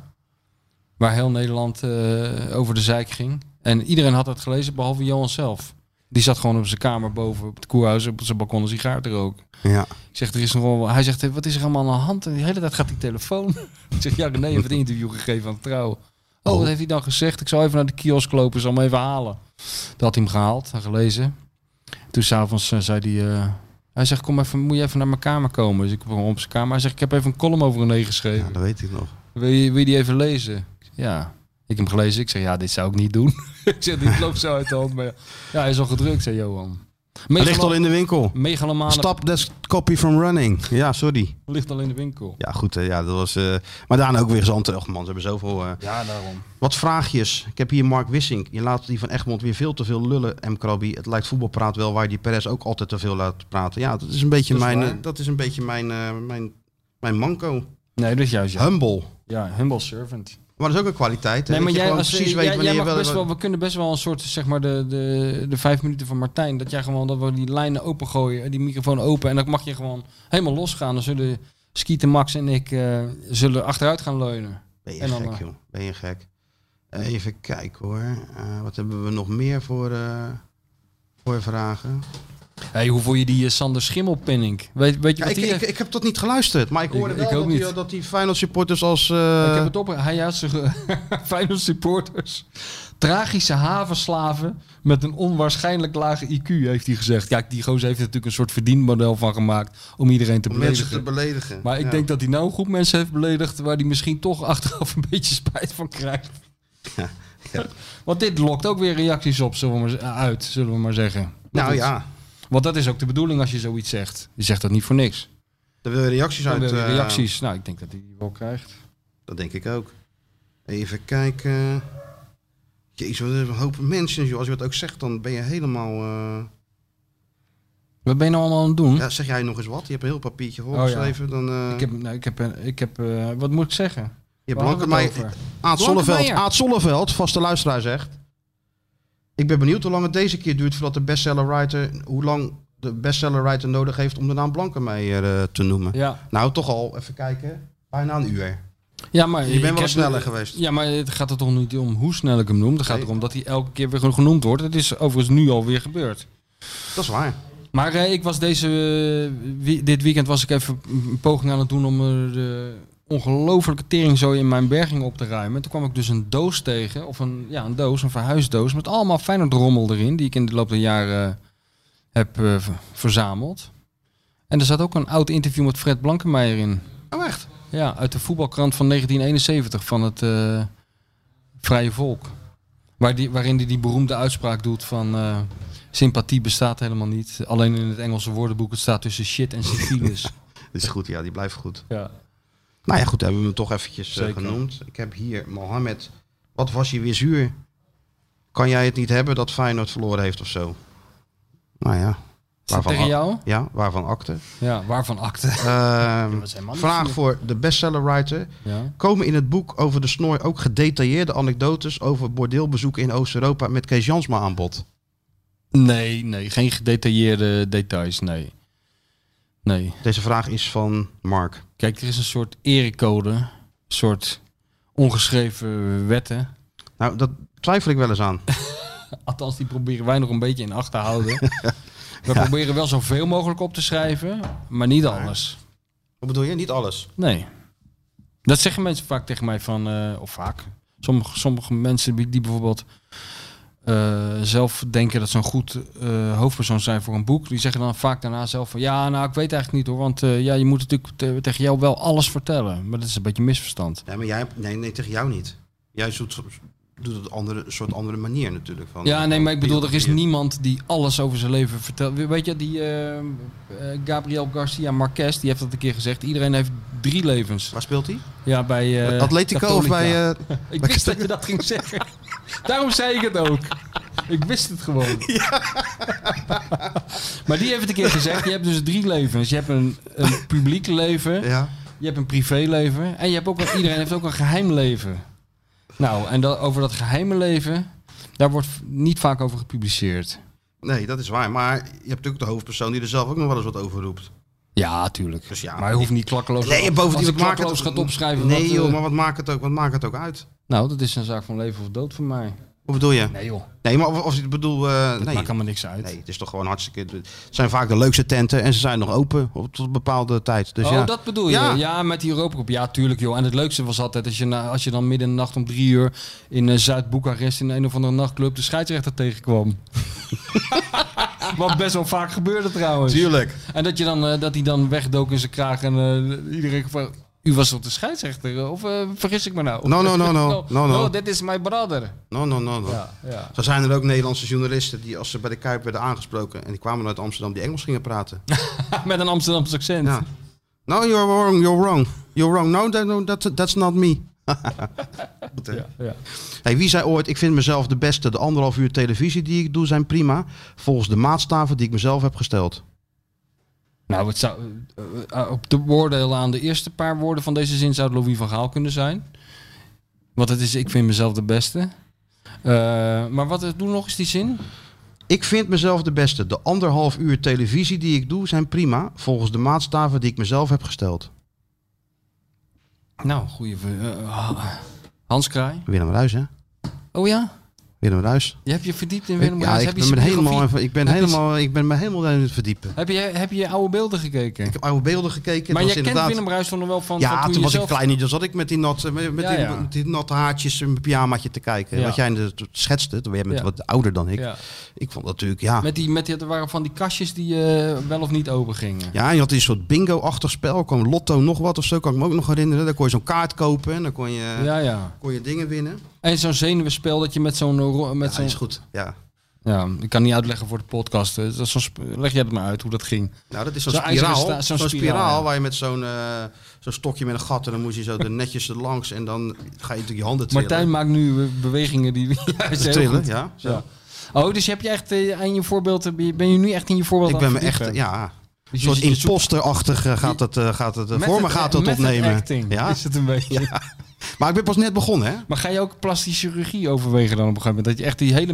[SPEAKER 3] Waar heel Nederland eh, over de zeik ging. En iedereen had dat gelezen, behalve Johan zelf. Die zat gewoon op zijn kamer boven op het koerhuis, op zijn balkon een sigaar te roken.
[SPEAKER 2] Ja.
[SPEAKER 3] Ik zeg, er is nog wel... Hij zegt, wat is er allemaal aan de hand? En de hele tijd gaat die telefoon. [laughs] Ik zeg, ja, René heeft het interview gegeven aan Trouw. Oh,
[SPEAKER 2] Oh.
[SPEAKER 3] wat heeft hij dan gezegd? Ik zal even naar de kiosk lopen, zal hem even halen. Dat had hij hem gehaald en gelezen. Toen s'avonds eh, zei hij... eh, hij zegt, kom even, moet je even naar mijn kamer komen? Dus ik kom op zijn kamer. Hij zegt, ik heb even een column over René
[SPEAKER 2] ja,
[SPEAKER 3] geschreven.
[SPEAKER 2] Nou, dat weet ik nog.
[SPEAKER 3] Wil je, wil je die even lezen? Ik zeg, Ja. Ik heb hem gelezen. Ik zeg, ja, dit zou ik niet doen. [laughs] ik zeg, dit loopt zo uit de hand. Maar ja, ja, hij is al gedrukt, zei Johan.
[SPEAKER 2] Hij ligt al in de winkel.
[SPEAKER 3] Megalomane
[SPEAKER 2] Stop that copy from running. Ja, sorry.
[SPEAKER 3] ligt al in de winkel.
[SPEAKER 2] Ja, goed. hè, Ja, dat was, eh, maar daarna ook weer zand. Och man, ze hebben zoveel... eh,
[SPEAKER 3] Ja, daarom.
[SPEAKER 2] Wat vraagjes. Ik heb hier Mark Wissing. Je laat die van Egmond weer veel te veel lullen, M. Krabi. Het lijkt voetbalpraat wel waar je die Perez ook altijd te veel laat praten. Ja, dat is een beetje
[SPEAKER 3] Dat is
[SPEAKER 2] mijn,
[SPEAKER 3] waar.
[SPEAKER 2] eh, dat is een beetje mijn, eh, mijn, mijn manco.
[SPEAKER 3] Nee, dat is juist ja.
[SPEAKER 2] Humble.
[SPEAKER 3] Ja, humble servant.
[SPEAKER 2] Maar dat is ook een kwaliteit. Hè?
[SPEAKER 3] Nee, maar
[SPEAKER 2] dat je
[SPEAKER 3] jij,
[SPEAKER 2] gewoon
[SPEAKER 3] als,
[SPEAKER 2] precies
[SPEAKER 3] jij,
[SPEAKER 2] weet
[SPEAKER 3] jij
[SPEAKER 2] wanneer je
[SPEAKER 3] mag
[SPEAKER 2] wel...
[SPEAKER 3] best wel, we kunnen best wel een soort, zeg maar, de, de, de vijf minuten van Martijn. Dat jij gewoon, dat we die lijnen opengooien, en die microfoon open. En dan mag je gewoon helemaal losgaan. Dan zullen Skieten, Max en ik eh, zullen achteruit gaan leunen.
[SPEAKER 2] Ben je
[SPEAKER 3] en dan,
[SPEAKER 2] gek,
[SPEAKER 3] eh,
[SPEAKER 2] joh. Ben je gek. Eh, Even kijken hoor. Eh, wat hebben we nog meer voor, eh, voor vragen?
[SPEAKER 3] Hey, hoe voel je die eh, Sander Schimmelpenning? Weet, weet je
[SPEAKER 2] Ja,
[SPEAKER 3] wat
[SPEAKER 2] ik,
[SPEAKER 3] die...
[SPEAKER 2] ik, ik heb dat niet geluisterd, maar ik
[SPEAKER 3] Ik-
[SPEAKER 2] hoorde
[SPEAKER 3] ik
[SPEAKER 2] wel
[SPEAKER 3] ook
[SPEAKER 2] dat, die, eh,
[SPEAKER 3] niet.
[SPEAKER 2] dat die Feyenoord supporters als... eh,
[SPEAKER 3] Ik heb het op. Hij juist zijn [laughs] Feyenoord supporters. Tragische havenslaven met een onwaarschijnlijk lage IQ, heeft hij gezegd. Ja, die gozer heeft er natuurlijk een soort verdienmodel van gemaakt om iedereen te
[SPEAKER 2] om mensen te
[SPEAKER 3] beledigen.
[SPEAKER 2] beledigen.
[SPEAKER 3] Maar ik
[SPEAKER 2] Ja.
[SPEAKER 3] denk dat hij nou een groep mensen heeft beledigd waar hij misschien toch achteraf [laughs] een beetje spijt van krijgt.
[SPEAKER 2] ja.
[SPEAKER 3] Want dit lokt ook weer reacties op, zullen we maar, z- uit, zullen we maar zeggen. Maar
[SPEAKER 2] Nou
[SPEAKER 3] goed.
[SPEAKER 2] ja,
[SPEAKER 3] Want dat is ook de bedoeling als je zoiets zegt. Je zegt dat niet voor niks.
[SPEAKER 2] er willen reacties
[SPEAKER 3] Dan
[SPEAKER 2] uit.
[SPEAKER 3] wil je
[SPEAKER 2] eh,
[SPEAKER 3] reacties. Nou, ik denk dat hij die wel krijgt.
[SPEAKER 2] Dat denk ik ook. Even kijken. Jezus, wat een hoop mensen. Joh. Als je dat ook zegt, dan ben je helemaal... eh,
[SPEAKER 3] Wat ben je nou allemaal aan het doen?
[SPEAKER 2] Ja, zeg jij nog eens wat? Je hebt een heel papiertje
[SPEAKER 3] Oh ja.
[SPEAKER 2] volgeschreven. Dan, eh,
[SPEAKER 3] Ik heb, nou, ik heb, eh, ik heb eh, wat moet ik zeggen?
[SPEAKER 2] je hebt
[SPEAKER 3] Waar hadden we het
[SPEAKER 2] Blankenmeijer-
[SPEAKER 3] over?
[SPEAKER 2] Aad Zonneveld,
[SPEAKER 3] Blankenmeijer.
[SPEAKER 2] Aad Zonneveld, vaste luisteraar zegt... Ik ben benieuwd hoe lang het deze keer duurt voordat de bestseller writer, hoe lang de bestseller writer nodig heeft om de naam Blankenmeijer eh, te noemen.
[SPEAKER 3] Ja,
[SPEAKER 2] Nou, toch al, even kijken, bijna een uur.
[SPEAKER 3] ja maar...
[SPEAKER 2] Je
[SPEAKER 3] ik
[SPEAKER 2] bent wel
[SPEAKER 3] heb-
[SPEAKER 2] sneller geweest.
[SPEAKER 3] Ja, maar het gaat er toch niet om hoe snel ik hem noem. Het gaat
[SPEAKER 2] Nee.
[SPEAKER 3] erom dat hij elke keer weer genoemd wordt. Het is overigens nu alweer gebeurd.
[SPEAKER 2] Dat is waar.
[SPEAKER 3] Maar eh, ik was deze, eh, wie- dit weekend was ik even een poging aan het doen om er de ongelofelijke teringzooi in mijn berging op te ruimen. Toen kwam ik dus een doos tegen, of een, ja, een doos, een verhuisdoos, met allemaal Feyenoord rommel erin, die ik in de loop der jaren eh, heb eh, ver- verzameld. En er zat ook een oud interview met Fred Blankenmeijer in.
[SPEAKER 2] Oh, echt?
[SPEAKER 3] Ja, uit de voetbalkrant van 1971 van het eh, Vrije Volk. Waar die, waarin hij die, beroemde uitspraak doet van eh, sympathie bestaat helemaal niet. Alleen in het Engelse woordenboek het staat tussen shit en syphilis.
[SPEAKER 2] Dat is goed, ja, die blijft goed.
[SPEAKER 3] [laughs] ja.
[SPEAKER 2] Nou ja, goed, hebben we hem toch eventjes eh,
[SPEAKER 3] Zeker.
[SPEAKER 2] genoemd. Ik heb hier Mohamed. Wat was je weer zuur? Kan jij het niet hebben dat Feyenoord verloren heeft of zo? Nou ja.
[SPEAKER 3] Is dat tegen
[SPEAKER 2] ac-
[SPEAKER 3] jou?
[SPEAKER 2] Ja, waarvan akte.
[SPEAKER 3] Ja, waarvan akte?
[SPEAKER 2] Ehm,
[SPEAKER 3] dat zijn mannen.
[SPEAKER 2] vraag voor de bestseller writer.
[SPEAKER 3] Ja.
[SPEAKER 2] Komen in het boek over de snor ook gedetailleerde anekdotes over bordeelbezoeken in Oost-Europa met Kees Jansma aan bod?
[SPEAKER 3] Nee, nee, geen gedetailleerde details, nee. Nee.
[SPEAKER 2] Deze vraag is van Mark.
[SPEAKER 3] Kijk, er is een soort erecode, een soort ongeschreven wetten.
[SPEAKER 2] Nou, dat twijfel ik wel eens aan.
[SPEAKER 3] Althans, die proberen wij nog een beetje in acht te houden. We proberen wel zoveel mogelijk op te schrijven, maar niet alles.
[SPEAKER 2] Wat bedoel je? Niet alles.
[SPEAKER 3] Nee. Dat zeggen mensen vaak tegen mij van, eh, of vaak. Sommige, sommige mensen die die bijvoorbeeld eh, zelf denken dat ze een goed eh, hoofdpersoon zijn voor een boek, die zeggen dan vaak daarna zelf van, ja, nou, ik weet eigenlijk niet hoor, want eh, ja, je moet natuurlijk te- tegen jou wel alles vertellen. Maar dat is een beetje een misverstand.
[SPEAKER 2] Nee, maar jij, hebt- nee, nee, tegen jou niet. Jij zoet, doet het andere, een soort andere manier natuurlijk. Van,
[SPEAKER 3] Ja, nee, maar ik bedoel, er is
[SPEAKER 2] biografieën.
[SPEAKER 3] niemand die alles over zijn leven vertelt. We- Weet je, die eh, eh, Gabriel Garcia Marquez, die heeft dat een keer gezegd. Iedereen heeft drie levens.
[SPEAKER 2] Waar speelt hij?
[SPEAKER 3] Ja, bij eh
[SPEAKER 2] Atletico of
[SPEAKER 3] Catholica.
[SPEAKER 2] bij... eh,
[SPEAKER 3] Ik wist dat je dat ging zeggen. Daarom zei ik het ook. Ik wist het
[SPEAKER 2] [laughs]
[SPEAKER 3] gewoon. maar die heeft het een keer gezegd. Je hebt dus drie levens. Je hebt een, een publiek leven.
[SPEAKER 2] eh, ja.
[SPEAKER 3] Je hebt een privéleven en je hebt ook een, iedereen heeft ook een geheim leven. Nou, en dat, over dat geheime leven, daar wordt v- niet vaak over gepubliceerd.
[SPEAKER 2] Nee, dat is waar. Maar je hebt natuurlijk de hoofdpersoon die er zelf ook nog wel eens wat over roept.
[SPEAKER 3] Ja, tuurlijk.
[SPEAKER 2] Dus ja,
[SPEAKER 3] maar je hoeft niet klakkeloos.
[SPEAKER 2] Nee,
[SPEAKER 3] als je
[SPEAKER 2] bovendien, wat maakt
[SPEAKER 3] klakkeloos
[SPEAKER 2] het...
[SPEAKER 3] gaat opschrijven.
[SPEAKER 2] Nee
[SPEAKER 3] wat, eh,
[SPEAKER 2] joh, maar wat maakt, het ook, wat maakt het ook uit?
[SPEAKER 3] Nou, dat is een zaak van leven of dood voor mij.
[SPEAKER 2] Wat bedoel je?
[SPEAKER 3] Nee joh,
[SPEAKER 2] Nee, maar of, of ik bedoel... eh,
[SPEAKER 3] dat
[SPEAKER 2] nee.
[SPEAKER 3] maakt helemaal niks uit.
[SPEAKER 2] nee, het is toch gewoon hartstikke... Het zijn vaak de leukste tenten en ze zijn nog open op, tot een bepaalde tijd. Dus
[SPEAKER 3] oh,
[SPEAKER 2] ja.
[SPEAKER 3] dat bedoel je?
[SPEAKER 2] Ja.
[SPEAKER 3] Ja, met die Europa Cup. Ja, tuurlijk joh. En het leukste was altijd als je, na- als je dan midden in de nacht om drie uur in eh, Zuid-Boekarest in een of andere nachtclub de scheidsrechter tegenkwam. [laughs] Wat best wel vaak gebeurde trouwens.
[SPEAKER 2] Tuurlijk.
[SPEAKER 3] En dat, je dan, eh, dat hij dan wegdook in zijn kraag en eh, iedereen gevraagd... U was op de scheidsrechter? eh, Of eh, vergis ik me nou?
[SPEAKER 2] No,
[SPEAKER 3] [laughs]
[SPEAKER 2] no, no, no. No, no.
[SPEAKER 3] dit is my brother.
[SPEAKER 2] No, no, no, no.
[SPEAKER 3] Ja, ja.
[SPEAKER 2] Zo zijn er ook Nederlandse journalisten die als ze bij de Kuip werden aangesproken... en die kwamen uit Amsterdam die Engels gingen
[SPEAKER 3] [laughs]
[SPEAKER 2] praten.
[SPEAKER 3] [laughs] Met een Amsterdamse accent.
[SPEAKER 2] Ja. No, you're wrong, you're wrong. You're wrong. No, that, no that, that's not me. Goed, hè?
[SPEAKER 3] Ja, ja.
[SPEAKER 2] Hey, wie zei ooit, ik vind mezelf de beste. De anderhalf uur televisie die ik doe zijn prima. Volgens de maatstaven die ik mezelf heb gesteld.
[SPEAKER 3] Nou, het zou, eh, eh, op de oordeel aan de eerste paar woorden van deze zin zou het Louis van Gaal kunnen zijn. Want het is, ik vind mezelf de beste. Eh, maar wat, doe nog eens die zin.
[SPEAKER 2] Ik vind mezelf de beste. De anderhalf uur televisie die ik doe zijn prima. Volgens de maatstaven die ik mezelf heb gesteld.
[SPEAKER 3] Nou, goeie... ver- eh, Hans Kraai.
[SPEAKER 2] Willem Ruijs, hè?
[SPEAKER 3] Oh ja?
[SPEAKER 2] Willem Ruijs.
[SPEAKER 3] Je hebt je verdiept in Willem Ruijs.
[SPEAKER 2] ja, ik
[SPEAKER 3] Heb
[SPEAKER 2] ben,
[SPEAKER 3] je zijn
[SPEAKER 2] me helemaal,
[SPEAKER 3] biografie-
[SPEAKER 2] even- ik ben,
[SPEAKER 3] Heb je
[SPEAKER 2] helemaal, ik ben me helemaal aan het verdiepen.
[SPEAKER 3] Heb je, heb je oude beelden gekeken?
[SPEAKER 2] Ik heb oude beelden gekeken.
[SPEAKER 3] maar
[SPEAKER 2] het was
[SPEAKER 3] jij kent
[SPEAKER 2] inderdaad...
[SPEAKER 3] Willem Bruis toch nog wel van, van
[SPEAKER 2] Ja,
[SPEAKER 3] toen,
[SPEAKER 2] toen
[SPEAKER 3] je
[SPEAKER 2] was
[SPEAKER 3] zelf...
[SPEAKER 2] ik klein, niet, dan zat ik met die natte, met, met
[SPEAKER 3] Ja,
[SPEAKER 2] die,
[SPEAKER 3] ja.
[SPEAKER 2] met die natte haartjes en mijn pyjamaatje te kijken.
[SPEAKER 3] Ja.
[SPEAKER 2] Wat jij net schetste, toen ben je bent
[SPEAKER 3] Ja.
[SPEAKER 2] wat ouder dan ik.
[SPEAKER 3] Ja.
[SPEAKER 2] Ik vond natuurlijk, ja.
[SPEAKER 3] Met die, met die, er waren van die kastjes die eh, wel of niet open gingen.
[SPEAKER 2] Ja, en je had een soort bingo-achtig spel. Kwam Lotto nog wat of zo, kan ik me ook nog herinneren. Daar kon je zo'n kaart kopen en dan kon je,
[SPEAKER 3] Ja, ja.
[SPEAKER 2] kon je dingen winnen.
[SPEAKER 3] En zo'n zenuwenspel dat je met zo'n... ro- Met
[SPEAKER 2] Ja,
[SPEAKER 3] zo'n
[SPEAKER 2] is goed. Ja.
[SPEAKER 3] ja, ik kan niet uitleggen voor de podcast. eh, dat is zo'n sp- Leg jij het maar uit hoe dat ging.
[SPEAKER 2] Nou, dat is zo'n
[SPEAKER 3] Zo'n ijzeren
[SPEAKER 2] spiraal.
[SPEAKER 3] sta-
[SPEAKER 2] zo'n
[SPEAKER 3] zo'n
[SPEAKER 2] spiraal,
[SPEAKER 3] spiraal, ja.
[SPEAKER 2] waar je met zo'n eh, zo'n stokje met een gat en dan moest je
[SPEAKER 3] [laughs]
[SPEAKER 2] zo er netjes langs en dan ga je natuurlijk je handen trillen.
[SPEAKER 3] Martijn maakt nu eh, bewegingen die... [laughs] Ja, is heel
[SPEAKER 2] trillen,
[SPEAKER 3] goed.
[SPEAKER 2] ja. Zo.
[SPEAKER 3] Ja. Oh, dus heb je echt eh, aan je voorbeeld... ben je- Ben je nu echt in je voorbeeld
[SPEAKER 2] Ik
[SPEAKER 3] aan
[SPEAKER 2] ben me
[SPEAKER 3] het
[SPEAKER 2] echt,
[SPEAKER 3] verdiepen?
[SPEAKER 2] ja,
[SPEAKER 3] Dus
[SPEAKER 2] een
[SPEAKER 3] je-
[SPEAKER 2] soort
[SPEAKER 3] je zoekt-
[SPEAKER 2] imposterachtig eh, gaat het, eh, gaat het, eh,
[SPEAKER 3] met
[SPEAKER 2] voor me
[SPEAKER 3] het-
[SPEAKER 2] gaat het
[SPEAKER 3] met
[SPEAKER 2] opnemen.
[SPEAKER 3] acting
[SPEAKER 2] ja,
[SPEAKER 3] is het een beetje.
[SPEAKER 2] Maar ik ben pas net begonnen, hè?
[SPEAKER 3] Maar ga je ook plastische chirurgie overwegen dan op een gegeven moment? Dat je echt die hele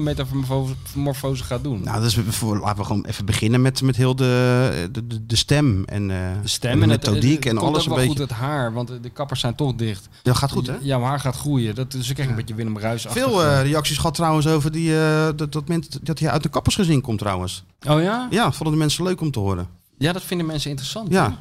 [SPEAKER 3] metamorfose gaat doen?
[SPEAKER 2] Nou, dus we- voor- laten we gewoon even beginnen met, met heel de, de, de- de stem en eh,
[SPEAKER 3] de stem en het-
[SPEAKER 2] methodiek
[SPEAKER 3] het-
[SPEAKER 2] en
[SPEAKER 3] het komt
[SPEAKER 2] alles
[SPEAKER 3] ook
[SPEAKER 2] een
[SPEAKER 3] wel
[SPEAKER 2] beetje.
[SPEAKER 3] goed het haar, want de kappers zijn toch dicht.
[SPEAKER 2] Dat gaat goed, hè?
[SPEAKER 3] Ja, mijn haar gaat groeien. Dat, dus ik krijg een beetje Willem Ruijs
[SPEAKER 2] Veel eh, reacties gehad trouwens over die, eh, dat, dat, men, dat hij uit de kappersgezin komt trouwens.
[SPEAKER 3] Oh ja?
[SPEAKER 2] eh, Ja, vonden de mensen leuk om te horen.
[SPEAKER 3] Ja, dat vinden mensen interessant.
[SPEAKER 2] Ja.
[SPEAKER 3] hè?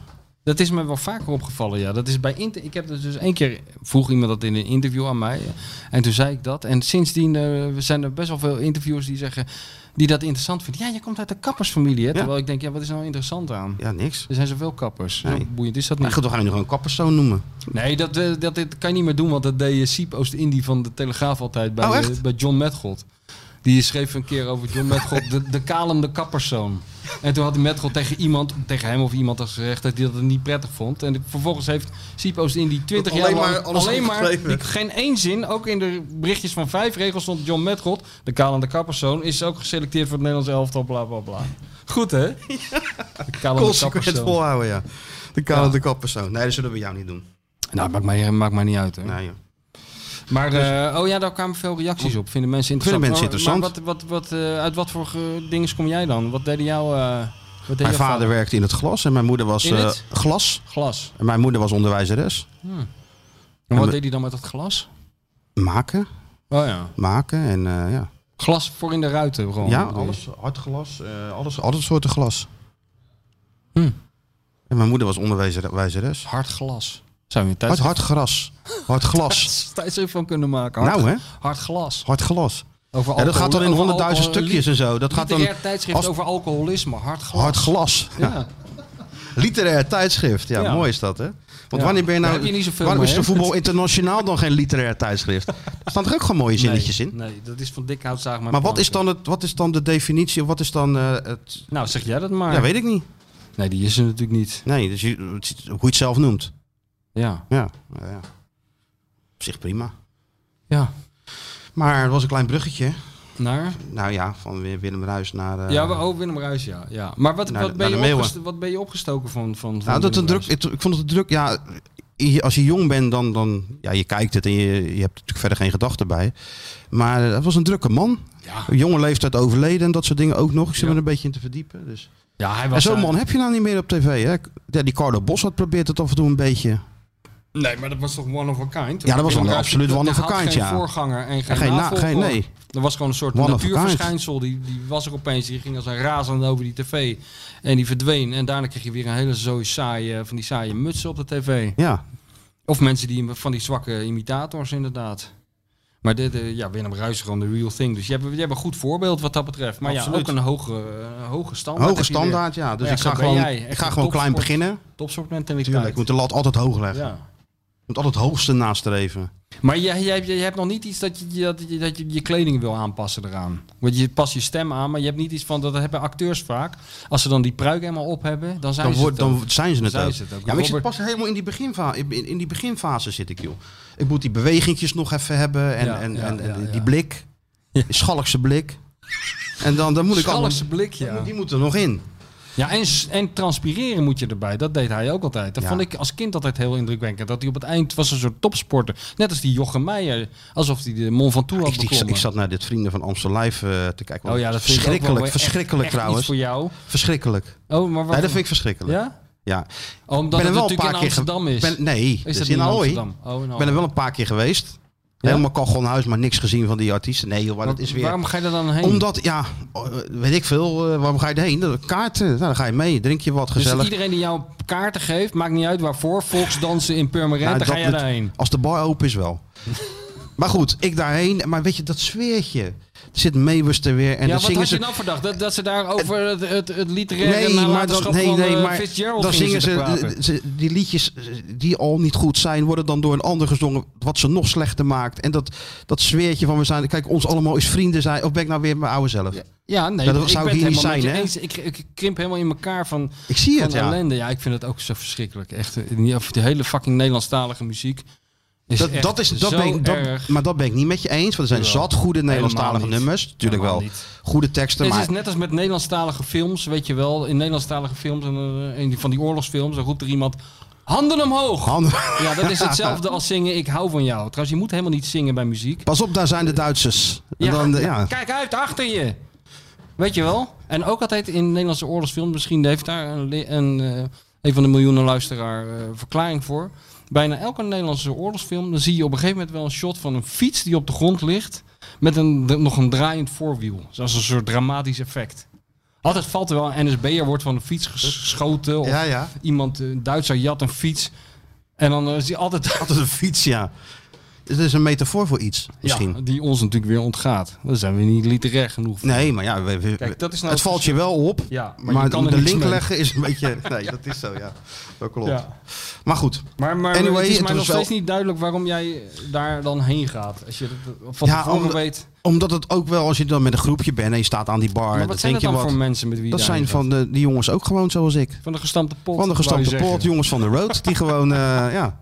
[SPEAKER 3] Dat is me wel vaker opgevallen, ja. Dat is bij inter ik heb dat dus één keer, vroeg iemand dat in een interview aan mij. eh, En toen zei ik dat. En sindsdien eh, zijn er best wel veel interviewers die zeggen, die dat interessant vinden. Ja, je komt uit de kappersfamilie, hè.
[SPEAKER 2] Ja.
[SPEAKER 3] Terwijl ik denk, ja, wat is nou interessant aan?
[SPEAKER 2] Ja, niks.
[SPEAKER 3] Er zijn zoveel kappers.
[SPEAKER 2] Nee.
[SPEAKER 3] Zo boeiend is dat niet.
[SPEAKER 2] Maar goed, we gaan je nog een kapperszoon noemen.
[SPEAKER 3] Nee, dat, eh, dat, dit kan je niet meer doen, want dat deed eh, Siep Oost-Indie van de Telegraaf altijd bij,
[SPEAKER 2] Oh,
[SPEAKER 3] eh,
[SPEAKER 2] echt?
[SPEAKER 3] bij John Metgold. Die schreef een keer over John Metgold, de, de kalem de kapperszoon. En toen had Metgold tegen iemand, tegen hem of iemand als gezegd dat hij dat niet prettig vond. En vervolgens heeft Siep Oost-Indie 20
[SPEAKER 2] Alleen
[SPEAKER 3] jaar lang
[SPEAKER 2] maar alles
[SPEAKER 3] alleen maar
[SPEAKER 2] opgeschreven.
[SPEAKER 3] die- geen één zin, ook in de berichtjes van vijf regels stond John Metgold, de kalem de kapperszoon, is ook geselecteerd voor het Nederlands elftal, bla bla bla. Goed
[SPEAKER 2] [laughs]
[SPEAKER 3] hè? De kalem de
[SPEAKER 2] Consequent
[SPEAKER 3] kapperszoon.
[SPEAKER 2] volhouden, ja. De kale
[SPEAKER 3] Ja.
[SPEAKER 2] de kapperszoon. Nee, dat zullen we jou niet doen.
[SPEAKER 3] Nou, maakt mij, maakt mij niet uit hoor.
[SPEAKER 2] Nee, joh.
[SPEAKER 3] Maar, eh, oh ja, daar kwamen veel reacties op. Vinden mensen
[SPEAKER 2] Dus- Vinden mensen
[SPEAKER 3] interessant. Maar-
[SPEAKER 2] interessant.
[SPEAKER 3] Maar, wat, wat, wat, eh, uit wat voor ge- dingen kom jij dan? Wat deden jouw... eh, wat deed
[SPEAKER 2] Mijn
[SPEAKER 3] jouw
[SPEAKER 2] vader werkte in het glas en mijn moeder was
[SPEAKER 3] In
[SPEAKER 2] eh,
[SPEAKER 3] het?
[SPEAKER 2] glas.
[SPEAKER 3] Glas.
[SPEAKER 2] En mijn moeder was onderwijzeres.
[SPEAKER 3] En wat
[SPEAKER 2] we-
[SPEAKER 3] deed hij dan met dat glas?
[SPEAKER 2] Maken,
[SPEAKER 3] Oh ja.
[SPEAKER 2] maken en eh, ja.
[SPEAKER 3] Glas voor in de ruiten gewoon.
[SPEAKER 2] ja,
[SPEAKER 3] bedoel je?
[SPEAKER 2] alles. Hard glas, eh, alles, alle soorten glas.
[SPEAKER 3] Hm.
[SPEAKER 2] En mijn moeder was onderwijzeres.
[SPEAKER 3] Hard glas. Zou je een
[SPEAKER 2] Hard,
[SPEAKER 3] tijdschrift-
[SPEAKER 2] hard gras. Hard
[SPEAKER 3] [laughs]
[SPEAKER 2] glas.
[SPEAKER 3] tijdschrift van kunnen maken? Hard,
[SPEAKER 2] Nou hè,
[SPEAKER 3] Hard glas.
[SPEAKER 2] hard glas.
[SPEAKER 3] Over
[SPEAKER 2] Ja, dat gaat dan in honderdduizend stukjes en zo. Dat
[SPEAKER 3] Het gaat
[SPEAKER 2] gaat dan
[SPEAKER 3] tijdschrift
[SPEAKER 2] als-
[SPEAKER 3] over alcoholisme. Hard glas.
[SPEAKER 2] hard glas.
[SPEAKER 3] Ja.
[SPEAKER 2] [laughs] Literair tijdschrift. Ja,
[SPEAKER 3] Ja.
[SPEAKER 2] mooi is dat, hè? Want
[SPEAKER 3] Ja.
[SPEAKER 2] wanneer ben je
[SPEAKER 3] Daar
[SPEAKER 2] nou...
[SPEAKER 3] heb je niet zoveel
[SPEAKER 2] waarom
[SPEAKER 3] mee,
[SPEAKER 2] is de
[SPEAKER 3] hè?
[SPEAKER 2] voetbal internationaal dan geen literair
[SPEAKER 3] [laughs]
[SPEAKER 2] tijdschrift? Er staan er ook gewoon mooie zinnetjes
[SPEAKER 3] nee,
[SPEAKER 2] in.
[SPEAKER 3] Nee, dat is van dik hout zagen
[SPEAKER 2] Maar wat is, dan het, wat is dan de definitie? of Wat is dan eh, het...
[SPEAKER 3] Nou, zeg jij dat maar.
[SPEAKER 2] Ja, weet ik niet.
[SPEAKER 3] Nee, die is er natuurlijk niet.
[SPEAKER 2] Nee, dus je, het is hoe je het zelf noemt.
[SPEAKER 3] Ja.
[SPEAKER 2] Ja, nou ja. Op zich prima.
[SPEAKER 3] Ja.
[SPEAKER 2] Maar het was een klein bruggetje.
[SPEAKER 3] Naar?
[SPEAKER 2] Nou ja, van Wi- Willem Ruijs naar... eh,
[SPEAKER 3] ja, we- oh, Willem Ruijs, ja. ja. Maar wat,
[SPEAKER 2] Naar de-
[SPEAKER 3] wat, ben
[SPEAKER 2] naar de
[SPEAKER 3] je
[SPEAKER 2] Meeuwen.
[SPEAKER 3] opgesto- wat ben je opgestoken van, van, van
[SPEAKER 2] Nou, dat een
[SPEAKER 3] Willem
[SPEAKER 2] druk,
[SPEAKER 3] Ruijs?
[SPEAKER 2] ik, ik vond het een druk. Ja, je- als je jong bent, dan, dan ja, je kijkt het en je, je hebt er natuurlijk verder geen gedachten bij. Maar eh, het was een drukke man.
[SPEAKER 3] Ja.
[SPEAKER 2] Op Jonge leeftijd overleden en dat soort dingen ook nog. Ik zit
[SPEAKER 3] Ja.
[SPEAKER 2] me er een beetje in te verdiepen. Dus.
[SPEAKER 3] Ja, hij
[SPEAKER 2] En
[SPEAKER 3] was...
[SPEAKER 2] zo'n
[SPEAKER 3] eh,
[SPEAKER 2] man heb je nou niet meer op tv. Hè? Ja, die Carlo Bos had probeert het af en toe een beetje.
[SPEAKER 3] Nee, maar dat was toch one of a kind?
[SPEAKER 2] Ja, dat was
[SPEAKER 3] Willem
[SPEAKER 2] wel
[SPEAKER 3] Ruijs,
[SPEAKER 2] absoluut
[SPEAKER 3] die-
[SPEAKER 2] one
[SPEAKER 3] die
[SPEAKER 2] of a
[SPEAKER 3] had
[SPEAKER 2] kind,
[SPEAKER 3] geen
[SPEAKER 2] ja.
[SPEAKER 3] voorganger en geen,
[SPEAKER 2] En geen na-
[SPEAKER 3] navolger.
[SPEAKER 2] geen- nee.
[SPEAKER 3] Dat was gewoon een soort
[SPEAKER 2] One of a kind.
[SPEAKER 3] natuurverschijnsel. Die, die was er opeens. Die ging als een razende over die tv. En die verdween. En daarna kreeg je weer een hele zooi saaie, van die saaie mutsen op de tv.
[SPEAKER 2] Ja,
[SPEAKER 3] Of mensen die, van die zwakke imitators, inderdaad. Maar dit, eh, ja, Willem Ruijs is gewoon de real thing. Dus je hebt, je hebt een goed voorbeeld wat dat betreft. Maar
[SPEAKER 2] Absoluut.
[SPEAKER 3] ja, ook een hoge, eh, hoge standaard.
[SPEAKER 2] hoge
[SPEAKER 3] heb je weer.
[SPEAKER 2] standaard. Ja. Dus
[SPEAKER 3] Ja,
[SPEAKER 2] ik
[SPEAKER 3] zo
[SPEAKER 2] ga
[SPEAKER 3] ben
[SPEAKER 2] gewoon,
[SPEAKER 3] jij.
[SPEAKER 2] ik
[SPEAKER 3] Echt
[SPEAKER 2] ga
[SPEAKER 3] een
[SPEAKER 2] gewoon klein
[SPEAKER 3] topsport-
[SPEAKER 2] beginnen.
[SPEAKER 3] Topsoortmentaliteit.
[SPEAKER 2] Tuurlijk, ik moet de lat altijd hoog leggen.
[SPEAKER 3] Ja.
[SPEAKER 2] Ik moet altijd het hoogste nastreven.
[SPEAKER 3] Maar je, je, hebt- je hebt nog niet iets dat je je- dat je, dat je je kleding wil aanpassen eraan. Want je past je stem aan, maar je hebt niet iets van... Dat hebben acteurs vaak. Als ze dan die pruik helemaal op hebben, dan zijn
[SPEAKER 2] Dan,
[SPEAKER 3] ze
[SPEAKER 2] wordt,
[SPEAKER 3] het ook.
[SPEAKER 2] dan zijn ze het
[SPEAKER 3] Zijn
[SPEAKER 2] ook.
[SPEAKER 3] ze het ook.
[SPEAKER 2] Ja, maar ik zit
[SPEAKER 3] Robert-
[SPEAKER 2] pas helemaal in die, beginfase, in, in die beginfase zit ik, joh. Ik moet die bewegingjes nog even hebben en,
[SPEAKER 3] Ja,
[SPEAKER 2] en,
[SPEAKER 3] ja,
[SPEAKER 2] en, en
[SPEAKER 3] ja,
[SPEAKER 2] die
[SPEAKER 3] ja.
[SPEAKER 2] blik. Die Schalkse blik. En dan, dan moet ik allemaal...
[SPEAKER 3] Schalkse blik, ja.
[SPEAKER 2] Die moet er nog in.
[SPEAKER 3] Ja, en, s- en transpireren moet je erbij. Dat deed hij ook altijd. Dat
[SPEAKER 2] Ja.
[SPEAKER 3] vond ik als kind altijd heel indrukwekkend. Dat hij op het eind was een soort topsporter. Net als die Jochem Meijer. Alsof hij de Mont Ventoux had
[SPEAKER 2] Ah, Ik, ik,
[SPEAKER 3] beklommen.
[SPEAKER 2] ik zat naar dit Vrienden van Amstel Live eh, te kijken.
[SPEAKER 3] Oh ja, dat vind ik ook
[SPEAKER 2] verschrikkelijk,
[SPEAKER 3] wel echt-
[SPEAKER 2] verschrikkelijk
[SPEAKER 3] echt
[SPEAKER 2] trouwens.
[SPEAKER 3] iets voor jou.
[SPEAKER 2] Verschrikkelijk.
[SPEAKER 3] Oh, maar wat...
[SPEAKER 2] Nee, dat vind ik verschrikkelijk. Ja?
[SPEAKER 3] Ja? Oh, Omdat
[SPEAKER 2] ben
[SPEAKER 3] het
[SPEAKER 2] er wel een
[SPEAKER 3] natuurlijk
[SPEAKER 2] paar
[SPEAKER 3] in
[SPEAKER 2] keer... ge-
[SPEAKER 3] Amsterdam is.
[SPEAKER 2] Ben, nee, dat
[SPEAKER 3] is
[SPEAKER 2] is
[SPEAKER 3] dat
[SPEAKER 2] in
[SPEAKER 3] niet in
[SPEAKER 2] Ahoy.
[SPEAKER 3] Amsterdam? Oh, in
[SPEAKER 2] Ik
[SPEAKER 3] Ahoy.
[SPEAKER 2] ben er wel een paar keer geweest.
[SPEAKER 3] Ja?
[SPEAKER 2] Helemaal kachel huis, maar niks gezien van die artiesten. Nee joh, maar dat is weer...
[SPEAKER 3] Waarom ga je er dan heen?
[SPEAKER 2] Omdat, ja, eh, weet ik veel, eh, waarom ga je erheen? De Kaarten, nou, dan ga je mee, drink je wat
[SPEAKER 3] Dus
[SPEAKER 2] gezellig.
[SPEAKER 3] iedereen die jou kaarten geeft, maakt niet uit waarvoor. Volksdansen in Purmerend,
[SPEAKER 2] Nou,
[SPEAKER 3] daar ga
[SPEAKER 2] dat
[SPEAKER 3] je
[SPEAKER 2] met-
[SPEAKER 3] daarheen.
[SPEAKER 2] Als de bar open is
[SPEAKER 3] [laughs]
[SPEAKER 2] wel. maar goed, ik daarheen, maar weet je, dat sfeertje. Er zit Meeuwis er weer en
[SPEAKER 3] ja,
[SPEAKER 2] dan
[SPEAKER 3] wat
[SPEAKER 2] zingen
[SPEAKER 3] had je
[SPEAKER 2] ze...
[SPEAKER 3] nou verdacht? Dat, dat ze daar over het, het, het literaire
[SPEAKER 2] Nee, maar dan,
[SPEAKER 3] nalatenschap
[SPEAKER 2] nee,
[SPEAKER 3] van
[SPEAKER 2] nee,
[SPEAKER 3] eh,
[SPEAKER 2] maar
[SPEAKER 3] Fitzgerald
[SPEAKER 2] dan
[SPEAKER 3] gingen
[SPEAKER 2] zingen
[SPEAKER 3] zitten
[SPEAKER 2] ze,
[SPEAKER 3] praten.
[SPEAKER 2] ze- die liedjes eh, die al niet goed zijn, worden dan door een ander gezongen, wat ze nog slechter maakt. En dat, dat sfeertje van we zijn, kijk, ons allemaal is vrienden zijn, of ben ik nou weer mijn oude zelf?
[SPEAKER 3] Ja, nee,
[SPEAKER 2] Ja, dat
[SPEAKER 3] ik
[SPEAKER 2] zou
[SPEAKER 3] ben
[SPEAKER 2] hier
[SPEAKER 3] het
[SPEAKER 2] niet
[SPEAKER 3] helemaal met
[SPEAKER 2] zijn,
[SPEAKER 3] je
[SPEAKER 2] hè?
[SPEAKER 3] eens. Ik, ik krimp helemaal in elkaar van,
[SPEAKER 2] Ik zie
[SPEAKER 3] van
[SPEAKER 2] het, ja.
[SPEAKER 3] ellende. Ja, ik vind het ook zo verschrikkelijk. Echt, eh, niet- of de hele fucking Nederlandstalige muziek is
[SPEAKER 2] Dat,
[SPEAKER 3] echt
[SPEAKER 2] dat is, dat
[SPEAKER 3] zo
[SPEAKER 2] ben ik, dat-
[SPEAKER 3] erg.
[SPEAKER 2] maar dat ben ik niet met je eens. Want er zijn
[SPEAKER 3] Jawel.
[SPEAKER 2] zat goede Nederlandstalige
[SPEAKER 3] Helemaal niet.
[SPEAKER 2] nummers. Natuurlijk wel.
[SPEAKER 3] Helemaal niet.
[SPEAKER 2] Goede teksten.
[SPEAKER 3] Het
[SPEAKER 2] Maar
[SPEAKER 3] is net als met Nederlandstalige films, weet je wel. In Nederlandstalige films en eh, in die- van die oorlogsfilms, dan roept er iemand... Handen omhoog.
[SPEAKER 2] Handen- [laughs]
[SPEAKER 3] Ja, dat is hetzelfde als zingen ik hou van jou. Trouwens, je moet helemaal niet zingen bij muziek.
[SPEAKER 2] Pas op, daar zijn de Duitsers. En dan, eh, ja.
[SPEAKER 3] Kijk uit, achter je. Weet je wel? En ook altijd in Nederlandse oorlogsfilms, misschien heeft daar een, li- een, eh, een van de miljoenen luisteraar eh, verklaring voor. Bijna elke Nederlandse oorlogsfilm, dan zie je op een gegeven moment wel een shot van een fiets die op de grond ligt. Met een, d- nog een draaiend voorwiel. Zoals een soort dramatisch effect. Altijd valt er wel een NSB'er wordt van de fiets geschoten. Of
[SPEAKER 2] ja, ja.
[SPEAKER 3] iemand, een Duitser, jat een fiets. En dan eh, is hij altijd
[SPEAKER 2] Altijd een fiets, ja. Het is een metafoor voor iets, misschien.
[SPEAKER 3] Ja, die ons natuurlijk weer ontgaat. Daar zijn we niet literair genoeg voor.
[SPEAKER 2] Nee, maar ja, we- we-
[SPEAKER 3] Kijk, dat is nou
[SPEAKER 2] het
[SPEAKER 3] het
[SPEAKER 2] valt je wel op.
[SPEAKER 3] Ja,
[SPEAKER 2] Maar,
[SPEAKER 3] je kan er
[SPEAKER 2] de
[SPEAKER 3] niks
[SPEAKER 2] link
[SPEAKER 3] mee.
[SPEAKER 2] leggen is een
[SPEAKER 3] [laughs]
[SPEAKER 2] beetje... Nee, dat is zo, ja. Dat klopt.
[SPEAKER 3] Ja.
[SPEAKER 2] Maar goed.
[SPEAKER 3] Maar, maar
[SPEAKER 2] Anyway,
[SPEAKER 3] het is
[SPEAKER 2] het
[SPEAKER 3] mij nog
[SPEAKER 2] was wel-
[SPEAKER 3] steeds niet duidelijk waarom jij daar dan heen gaat. Als je dat van
[SPEAKER 2] Ja,
[SPEAKER 3] tevoren
[SPEAKER 2] omdat-
[SPEAKER 3] weet.
[SPEAKER 2] Omdat het ook wel, als je dan met een groepje bent en je staat aan die bar...
[SPEAKER 3] Maar
[SPEAKER 2] dan
[SPEAKER 3] wat zijn
[SPEAKER 2] denk
[SPEAKER 3] dat dan
[SPEAKER 2] je
[SPEAKER 3] voor
[SPEAKER 2] wat.
[SPEAKER 3] mensen met wie je
[SPEAKER 2] Dat
[SPEAKER 3] daarheen
[SPEAKER 2] zijn
[SPEAKER 3] gaat?
[SPEAKER 2] van de, die jongens ook gewoon zoals ik.
[SPEAKER 3] Van de gestampte pot.
[SPEAKER 2] Van de gestampte
[SPEAKER 3] wou je
[SPEAKER 2] pot,
[SPEAKER 3] zeggen.
[SPEAKER 2] jongens van de road, die gewoon, eh,
[SPEAKER 3] [laughs]
[SPEAKER 2] ja.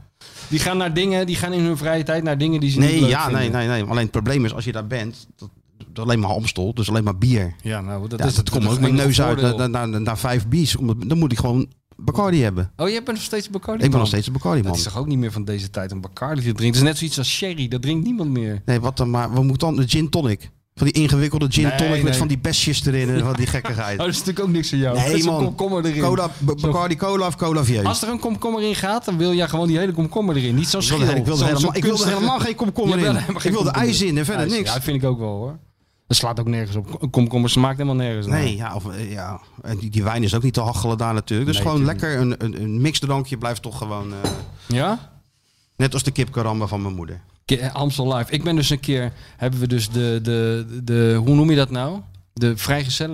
[SPEAKER 3] Die gaan naar dingen, die gaan in hun vrije tijd naar dingen die ze niet
[SPEAKER 2] Nee,
[SPEAKER 3] leuk
[SPEAKER 2] ja,
[SPEAKER 3] vinden.
[SPEAKER 2] nee, nee, nee. Alleen het probleem is, als je daar bent, dat, dat alleen maar Amstel, dus alleen maar bier.
[SPEAKER 3] Ja, nou, dat,
[SPEAKER 2] Ja,
[SPEAKER 3] is
[SPEAKER 2] dat, komt
[SPEAKER 3] is
[SPEAKER 2] ook mijn
[SPEAKER 3] enige
[SPEAKER 2] neus uit
[SPEAKER 3] voordeel.
[SPEAKER 2] na, na, na, na vijf bies. Om- Dan moet ik gewoon Bacardi hebben.
[SPEAKER 3] Oh, jij bent nog steeds Bacardi
[SPEAKER 2] Ik ben
[SPEAKER 3] man.
[SPEAKER 2] nog steeds een Bacardi
[SPEAKER 3] Dat
[SPEAKER 2] man.
[SPEAKER 3] is toch ook niet meer van deze tijd om Bacardi te drinken. Het is net zoiets als sherry, dat drinkt niemand meer. Oh,
[SPEAKER 2] Nee, wat dan maar. We moeten dan de gin tonic. Van die ingewikkelde gin
[SPEAKER 3] Nee,
[SPEAKER 2] tonic met
[SPEAKER 3] nee.
[SPEAKER 2] van die besjes erin en van die gekkigheid.
[SPEAKER 3] [laughs] Oh, dat is natuurlijk ook niks voor jou.
[SPEAKER 2] Nee
[SPEAKER 3] Met zo'n
[SPEAKER 2] man,
[SPEAKER 3] komkommer erin.
[SPEAKER 2] cola, B- Bacardi cola of cola
[SPEAKER 3] Als
[SPEAKER 2] vieus.
[SPEAKER 3] er een komkommer in gaat, dan wil jij gewoon die hele komkommer erin. Niet zo'n
[SPEAKER 2] Ik
[SPEAKER 3] schil.
[SPEAKER 2] wilde, ik wilde
[SPEAKER 3] Zo'n-
[SPEAKER 2] helemaal,
[SPEAKER 3] zo'n
[SPEAKER 2] ik wilde
[SPEAKER 3] kunstige-
[SPEAKER 2] helemaal geen komkommer
[SPEAKER 3] Je wilde
[SPEAKER 2] in.
[SPEAKER 3] helemaal geen
[SPEAKER 2] Ik wilde
[SPEAKER 3] komkommer
[SPEAKER 2] ijs in en verder
[SPEAKER 3] Ijs,
[SPEAKER 2] niks.
[SPEAKER 3] Ja, vind ik ook wel hoor. Dat slaat ook nergens op. Een komkommer smaakt helemaal nergens naar.
[SPEAKER 2] Nee, ja, of, eh, ja. En die, die wijn is ook niet te hachelen daar natuurlijk. Dus
[SPEAKER 3] Nee,
[SPEAKER 2] gewoon
[SPEAKER 3] natuurlijk
[SPEAKER 2] lekker een, een, een mixdrankje blijft toch gewoon... eh,
[SPEAKER 3] Ja?
[SPEAKER 2] net als de kipkaramba van mijn moeder.
[SPEAKER 3] Ke- Amstel Live. Ik ben dus een keer, hebben we dus de, de, de hoe noem je dat nou? De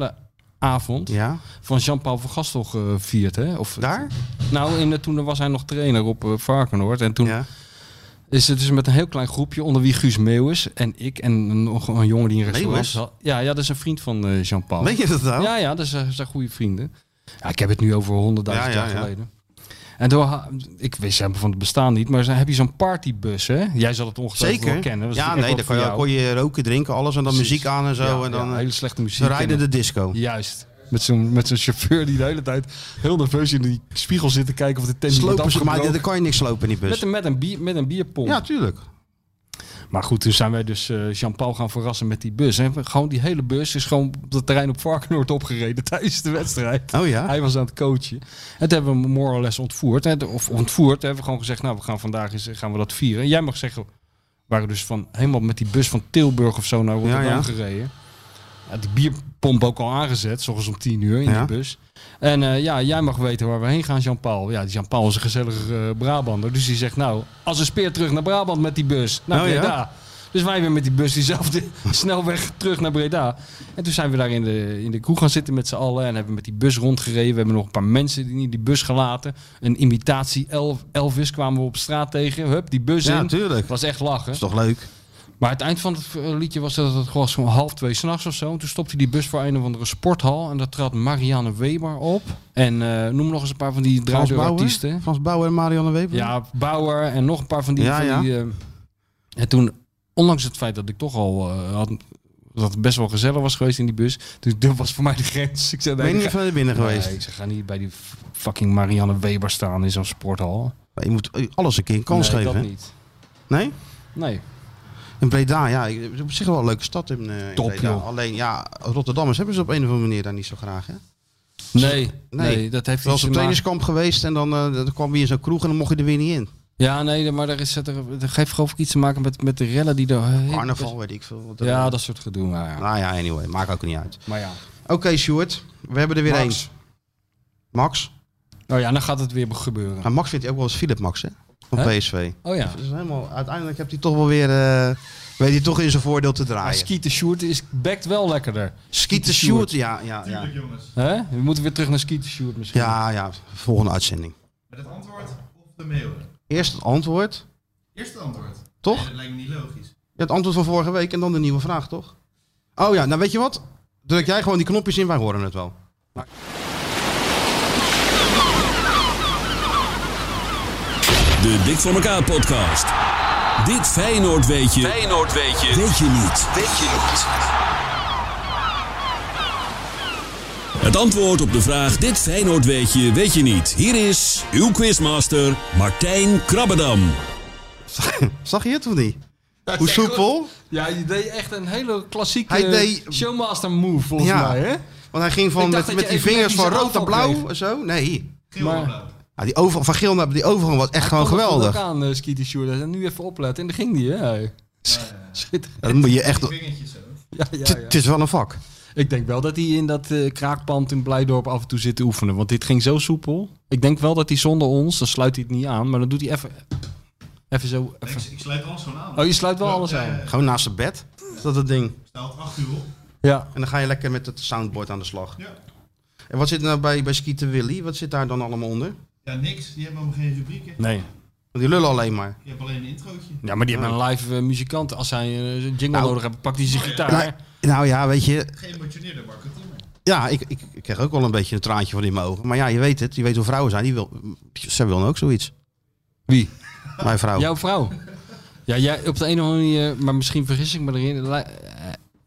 [SPEAKER 3] vrijgezellenavond
[SPEAKER 2] Ja,
[SPEAKER 3] van Jean-Paul van Gastel gevierd. Hè? Of,
[SPEAKER 2] daar?
[SPEAKER 3] Nou, in de, toen was hij nog trainer op eh, Varkenoord. En toen
[SPEAKER 2] Ja.
[SPEAKER 3] is het dus met een heel klein groepje, onder wie Guus Meeuwis en ik en nog een jongen die een restaurant
[SPEAKER 2] Meeuwis?
[SPEAKER 3] had. Ja, ja, dat is een vriend van eh, Jean-Paul.
[SPEAKER 2] Weet je dat nou?
[SPEAKER 3] Ja, ja, dat zijn, zijn goede vrienden. Ja, ik heb het nu over honderdduizend
[SPEAKER 2] Ja, ja,
[SPEAKER 3] jaar
[SPEAKER 2] ja.
[SPEAKER 3] geleden. En door, ha- ik wist helemaal van het bestaan niet, maar dan heb je zo'n partybus, hè? Jij zal het ongetwijfeld
[SPEAKER 2] Zeker.
[SPEAKER 3] wel kennen. dat is
[SPEAKER 2] ja,
[SPEAKER 3] echt
[SPEAKER 2] nee,
[SPEAKER 3] wat
[SPEAKER 2] dan
[SPEAKER 3] voor
[SPEAKER 2] kon je,
[SPEAKER 3] jou.
[SPEAKER 2] kon je roken, drinken, alles en dan
[SPEAKER 3] Precies.
[SPEAKER 2] muziek aan en zo.
[SPEAKER 3] Ja,
[SPEAKER 2] en dan
[SPEAKER 3] ja,
[SPEAKER 2] eh,
[SPEAKER 3] hele slechte muziek.
[SPEAKER 2] ze rijden
[SPEAKER 3] en-
[SPEAKER 2] de disco.
[SPEAKER 3] Juist. Met zo'n, met zo'n chauffeur die de hele tijd heel nerveus in die spiegel zit te kijken of de tent niet wordt
[SPEAKER 2] Slopen ze, maar
[SPEAKER 3] afgebroken.
[SPEAKER 2] daar kan je niks slopen in die bus.
[SPEAKER 3] Met een, met een, bier, met een bierpomp.
[SPEAKER 2] Ja, tuurlijk.
[SPEAKER 3] Maar goed, toen zijn wij dus eh, Jean-Paul gaan verrassen met die bus. En we- gewoon die hele bus is gewoon op het terrein op Varkenoord opgereden [laughs] tijdens de wedstrijd.
[SPEAKER 2] Oh ja?
[SPEAKER 3] Hij was aan het coachen. En toen hebben we hem moral les ontvoerd. hè, Of ontvoerd. Toen hebben we gewoon gezegd, nou, we gaan vandaag eens, gaan we dat vieren. En jij mag zeggen, we waren dus van, helemaal met die bus van Tilburg of zo naar Rotterdam
[SPEAKER 2] ja.
[SPEAKER 3] gereden. Ja, die bierpomp ook al aangezet, s'ochtends om tien uur in
[SPEAKER 2] Ja.
[SPEAKER 3] die bus. En eh, ja, jij mag weten waar we heen gaan, Jean-Paul. Ja, die Jean-Paul is een gezellige eh, Brabander. Dus die zegt, nou, als een speer terug naar Brabant met die bus. Naar
[SPEAKER 2] Oh, ja?
[SPEAKER 3] Breda. Dus wij weer met die bus diezelfde [laughs] snelweg terug naar Breda. En toen zijn we daar in de, in de kroeg gaan zitten met z'n allen. En hebben met die bus rondgereden. We hebben nog een paar mensen die in die bus gelaten. Een imitatie Elf, Elvis kwamen we op straat tegen. Hup, die bus
[SPEAKER 2] Ja,
[SPEAKER 3] in.
[SPEAKER 2] tuurlijk.
[SPEAKER 3] Het was echt lachen.
[SPEAKER 2] is toch leuk?
[SPEAKER 3] Maar het eind van het eh, liedje was dat het was gewoon half twee s'nachts of zo. En toen stopte die bus voor een of andere sporthal. En daar trad Marianne Weber op. En eh, noem nog eens een paar van die
[SPEAKER 2] Frans
[SPEAKER 3] draaideurartiesten.
[SPEAKER 2] Bauer? Frans Bauer en Marianne Weber?
[SPEAKER 3] Ja, Bauer en nog een paar van die.
[SPEAKER 2] Ja,
[SPEAKER 3] van
[SPEAKER 2] ja.
[SPEAKER 3] die eh, en toen, ondanks het feit dat ik toch al eh, had, dat het best wel gezellig was geweest in die bus, dus dat was voor mij de grens. Ik zei,
[SPEAKER 2] Ben je
[SPEAKER 3] ik
[SPEAKER 2] niet
[SPEAKER 3] ga-
[SPEAKER 2] van binnen
[SPEAKER 3] Nee,
[SPEAKER 2] geweest?
[SPEAKER 3] ik zei, ga niet bij die f- fucking Marianne Weber staan in zo'n sporthal.
[SPEAKER 2] Je moet eh, alles een keer een kans
[SPEAKER 3] nee,
[SPEAKER 2] geven.
[SPEAKER 3] dat
[SPEAKER 2] hè?
[SPEAKER 3] niet.
[SPEAKER 2] Nee?
[SPEAKER 3] Nee.
[SPEAKER 2] En Breda, ja, ik- het is op zich wel een leuke stad in, eh, in
[SPEAKER 3] Top,
[SPEAKER 2] Breda.
[SPEAKER 3] joh.
[SPEAKER 2] Alleen, ja, Rotterdammers hebben ze op een of andere manier daar niet zo graag, hè?
[SPEAKER 3] Nee,
[SPEAKER 2] Nee.
[SPEAKER 3] nee, dat heeft
[SPEAKER 2] Ik was
[SPEAKER 3] iets
[SPEAKER 2] op
[SPEAKER 3] te maken.
[SPEAKER 2] trainingskamp geweest en dan, eh, dan kwam je in zo'n kroeg en dan mocht je er weer niet in.
[SPEAKER 3] Ja, nee, maar er is, er, dat heeft geloof ik iets te maken met, met de rellen die er...
[SPEAKER 2] Carnaval, weet ik veel. wat er-
[SPEAKER 3] dus- Ja, dat soort gedoe. Maar ja,
[SPEAKER 2] Nou ja, anyway, maakt ook niet uit.
[SPEAKER 3] maar ja.
[SPEAKER 2] Oké, Stuart, we hebben er weer
[SPEAKER 3] Max.
[SPEAKER 2] één. Max?
[SPEAKER 3] Oh ja, dan gaat het weer gebeuren.
[SPEAKER 2] Nou, Max vindt hij ook wel eens Philip Max, hè? Van
[SPEAKER 3] Hè?
[SPEAKER 2] PSV.
[SPEAKER 3] Oh ja.
[SPEAKER 2] Dus dat is helemaal, uiteindelijk heeft hij toch wel weer, eh, weet hij toch in zijn voordeel te
[SPEAKER 3] Maar
[SPEAKER 2] draaien.
[SPEAKER 3] Skeeter Sjoerd is bekt wel lekkerder.
[SPEAKER 2] Schieten Stuart, ja, ja, ja.
[SPEAKER 5] Tuurlijk, jongens.
[SPEAKER 3] Hè? We moeten weer terug naar Skeeter Sjoerd misschien.
[SPEAKER 2] Ja, ja, volgende uitzending.
[SPEAKER 5] Met het antwoord of de mailen?
[SPEAKER 2] Eerst het antwoord,
[SPEAKER 5] Eerst het antwoord.
[SPEAKER 2] toch?
[SPEAKER 5] Nee, dat lijkt me niet logisch.
[SPEAKER 2] Ja, het antwoord van vorige week en dan de nieuwe vraag, toch? Oh ja, nou weet je wat? Druk jij gewoon die knopjes in, wij horen het wel. [laughs]
[SPEAKER 9] De Dik voor elkaar podcast. Dit Feyenoord weet je. Feyenoord weet je. Weet je niet. Weet je niet. Het Het antwoord op de vraag Dit Feyenoord weet je, weet je niet. Hier is uw quizmaster Martijn Krabbedam.
[SPEAKER 2] Zag je het of niet?
[SPEAKER 3] Ja,
[SPEAKER 2] Hoe
[SPEAKER 3] kijk,
[SPEAKER 2] soepel?
[SPEAKER 3] Ja, je deed echt een hele klassieke
[SPEAKER 2] Hij deed-
[SPEAKER 3] showmaster move volgens
[SPEAKER 2] ja.
[SPEAKER 3] mij, hè?
[SPEAKER 2] Want hij ging van
[SPEAKER 3] Ik dacht
[SPEAKER 2] met,
[SPEAKER 3] dat
[SPEAKER 2] met
[SPEAKER 3] je
[SPEAKER 2] die
[SPEAKER 3] even
[SPEAKER 2] vingers
[SPEAKER 3] net die
[SPEAKER 2] van rood naar
[SPEAKER 3] aanval
[SPEAKER 2] blauw
[SPEAKER 3] kreeg.
[SPEAKER 2] en zo. Nee.
[SPEAKER 3] Maar
[SPEAKER 2] Ja, die overgang, van geel naar die overgang was echt gewoon
[SPEAKER 3] Kom er goed
[SPEAKER 2] geweldig.
[SPEAKER 3] ook aan, eh, Skeeter Sjoerd. En nu even opletten. En daar ging die, hè? Schitterend.
[SPEAKER 2] Ja, dan moet je echt...
[SPEAKER 3] Ja, ja,
[SPEAKER 2] Het
[SPEAKER 3] ja.
[SPEAKER 2] is wel een vak.
[SPEAKER 3] Ik denk wel dat hij in dat eh, kraakpand in Blijdorp af en toe zit te oefenen. Want dit ging zo soepel. Ik denk wel dat hij zonder ons, dan sluit hij het niet aan. Maar dan doet hij even... Even zo...
[SPEAKER 5] Ik,
[SPEAKER 3] Even.
[SPEAKER 5] ik sluit alles gewoon aan.
[SPEAKER 3] Oh, je sluit wel alles
[SPEAKER 5] Ja, ja,
[SPEAKER 3] aan.
[SPEAKER 5] ja.
[SPEAKER 2] Gewoon naast zijn bed. Is dat het ding?
[SPEAKER 5] Staat 8 uur op.
[SPEAKER 3] Ja.
[SPEAKER 2] En dan ga je lekker met het soundboard aan de slag.
[SPEAKER 5] Ja.
[SPEAKER 2] En wat zit er nou bij, bij Skeeter Willy? Wat zit daar dan allemaal onder?
[SPEAKER 5] Ja, niks. Die hebben allemaal geen rubrieken.
[SPEAKER 3] Nee.
[SPEAKER 2] Want die lullen alleen maar.
[SPEAKER 5] Je hebt alleen een introotje.
[SPEAKER 3] Ja, maar die hebben een live eh, muzikant. Als zij eh, een jingle
[SPEAKER 2] Nou.
[SPEAKER 3] nodig hebben, pakt hij zijn gitaar.
[SPEAKER 2] Nou, nou ja, weet je,
[SPEAKER 5] Geëmotioneerde marketing.
[SPEAKER 2] Ja, ik, ik, ik kreeg ook wel een beetje een traantje van in mijn ogen. Maar ja, je weet het. Je weet hoe vrouwen zijn. Die wil, ze willen ook zoiets.
[SPEAKER 3] Wie?
[SPEAKER 2] Mijn vrouw.
[SPEAKER 3] Jouw vrouw. Ja, jij op de ene of andere manier, maar misschien vergis ik me erin. li- eh,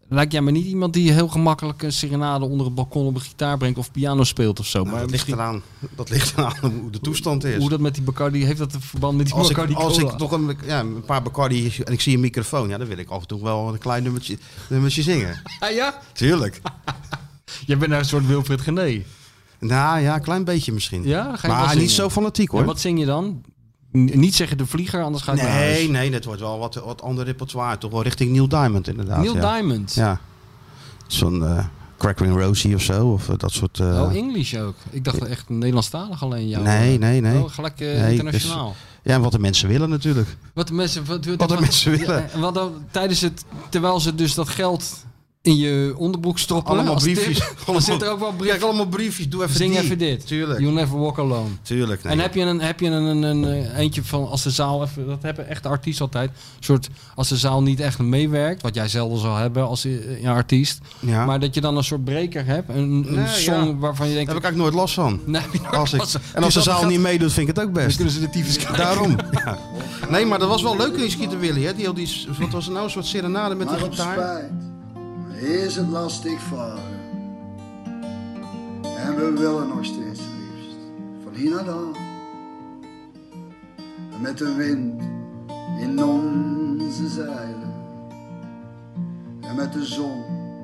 [SPEAKER 3] Lijkt jij me niet iemand die heel gemakkelijk een serenade onder het balkon op een gitaar brengt of piano speelt of zo?
[SPEAKER 2] Nou,
[SPEAKER 3] maar
[SPEAKER 2] dat ligt
[SPEAKER 3] misschien-
[SPEAKER 2] eraan. Dat ligt eraan hoe de toestand is.
[SPEAKER 3] hoe dat met die Bacardi, heeft dat een verband met die
[SPEAKER 2] als ik,
[SPEAKER 3] Bacardi
[SPEAKER 2] als
[SPEAKER 3] cola?
[SPEAKER 2] ik nog een, ja, een paar Bacardi en ik zie een microfoon, ja, dan wil ik af en toe wel een klein nummertje, nummertje
[SPEAKER 3] [laughs]
[SPEAKER 2] zingen.
[SPEAKER 3] Ah ja?
[SPEAKER 2] Tuurlijk.
[SPEAKER 3] Jij bent nou een soort Wilfred Gené.
[SPEAKER 2] Nou ja, een klein beetje misschien.
[SPEAKER 3] Ja, dan ga je wel
[SPEAKER 2] maar
[SPEAKER 3] zingen.
[SPEAKER 2] niet zo fanatiek hoor.
[SPEAKER 3] En wat zing je dan? N- niet zeggen de vlieger, anders ga ik naar
[SPEAKER 2] nee,
[SPEAKER 3] huis.
[SPEAKER 2] nee, dat wordt wel wat, wat ander repertoire. Toch wel richting Neil Diamond inderdaad.
[SPEAKER 3] Neil
[SPEAKER 2] ja.
[SPEAKER 3] Diamond.
[SPEAKER 2] Ja. Zo'n eh Crackling Rosie of zo. Of eh, dat soort... eh,
[SPEAKER 3] Oh, English ook. Ik dacht echt Nederlandstalig alleen jou.
[SPEAKER 2] Nee, nee, nee.
[SPEAKER 3] Oh, gelijk eh,
[SPEAKER 2] Nee, dus-
[SPEAKER 3] internationaal.
[SPEAKER 2] Ja, en wat de mensen willen natuurlijk.
[SPEAKER 3] Wat de mensen, wat, wat,
[SPEAKER 2] de mensen willen.
[SPEAKER 3] en wat dan, tijdens het, terwijl ze dus dat geld in je onderbroek stoppen.
[SPEAKER 2] Allemaal
[SPEAKER 3] [laughs] als
[SPEAKER 2] briefjes.
[SPEAKER 3] tip, dan zit er ook wel brief.
[SPEAKER 2] [laughs] Kijk, allemaal briefjes. Doe even
[SPEAKER 3] Zing
[SPEAKER 2] die.
[SPEAKER 3] even dit.
[SPEAKER 2] Tuurlijk.
[SPEAKER 3] You'll never walk alone.
[SPEAKER 2] Tuurlijk, nee.
[SPEAKER 3] En heb je een, heb je een, een, een, eh, eentje van als de zaal even, dat hebben echt de artiest altijd. Een soort als de zaal niet echt meewerkt, wat jij zelden zal hebben als eh, een artiest.
[SPEAKER 2] Ja.
[SPEAKER 3] Maar dat je dan een soort breker hebt, een, een
[SPEAKER 2] Nee,
[SPEAKER 3] song
[SPEAKER 2] ja.
[SPEAKER 3] waarvan je denkt.
[SPEAKER 2] Daar heb ik eigenlijk nooit last van.
[SPEAKER 3] nee,
[SPEAKER 2] Als ik,
[SPEAKER 3] als-
[SPEAKER 2] en als de
[SPEAKER 3] Dus dat
[SPEAKER 2] zaal
[SPEAKER 3] gaat-
[SPEAKER 2] niet meedoet, vind ik het ook
[SPEAKER 3] Dan
[SPEAKER 2] best.
[SPEAKER 3] kunnen ze de tyfus krijgen.
[SPEAKER 2] Daarom.
[SPEAKER 3] [laughs]
[SPEAKER 2] Ja. Nee, maar dat was wel leuk in die Schieten Willy. Hè? Die, heel die, wat was het nou? Een soort serenade met de
[SPEAKER 10] Maar op
[SPEAKER 2] gitaar.
[SPEAKER 10] spijt is het lastig varen. En we willen nog steeds het liefst van hier naar daar. En Met de wind in onze zeilen. En met de zon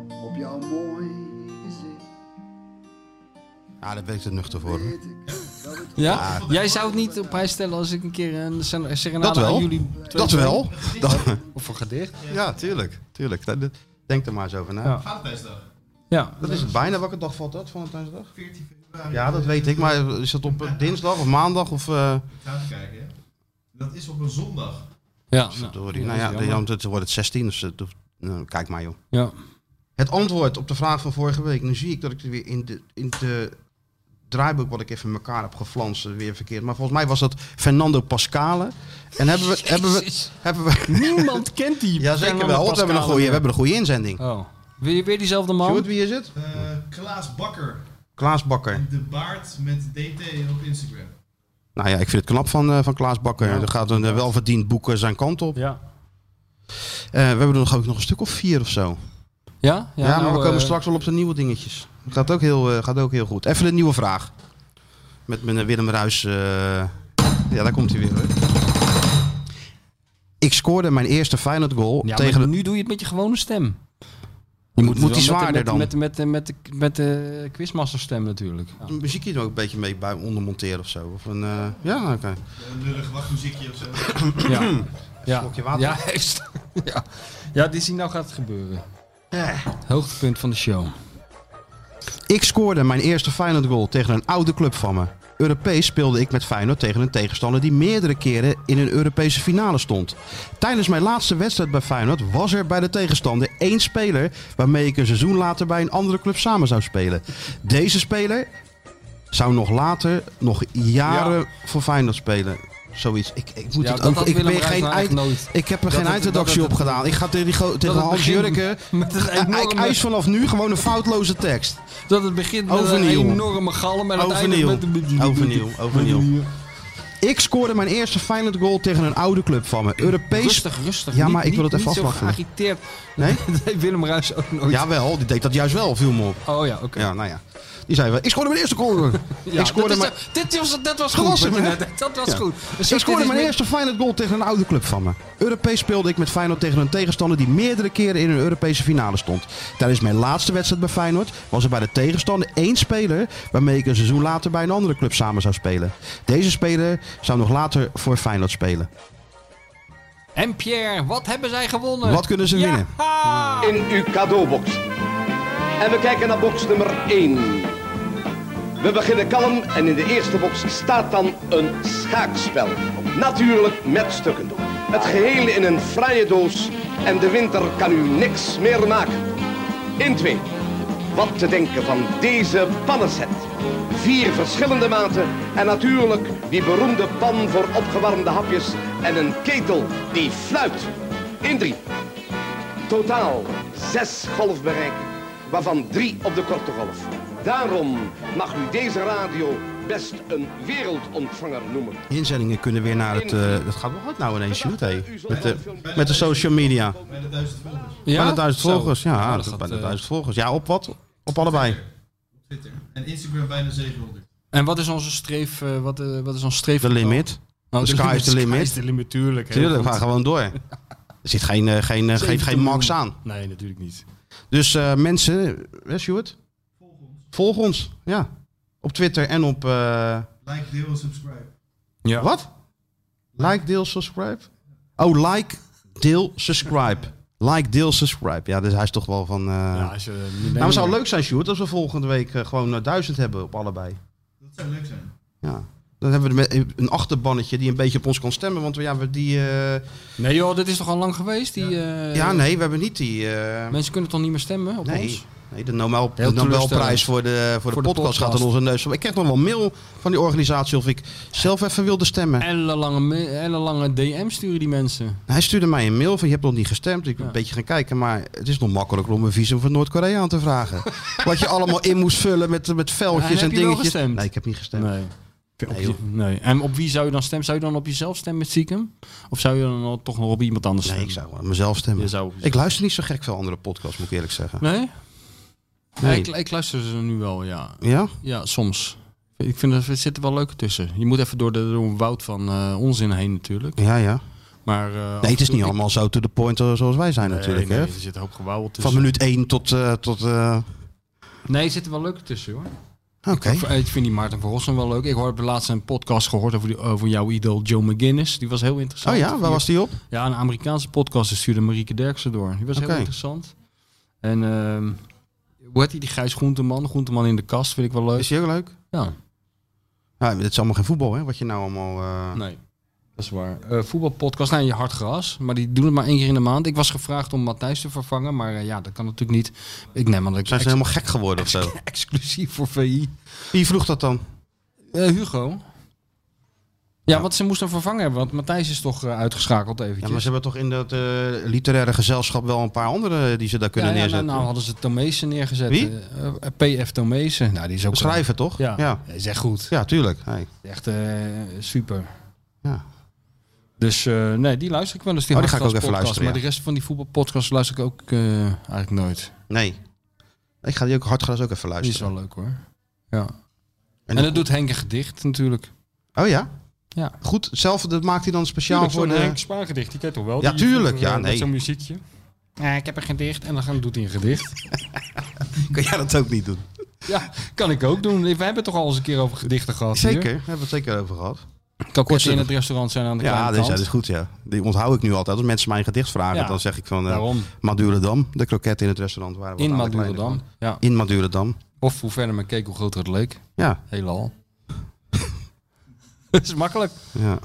[SPEAKER 10] op jouw mooi gezicht.
[SPEAKER 2] Ja, daar ben ik te nuchter voor. hoor.
[SPEAKER 10] Weet ik dat het
[SPEAKER 3] Ja? Jij zou het niet op prijs stellen als ik een keer een ser- serenade
[SPEAKER 2] Dat wel.
[SPEAKER 3] aan jullie...
[SPEAKER 2] Dat wel. Dat, [laughs]
[SPEAKER 3] Of een gedicht.
[SPEAKER 2] ja, tuurlijk. tuurlijk. Dat- dat- Denk er maar eens over na.
[SPEAKER 3] Ja.
[SPEAKER 5] Vaathuisdag.
[SPEAKER 3] Ja.
[SPEAKER 2] Dat is het bijna. Welke dag valt dat? Valentijnsdag?
[SPEAKER 5] 14 februari.
[SPEAKER 2] Ja, dat weet ik. Maar is dat op eh, dinsdag of maandag? Of,
[SPEAKER 3] Nou,
[SPEAKER 2] eh
[SPEAKER 5] Ik ga even kijken. hè. Dat is op een zondag.
[SPEAKER 3] Ja.
[SPEAKER 2] verdorie. Nou ja,
[SPEAKER 3] dat is jammer.
[SPEAKER 2] dan dan wordt het 16. Dus, eh, doe- nou, kijk maar joh.
[SPEAKER 3] ja.
[SPEAKER 2] Het antwoord op de vraag van vorige week. Nu zie ik dat ik het weer in de, in de draaiboek wat ik even in elkaar heb geflanst eh, weer verkeerd. Maar volgens mij was dat Fernando Pascale. En hebben
[SPEAKER 3] [laughs]
[SPEAKER 2] we... Hebben we,
[SPEAKER 3] Jezus.
[SPEAKER 2] hebben we
[SPEAKER 3] Niemand kent die.
[SPEAKER 2] [laughs] ja, zeker wel. We hebben, een goede, we hebben een goede inzending.
[SPEAKER 3] Oh. Wil je weer diezelfde man?
[SPEAKER 2] Sjoerd, wie is het?
[SPEAKER 5] Eh, Klaas Bakker.
[SPEAKER 2] Klaas Bakker.
[SPEAKER 5] De baard met DT op Instagram.
[SPEAKER 2] Nou ja, ik vind het knap van, eh, van Klaas Bakker. Er gaat een eh, welverdiend boek eh, zijn kant op.
[SPEAKER 3] Ja.
[SPEAKER 2] Eh, we hebben er nog, ook nog een stuk of vier of zo.
[SPEAKER 3] Ja?
[SPEAKER 2] Ja, maar
[SPEAKER 3] nou,
[SPEAKER 2] we komen
[SPEAKER 3] eh,
[SPEAKER 2] straks wel op de nieuwe dingetjes. Gaat ook heel, eh, gaat ook heel goed. Even een nieuwe vraag. Met meneer Willem Ruis. eh, ja, daar komt hij weer. Hoor. Ik scoorde mijn eerste Feyenoord goal
[SPEAKER 3] Ja,
[SPEAKER 2] tegen
[SPEAKER 3] maar
[SPEAKER 2] de...
[SPEAKER 3] nu doe je het met je gewone stem.
[SPEAKER 2] Moet-
[SPEAKER 3] het
[SPEAKER 2] moet
[SPEAKER 3] wel
[SPEAKER 2] die
[SPEAKER 3] met de-
[SPEAKER 2] zwaarder
[SPEAKER 3] met,
[SPEAKER 2] dan?
[SPEAKER 3] Met, met, met, met, de- met de quizmaster stem
[SPEAKER 2] [clears throat]
[SPEAKER 3] natuurlijk. Ja.
[SPEAKER 2] Een muziekje er ook een beetje mee bij ondermonteren of zo. Of een, eh, ja, oké.
[SPEAKER 5] Een lullig wachtmuziekje of zo.
[SPEAKER 3] Ja. Ja.
[SPEAKER 2] Slokje water.
[SPEAKER 3] Ja, [laughs] heeft- ja. ja, dit zie nou gaat het gebeuren. Hoogtepunt van de show.
[SPEAKER 2] Ik scoorde mijn eerste Feyenoord goal tegen een oude club van me. Europees speelde ik met Feyenoord tegen een tegenstander die meerdere keren in een Europese finale stond. Tijdens mijn laatste wedstrijd bij Feyenoord was er bij de tegenstander één speler waarmee ik een seizoen later bij een andere club samen zou spelen. Deze speler zou nog later, nog jaren voor Feyenoord spelen. Zoiets. Ik, ik moet
[SPEAKER 3] Ja,
[SPEAKER 2] het
[SPEAKER 3] dat
[SPEAKER 2] ook.
[SPEAKER 3] had
[SPEAKER 2] Ik,
[SPEAKER 3] Willem
[SPEAKER 2] ben
[SPEAKER 3] Ruijs
[SPEAKER 2] geen
[SPEAKER 3] nou
[SPEAKER 2] eind,
[SPEAKER 3] eigenlijk nooit.
[SPEAKER 2] ik heb er
[SPEAKER 3] Dat
[SPEAKER 2] geen
[SPEAKER 3] het-
[SPEAKER 2] eindredactie
[SPEAKER 3] dat
[SPEAKER 2] op
[SPEAKER 3] het-
[SPEAKER 2] gedaan. Ik ga tegen, die go- tegen
[SPEAKER 3] het
[SPEAKER 2] Hans
[SPEAKER 3] begin
[SPEAKER 2] Jurken.
[SPEAKER 3] met een enorme-
[SPEAKER 2] Ik eis vanaf nu gewoon een foutloze tekst.
[SPEAKER 3] Dat het begint met
[SPEAKER 2] Overnieuw.
[SPEAKER 3] een enorme galm en
[SPEAKER 2] Overnieuw.
[SPEAKER 3] het eindigt met een...
[SPEAKER 2] Overnieuw, overnieuw. Ik scoorde mijn eerste Feyenoord goal tegen een oude club van me. Europees.
[SPEAKER 3] Rustig, rustig.
[SPEAKER 2] Ja,
[SPEAKER 3] Niet-
[SPEAKER 2] maar ik wil
[SPEAKER 3] niet-
[SPEAKER 2] het even
[SPEAKER 3] niet zo
[SPEAKER 2] afwachten.
[SPEAKER 3] geagiteerd. [laughs]
[SPEAKER 2] Nee? Oh,
[SPEAKER 3] Dat deed Willem Ruijs ook nooit.
[SPEAKER 2] Jawel, die deed dat juist wel, viel me op.
[SPEAKER 3] Oh ja, oké.
[SPEAKER 2] Ja, nou ja. Die zei wel, ik scoorde mijn eerste corner.
[SPEAKER 3] [laughs] Ja,
[SPEAKER 2] ik scoorde
[SPEAKER 3] dat, is
[SPEAKER 2] mijn...
[SPEAKER 3] de- dit was, dat was goed.
[SPEAKER 2] Klasse,
[SPEAKER 3] wat je
[SPEAKER 2] hè?
[SPEAKER 3] [laughs] net- dat was
[SPEAKER 2] Ja.
[SPEAKER 3] goed. Dus
[SPEAKER 2] ik
[SPEAKER 3] dit
[SPEAKER 2] scoorde
[SPEAKER 3] is
[SPEAKER 2] mijn
[SPEAKER 3] meer-
[SPEAKER 2] eerste Feyenoord goal tegen een oude club van me. Europees speelde ik met Feyenoord tegen een tegenstander die meerdere keren in een Europese finale stond. Tijdens mijn laatste wedstrijd bij Feyenoord was er bij de tegenstander één speler waarmee ik een seizoen later bij een andere club samen zou spelen. Deze speler zou nog later voor Feyenoord spelen.
[SPEAKER 3] En Pierre, wat hebben zij gewonnen?
[SPEAKER 2] Wat kunnen ze winnen?
[SPEAKER 11] In uw cadeaubox. En we kijken naar box nummer 1. We beginnen kalm en in de eerste box staat dan een schaakspel. Natuurlijk met stukken. Het geheel in een fraaie doos en de winter kan u niks meer maken. In 2. Wat te denken van deze pannenset. Vier verschillende maten en natuurlijk die beroemde pan voor opgewarmde hapjes en een ketel die fluit. In 3. Totaal zes golfbereiken, waarvan drie op de korte golf. Daarom mag u deze radio best een wereldontvanger noemen.
[SPEAKER 2] Inzendingen kunnen weer naar het... eh, dat gaat wel goed nou ineens, Sjoerd, hé. Met de, met de social media.
[SPEAKER 5] Bijna duizend volgers.
[SPEAKER 2] Bijna duizend
[SPEAKER 5] Zo.
[SPEAKER 2] volgers,
[SPEAKER 5] Oh,
[SPEAKER 2] ja.
[SPEAKER 5] dat gaat,
[SPEAKER 2] bijna
[SPEAKER 5] eh,
[SPEAKER 2] duizend volgers. Ja, op wat? Op allebei.
[SPEAKER 5] Twitter. En Instagram bijna 700.
[SPEAKER 3] En wat is onze streef? eh, wat, eh, wat is ons streef?
[SPEAKER 2] De limit.
[SPEAKER 3] Oh,
[SPEAKER 2] de
[SPEAKER 3] de
[SPEAKER 2] sky is
[SPEAKER 3] limit.
[SPEAKER 2] the limit.
[SPEAKER 3] Sky is the limit, tuurlijk, heel
[SPEAKER 2] Tuurlijk, we
[SPEAKER 3] goed.
[SPEAKER 2] gaan gewoon door. Er zit geen, eh, geen, eh, geen,
[SPEAKER 3] Zeven
[SPEAKER 2] geen
[SPEAKER 3] miljoen.
[SPEAKER 2] max aan.
[SPEAKER 3] Nee, natuurlijk niet.
[SPEAKER 2] Dus eh, mensen, hè Sjoerd? Volg ons. ja. Op Twitter en op... eh,
[SPEAKER 5] Like, deel en subscribe.
[SPEAKER 2] ja. Wat? Like, deel, subscribe? Oh, like, deel, subscribe. [laughs] Like, deel, subscribe. Ja, dus hij is toch wel van... eh,
[SPEAKER 3] als je-
[SPEAKER 2] nou, het zou leuk zijn, Sjoerd, als we volgende week eh, gewoon eh, duizend hebben op allebei.
[SPEAKER 5] Dat zou leuk zijn.
[SPEAKER 2] Ja. Dan hebben we er met- een achterbannetje die een beetje op ons kan stemmen. Want we, ja, we die... eh,
[SPEAKER 3] Nee joh, dit is toch al lang geweest? Die, eh,
[SPEAKER 2] ja, nee, we hebben niet die... eh,
[SPEAKER 3] Mensen kunnen toch niet meer stemmen op
[SPEAKER 2] Nee.
[SPEAKER 3] ons?
[SPEAKER 2] Nee, de Nobel, de
[SPEAKER 3] Heel
[SPEAKER 2] Nobelprijs
[SPEAKER 3] teleurstellend.
[SPEAKER 2] voor de, voor de,
[SPEAKER 3] Voor de
[SPEAKER 2] podcast gaat
[SPEAKER 3] podcast.
[SPEAKER 2] in onze neus. Ik kreeg nog wel mail van die organisatie of ik zelf even wilde stemmen.
[SPEAKER 3] Hele lange, me- hele lange DM sturen die mensen.
[SPEAKER 2] Hij stuurde mij een mail van je hebt nog niet gestemd. Ik ben een beetje gaan kijken, maar het is nog makkelijker om een visum voor Noord-Korea aan te
[SPEAKER 3] [laughs]
[SPEAKER 2] vragen. Wat je allemaal in moest vullen met, met
[SPEAKER 3] Maar
[SPEAKER 2] veldjes en
[SPEAKER 3] heb je wel
[SPEAKER 2] dingetjes.
[SPEAKER 3] gestemd?
[SPEAKER 2] Nee, ik heb niet gestemd.
[SPEAKER 3] Nee. Op
[SPEAKER 2] Nee, joh.
[SPEAKER 3] je- nee. En op wie zou je dan stemmen? Zou je dan op jezelf stemmen met Ziekem? Of zou je dan al- toch nog op iemand anders
[SPEAKER 2] Nee,
[SPEAKER 3] stemmen?
[SPEAKER 2] ik zou wel aan mezelf stemmen.
[SPEAKER 3] Je zou op jezelf-
[SPEAKER 2] Ik luister niet zo gek veel andere podcasts, moet ik eerlijk zeggen.
[SPEAKER 3] Nee?
[SPEAKER 2] Nee.
[SPEAKER 3] Ja, ik, ik luister ze nu wel, ja.
[SPEAKER 2] Ja?
[SPEAKER 3] Ja, soms. Ik vind dat er zitten wel leuke tussen. Je moet even door, de, door een woud van eh, onzin heen natuurlijk.
[SPEAKER 2] Ja, ja.
[SPEAKER 3] Maar, eh, af en
[SPEAKER 2] Nee, het is
[SPEAKER 3] toe-
[SPEAKER 2] niet allemaal zo to the point eh, zoals wij zijn
[SPEAKER 3] Nee,
[SPEAKER 2] natuurlijk.
[SPEAKER 3] nee, Dus-
[SPEAKER 2] hè?
[SPEAKER 3] er zit een hoop gewauwel tussen.
[SPEAKER 2] Van minuut 1 tot... eh, tot eh,
[SPEAKER 3] Nee, er zitten wel leuke tussen hoor.
[SPEAKER 2] Oké.
[SPEAKER 3] Ik, ik vind die Maarten van Rossum wel leuk. Ik hoorde laatst een podcast gehoord over, die, over jouw idool Joe McGinnis. Die was heel interessant.
[SPEAKER 2] Oh ja, waar was die op?
[SPEAKER 3] Ja, een Amerikaanse podcast. Die stuurde Marieke Derksen door. Die was
[SPEAKER 2] Oké.
[SPEAKER 3] heel interessant. En ehm hoe heet die? Die Gijs Groenteman. Groenteman in de kast vind ik wel leuk. Is
[SPEAKER 2] die ook leuk?
[SPEAKER 3] Ja.
[SPEAKER 2] Nou, het is allemaal geen voetbal, hè? Wat je nou allemaal. eh,
[SPEAKER 3] Nee. Dat is waar. Eh, voetbalpodcast, nou, je hard gras. Maar die doen het maar één keer in de maand. Ik was gevraagd om Matthijs te vervangen, maar eh, ja, dat kan natuurlijk niet. Ik neem aan dat ik...
[SPEAKER 2] Zijn ze
[SPEAKER 3] ex-
[SPEAKER 2] helemaal gek geworden of
[SPEAKER 3] [laughs]
[SPEAKER 2] zo?
[SPEAKER 3] Exclusief voor VI.
[SPEAKER 2] Wie vroeg dat dan?
[SPEAKER 3] Eh, Hugo. Ja, want ze moesten een vervanger hebben, want Matthijs is toch eh, uitgeschakeld eventjes.
[SPEAKER 2] Ja, maar ze hebben toch in dat eh, literaire gezelschap wel een paar andere eh, die ze daar kunnen
[SPEAKER 3] Ja, ja, nou,
[SPEAKER 2] neerzetten.
[SPEAKER 3] nou hadden ze Tomezen neergezet.
[SPEAKER 2] Wie?
[SPEAKER 3] Eh, eh, PF Tomezen. Nou, die is ook...
[SPEAKER 2] Schrijven toch?
[SPEAKER 3] Ja.
[SPEAKER 2] ja.
[SPEAKER 3] Is echt goed.
[SPEAKER 2] Ja, tuurlijk. Hey.
[SPEAKER 3] Echt eh, super.
[SPEAKER 2] Ja.
[SPEAKER 3] Dus eh, nee, die luister ik wel eens.
[SPEAKER 2] Oh, die ga ik ook
[SPEAKER 3] Hartgras
[SPEAKER 2] even
[SPEAKER 3] podcast,
[SPEAKER 2] luisteren,
[SPEAKER 3] Maar
[SPEAKER 2] ja.
[SPEAKER 3] de rest van die voetbalpodcasts luister ik ook eh, eigenlijk nooit.
[SPEAKER 2] Nee. Ik ga die ook hardgras ook even
[SPEAKER 3] Die is
[SPEAKER 2] luisteren.
[SPEAKER 3] wel leuk hoor. Ja. En,
[SPEAKER 2] En
[SPEAKER 3] dat doet Henk een gedicht natuurlijk.
[SPEAKER 2] Oh ja?
[SPEAKER 3] Ja.
[SPEAKER 2] Goed, zelf dat maakt hij dan speciaal voor de...
[SPEAKER 3] Spaargedicht, die kent toch wel?
[SPEAKER 2] Ja, tuurlijk. Ja, nee.
[SPEAKER 3] muziekje. ik heb een gedicht en dan gaan, doet hij een gedicht.
[SPEAKER 2] Kun jij dat ook niet doen?
[SPEAKER 3] ja, kan ik ook doen. We hebben het toch al eens een keer over gedichten gehad
[SPEAKER 2] Zeker, daar
[SPEAKER 3] hier.
[SPEAKER 2] hebben we het zeker over gehad.
[SPEAKER 3] Kan kort
[SPEAKER 2] Kort-
[SPEAKER 3] in het restaurant zijn aan de
[SPEAKER 2] Ja,
[SPEAKER 3] kleine
[SPEAKER 2] dus, ja,
[SPEAKER 3] kant.
[SPEAKER 2] dat is goed, ja. Die onthoud ik nu altijd. Als mensen mij een gedicht vragen,
[SPEAKER 3] Ja,
[SPEAKER 2] dan zeg ik van... eh,
[SPEAKER 3] daarom.
[SPEAKER 2] Madurodam, de kroket in het restaurant. Waar we
[SPEAKER 3] In
[SPEAKER 2] aan de kleine
[SPEAKER 3] Madurodam,
[SPEAKER 2] kant.
[SPEAKER 3] ja.
[SPEAKER 2] In Madurodam.
[SPEAKER 3] Of hoe verder men keek, hoe groter het leek.
[SPEAKER 2] Ja.
[SPEAKER 3] Heelal. [laughs] Het is makkelijk.
[SPEAKER 2] Ja.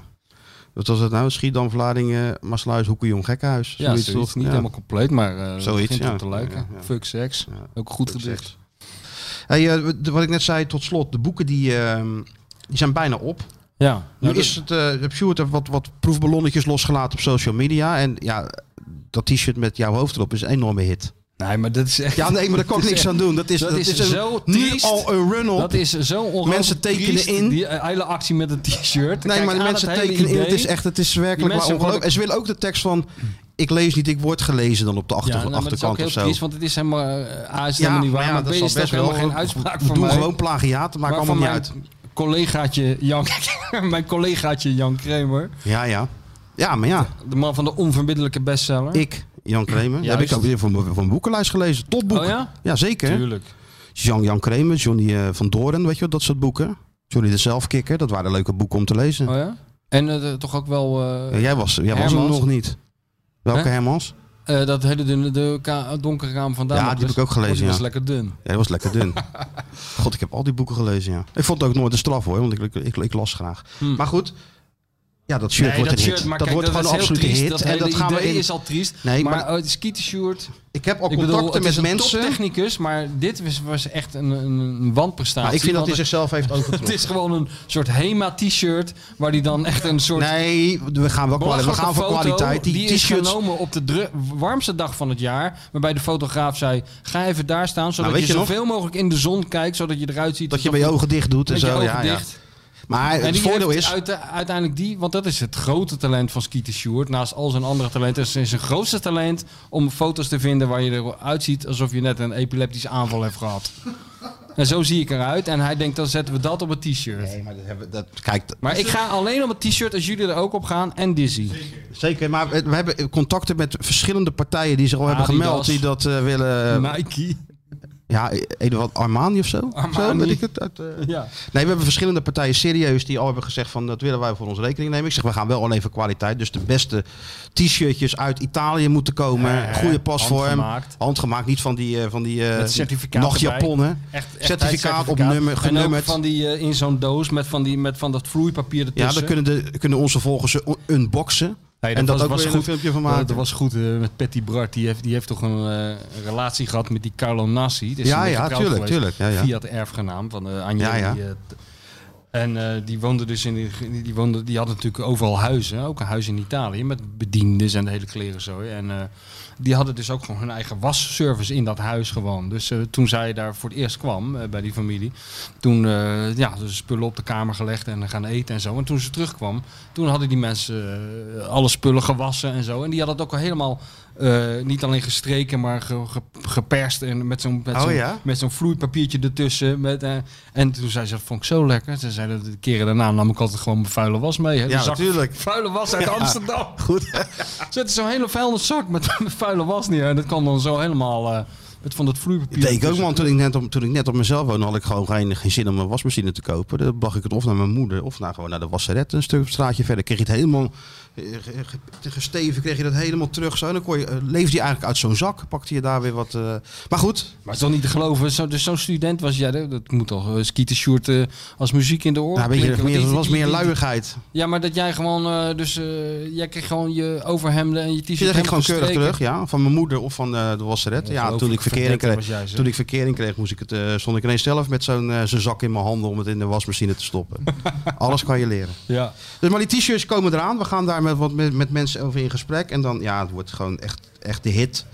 [SPEAKER 2] Wat was het nou? Schiedam, Vlaardingen, Maasluis, Hoekejong, Gekkenhuis.
[SPEAKER 3] Ja, zoiets, niet
[SPEAKER 2] Ja.
[SPEAKER 3] helemaal compleet, maar eh, het
[SPEAKER 2] Zoiets,
[SPEAKER 3] begint
[SPEAKER 2] ja.
[SPEAKER 3] op te lijken.
[SPEAKER 2] Ja, ja.
[SPEAKER 3] Fuck seks. Ook goed
[SPEAKER 2] fuck
[SPEAKER 3] gedicht.
[SPEAKER 2] seks. Hey, eh, de- wat ik net zei, tot slot, de boeken die, ehm, die zijn bijna op.
[SPEAKER 3] Ja.
[SPEAKER 2] Nu
[SPEAKER 3] Nou,
[SPEAKER 2] is het, eh heb Sjoerd er wat, wat proefballonnetjes losgelaten op social media. En ja, dat t-shirt met jouw hoofd erop is een enorme hit.
[SPEAKER 3] Nee, maar dat is echt...
[SPEAKER 2] Ja, nee, maar daar kan ik
[SPEAKER 3] Dat is
[SPEAKER 2] niks
[SPEAKER 3] echt-
[SPEAKER 2] aan doen. [laughs] Dat is,
[SPEAKER 3] dat is
[SPEAKER 2] een-
[SPEAKER 3] zo
[SPEAKER 2] nu
[SPEAKER 3] triest.
[SPEAKER 2] al een run-up.
[SPEAKER 3] Dat is zo ongelooflijk
[SPEAKER 2] Mensen tekenen
[SPEAKER 3] triest,
[SPEAKER 2] in.
[SPEAKER 3] Die eh, hele actie met het t-shirt.
[SPEAKER 2] Nee,
[SPEAKER 3] Kijk
[SPEAKER 2] maar de
[SPEAKER 3] aan
[SPEAKER 2] mensen
[SPEAKER 3] het hele
[SPEAKER 2] tekenen in.
[SPEAKER 3] idee.
[SPEAKER 2] Het is echt, het is werkelijk
[SPEAKER 3] Die
[SPEAKER 2] waar
[SPEAKER 3] mensen
[SPEAKER 2] ongelooflijk.
[SPEAKER 3] worden-
[SPEAKER 2] En ze willen ook de tekst van... ik lees niet, ik word gelezen dan op de achter,
[SPEAKER 3] Ja, nou, maar dat is ook
[SPEAKER 2] achterkant
[SPEAKER 3] heel
[SPEAKER 2] of zo.
[SPEAKER 3] triest, want het is helemaal, eh, A is het helemaal niet waar,
[SPEAKER 2] maar ja,
[SPEAKER 3] maar,
[SPEAKER 2] dat
[SPEAKER 3] B
[SPEAKER 2] zal
[SPEAKER 3] is het ook
[SPEAKER 2] best wel-
[SPEAKER 3] helemaal geen uitspraak
[SPEAKER 2] Doe
[SPEAKER 3] van mij.
[SPEAKER 2] gewoon plagiaat, dat maakt
[SPEAKER 3] Maar
[SPEAKER 2] allemaal niet
[SPEAKER 3] van
[SPEAKER 2] uit.
[SPEAKER 3] mijn Collegaatje Jan, [laughs] mijn collegaatje Jan Kramer.
[SPEAKER 2] Ja, ja. Ja, maar ja.
[SPEAKER 3] De man van de onverbiddelijke bestseller.
[SPEAKER 2] Ik, Jan Kremer. Dat heb
[SPEAKER 3] Juist.
[SPEAKER 2] ik ook weer van, van een boekenlijst gelezen. Topboek.
[SPEAKER 3] Oh ja?
[SPEAKER 2] Jazeker.
[SPEAKER 3] Tuurlijk.
[SPEAKER 2] Jean Jan Kremer, Johnny eh, van Doren, weet je wel, dat soort boeken. Johnny de Zelfkikker, dat waren leuke boeken om te lezen.
[SPEAKER 3] Oh ja? En eh, toch ook wel... eh,
[SPEAKER 2] Ja, jij was, jij was hem
[SPEAKER 3] Hermans.
[SPEAKER 2] nog niet. Welke
[SPEAKER 3] Hè?
[SPEAKER 2] Hermans?
[SPEAKER 3] Eh, dat hele dunne, de ka- donkere raam vandaan.
[SPEAKER 2] Ja, die heb ik ook gelezen.
[SPEAKER 3] Die
[SPEAKER 2] ja.
[SPEAKER 3] was lekker dun.
[SPEAKER 2] Ja, die was lekker
[SPEAKER 3] [laughs]
[SPEAKER 2] dun. God, ik heb al die boeken gelezen, ja. Ik vond het ook nooit een straf hoor, want ik, ik, ik, ik las graag. Maar goed, ja, dat shirt
[SPEAKER 3] Hm. Nee,
[SPEAKER 2] wordt
[SPEAKER 3] dat
[SPEAKER 2] een
[SPEAKER 3] shirt,
[SPEAKER 2] hit.
[SPEAKER 3] maar
[SPEAKER 2] Dat
[SPEAKER 3] kijk,
[SPEAKER 2] wordt
[SPEAKER 3] dat
[SPEAKER 2] gewoon een
[SPEAKER 3] is heel
[SPEAKER 2] absolute
[SPEAKER 3] triest.
[SPEAKER 2] hit.
[SPEAKER 3] Dat
[SPEAKER 2] en dat
[SPEAKER 3] hele
[SPEAKER 2] gaan we
[SPEAKER 3] idee
[SPEAKER 2] in...
[SPEAKER 3] is al triest.
[SPEAKER 2] Nee,
[SPEAKER 3] Maar,
[SPEAKER 2] maar,
[SPEAKER 3] oh, het skitenshirt.
[SPEAKER 2] Ik heb al
[SPEAKER 3] Ik bedoel,
[SPEAKER 2] contacten
[SPEAKER 3] het is
[SPEAKER 2] met
[SPEAKER 3] een
[SPEAKER 2] mensen.
[SPEAKER 3] toptechnicus, maar dit was, was echt een, een- een wanprestatie.
[SPEAKER 2] Maar ik vind dat hij
[SPEAKER 3] Want het-
[SPEAKER 2] zichzelf heeft overtroffen.
[SPEAKER 3] [laughs] het is gewoon een soort Hema-t-shirt, waar die dan echt een soort...
[SPEAKER 2] Nee, we gaan wel kwali- we gaan voor kwaliteit. Die,
[SPEAKER 3] Die, is
[SPEAKER 2] t-shirts.
[SPEAKER 3] genomen op de dru- warmste dag van het jaar, waarbij de fotograaf zei, ga even daar staan, zodat
[SPEAKER 2] Nou, weet
[SPEAKER 3] je,
[SPEAKER 2] je nog?
[SPEAKER 3] zoveel mogelijk in de zon kijkt, zodat je eruit ziet.
[SPEAKER 2] Dat je bij je ogen dicht doet en
[SPEAKER 3] Met je
[SPEAKER 2] zo,
[SPEAKER 3] ogen
[SPEAKER 2] ja, ja.
[SPEAKER 3] dicht.
[SPEAKER 2] Maar
[SPEAKER 3] En
[SPEAKER 2] het
[SPEAKER 3] die
[SPEAKER 2] voordeel
[SPEAKER 3] heeft
[SPEAKER 2] is-
[SPEAKER 3] uite- uiteindelijk die, want dat is het grote talent van Skeeter Stewart. Naast al zijn andere talenten is zijn grootste talent om foto's te vinden waar je eruit ziet alsof je net een epileptische aanval hebt gehad. [laughs] En zo zie ik eruit. En hij denkt, dan zetten we dat op het t-shirt. Nee,
[SPEAKER 2] maar dat hebben, dat, kijk,
[SPEAKER 3] maar ik ga alleen op het t-shirt als jullie er ook op gaan en Dizzy.
[SPEAKER 2] Zeker, maar we we hebben contacten met verschillende partijen die zich al hebben
[SPEAKER 3] Adidas.
[SPEAKER 2] gemeld. Die dat eh, willen.
[SPEAKER 3] Nike.
[SPEAKER 2] Ja, een of wat Armani of zo. Zo, weet ik het. Uit, eh.
[SPEAKER 3] Ja.
[SPEAKER 2] Nee, we hebben verschillende partijen serieus die al hebben gezegd van dat willen wij voor onze rekening nemen. Ik zeg, we gaan wel alleen voor kwaliteit. Dus de beste t-shirtjes uit Italië moeten komen.
[SPEAKER 3] Ja,
[SPEAKER 2] Goede pasvorm.
[SPEAKER 3] handgemaakt.
[SPEAKER 2] Handgemaakt, niet van die, eh, van die eh,
[SPEAKER 3] Met certificaat
[SPEAKER 2] nachtjapon,
[SPEAKER 3] erbij.
[SPEAKER 2] hè?
[SPEAKER 3] Echt, echt
[SPEAKER 2] certificaat op
[SPEAKER 3] certificaat.
[SPEAKER 2] nummer,
[SPEAKER 3] En ook
[SPEAKER 2] genummerd.
[SPEAKER 3] van die, eh, in zo'n doos met, van, die, met van dat vloeipapier
[SPEAKER 2] Ja,
[SPEAKER 3] ertussen.
[SPEAKER 2] dan kunnen, de, kunnen onze volgers ze un- unboxen.
[SPEAKER 3] Nee,
[SPEAKER 2] en dat
[SPEAKER 3] was,
[SPEAKER 2] ook
[SPEAKER 3] was
[SPEAKER 2] weer
[SPEAKER 3] goed.
[SPEAKER 2] een filmpje van
[SPEAKER 3] Dat
[SPEAKER 2] maken.
[SPEAKER 3] was goed eh, met Patty Bart. Die heeft, die heeft toch een eh, relatie gehad met die Carlo Nassi. Die is
[SPEAKER 2] Ja,
[SPEAKER 3] een beetje
[SPEAKER 2] ja,
[SPEAKER 3] getrouwd
[SPEAKER 2] tuurlijk,
[SPEAKER 3] geweest.
[SPEAKER 2] tuurlijk, ja, ja.
[SPEAKER 3] Via het erfgenaam van eh Anjeli,
[SPEAKER 2] Ja, ja.
[SPEAKER 3] die, eh, t- en eh, die woonde dus in die, die, woonde, die had natuurlijk overal huizen, ook een huis in Italië met bediendes en de hele kleren zo. En eh, die hadden dus ook gewoon hun eigen wasservice in dat huis gewoon. Dus eh, toen zij daar voor het eerst kwam eh, bij die familie, toen eh ja, dus spullen op de kamer gelegd en gaan eten en zo. En toen ze terugkwam, toen hadden die mensen eh, alle spullen gewassen en zo. En die hadden het ook al helemaal eh, niet alleen gestreken, maar ge- ge- geperst en met zo'n met
[SPEAKER 2] Oh
[SPEAKER 3] zo'n-
[SPEAKER 2] ja?
[SPEAKER 3] met zo'n vloeipapiertje ertussen. Met, eh, en toen zei ze, dat vond ik zo lekker. Ze zei, dat de keren daarna nam ik altijd gewoon mijn vuile was mee. Hè.
[SPEAKER 2] Ja,
[SPEAKER 3] De zak-
[SPEAKER 2] natuurlijk.
[SPEAKER 3] Vuile was uit
[SPEAKER 2] Ja.
[SPEAKER 3] Amsterdam. [laughs]
[SPEAKER 2] Goed.
[SPEAKER 3] Zette zo'n hele vuilniszak met [laughs] vuile was neer. En dat kwam dan zo helemaal eh, met van dat vloeipapier.
[SPEAKER 2] Ik deed ik ook,
[SPEAKER 3] ertussen.
[SPEAKER 2] man. Toen ik, net op, toen ik net op mezelf woonde, had ik gewoon geen, geen zin om een wasmachine te kopen. Dan bracht ik het of naar mijn moeder, of naar, gewoon naar de wasseret een stuk straatje verder. Kreeg je het helemaal eh, ge- ge- gesteven, kreeg je dat helemaal terug. Zo. En dan kon je, eh, leefde je eigenlijk uit zo'n zak, pakte je daar weer wat... eh, Maar goed.
[SPEAKER 3] Maar het is dan niet te geloven, zo, dus zo'n student was jij, dat- dat moet toch uh, skietershirt eh, als muziek in de oren
[SPEAKER 2] Nou, weet je,
[SPEAKER 3] klinken,
[SPEAKER 2] meer-
[SPEAKER 3] want die-
[SPEAKER 2] het was
[SPEAKER 3] die-
[SPEAKER 2] meer
[SPEAKER 3] die-
[SPEAKER 2] luiigheid.
[SPEAKER 3] Ja, maar dat jij gewoon, eh, dus eh, jij kreeg gewoon je overhemden en je
[SPEAKER 2] Dus
[SPEAKER 3] t-shirt
[SPEAKER 2] dat ging
[SPEAKER 3] helemaal
[SPEAKER 2] gewoon keurig
[SPEAKER 3] gestreken.
[SPEAKER 2] terug, ja. Van mijn moeder of van eh, de wasseret.
[SPEAKER 3] Ja,
[SPEAKER 2] Ja,
[SPEAKER 3] geloof
[SPEAKER 2] toen
[SPEAKER 3] ik,
[SPEAKER 2] ik, verkering
[SPEAKER 3] verdette
[SPEAKER 2] kreeg,
[SPEAKER 3] was jij, zeg.
[SPEAKER 2] toen ik verkering kreeg, moest ik het, eh, stond ik ineens zelf met zo'n eh, zo'n zak in mijn handen om het in de wasmachine te
[SPEAKER 3] [laughs]
[SPEAKER 2] stoppen. Alles kan je leren.
[SPEAKER 3] Ja.
[SPEAKER 2] Dus maar die t-shirts komen eraan. We gaan daar met, wat, met, met mensen over in gesprek. En dan, ja, het wordt gewoon echt, echt de hit.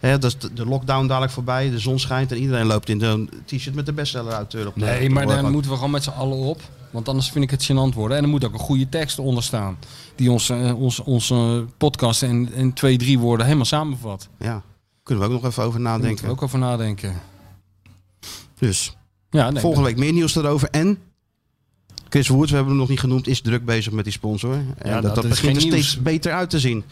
[SPEAKER 2] Hè, dat is de, de lockdown dadelijk voorbij. De zon schijnt en iedereen loopt in zo'n t-shirt met de bestseller auteur op. de- op
[SPEAKER 3] Nee,
[SPEAKER 2] de
[SPEAKER 3] maar dan
[SPEAKER 2] voorkant.
[SPEAKER 3] moeten we gewoon met z'n allen op. Want anders vind ik het gênant worden. En er moet ook een goede tekst onder staan. Die onze, eh, onze, onze podcast in, in twee, drie woorden helemaal samenvat.
[SPEAKER 2] Ja, kunnen we ook nog even over
[SPEAKER 3] Daar moeten
[SPEAKER 2] nadenken.
[SPEAKER 3] we ook over nadenken.
[SPEAKER 2] Dus,
[SPEAKER 3] Ja, nee,
[SPEAKER 2] volgende week meer nieuws daarover. En Chris Woods, we hebben hem nog niet genoemd, is druk bezig met die sponsor. En
[SPEAKER 3] Ja,
[SPEAKER 2] dat,
[SPEAKER 3] dat
[SPEAKER 2] dat,
[SPEAKER 3] is
[SPEAKER 2] begint er
[SPEAKER 3] geen nieuws.
[SPEAKER 2] steeds beter uit te zien.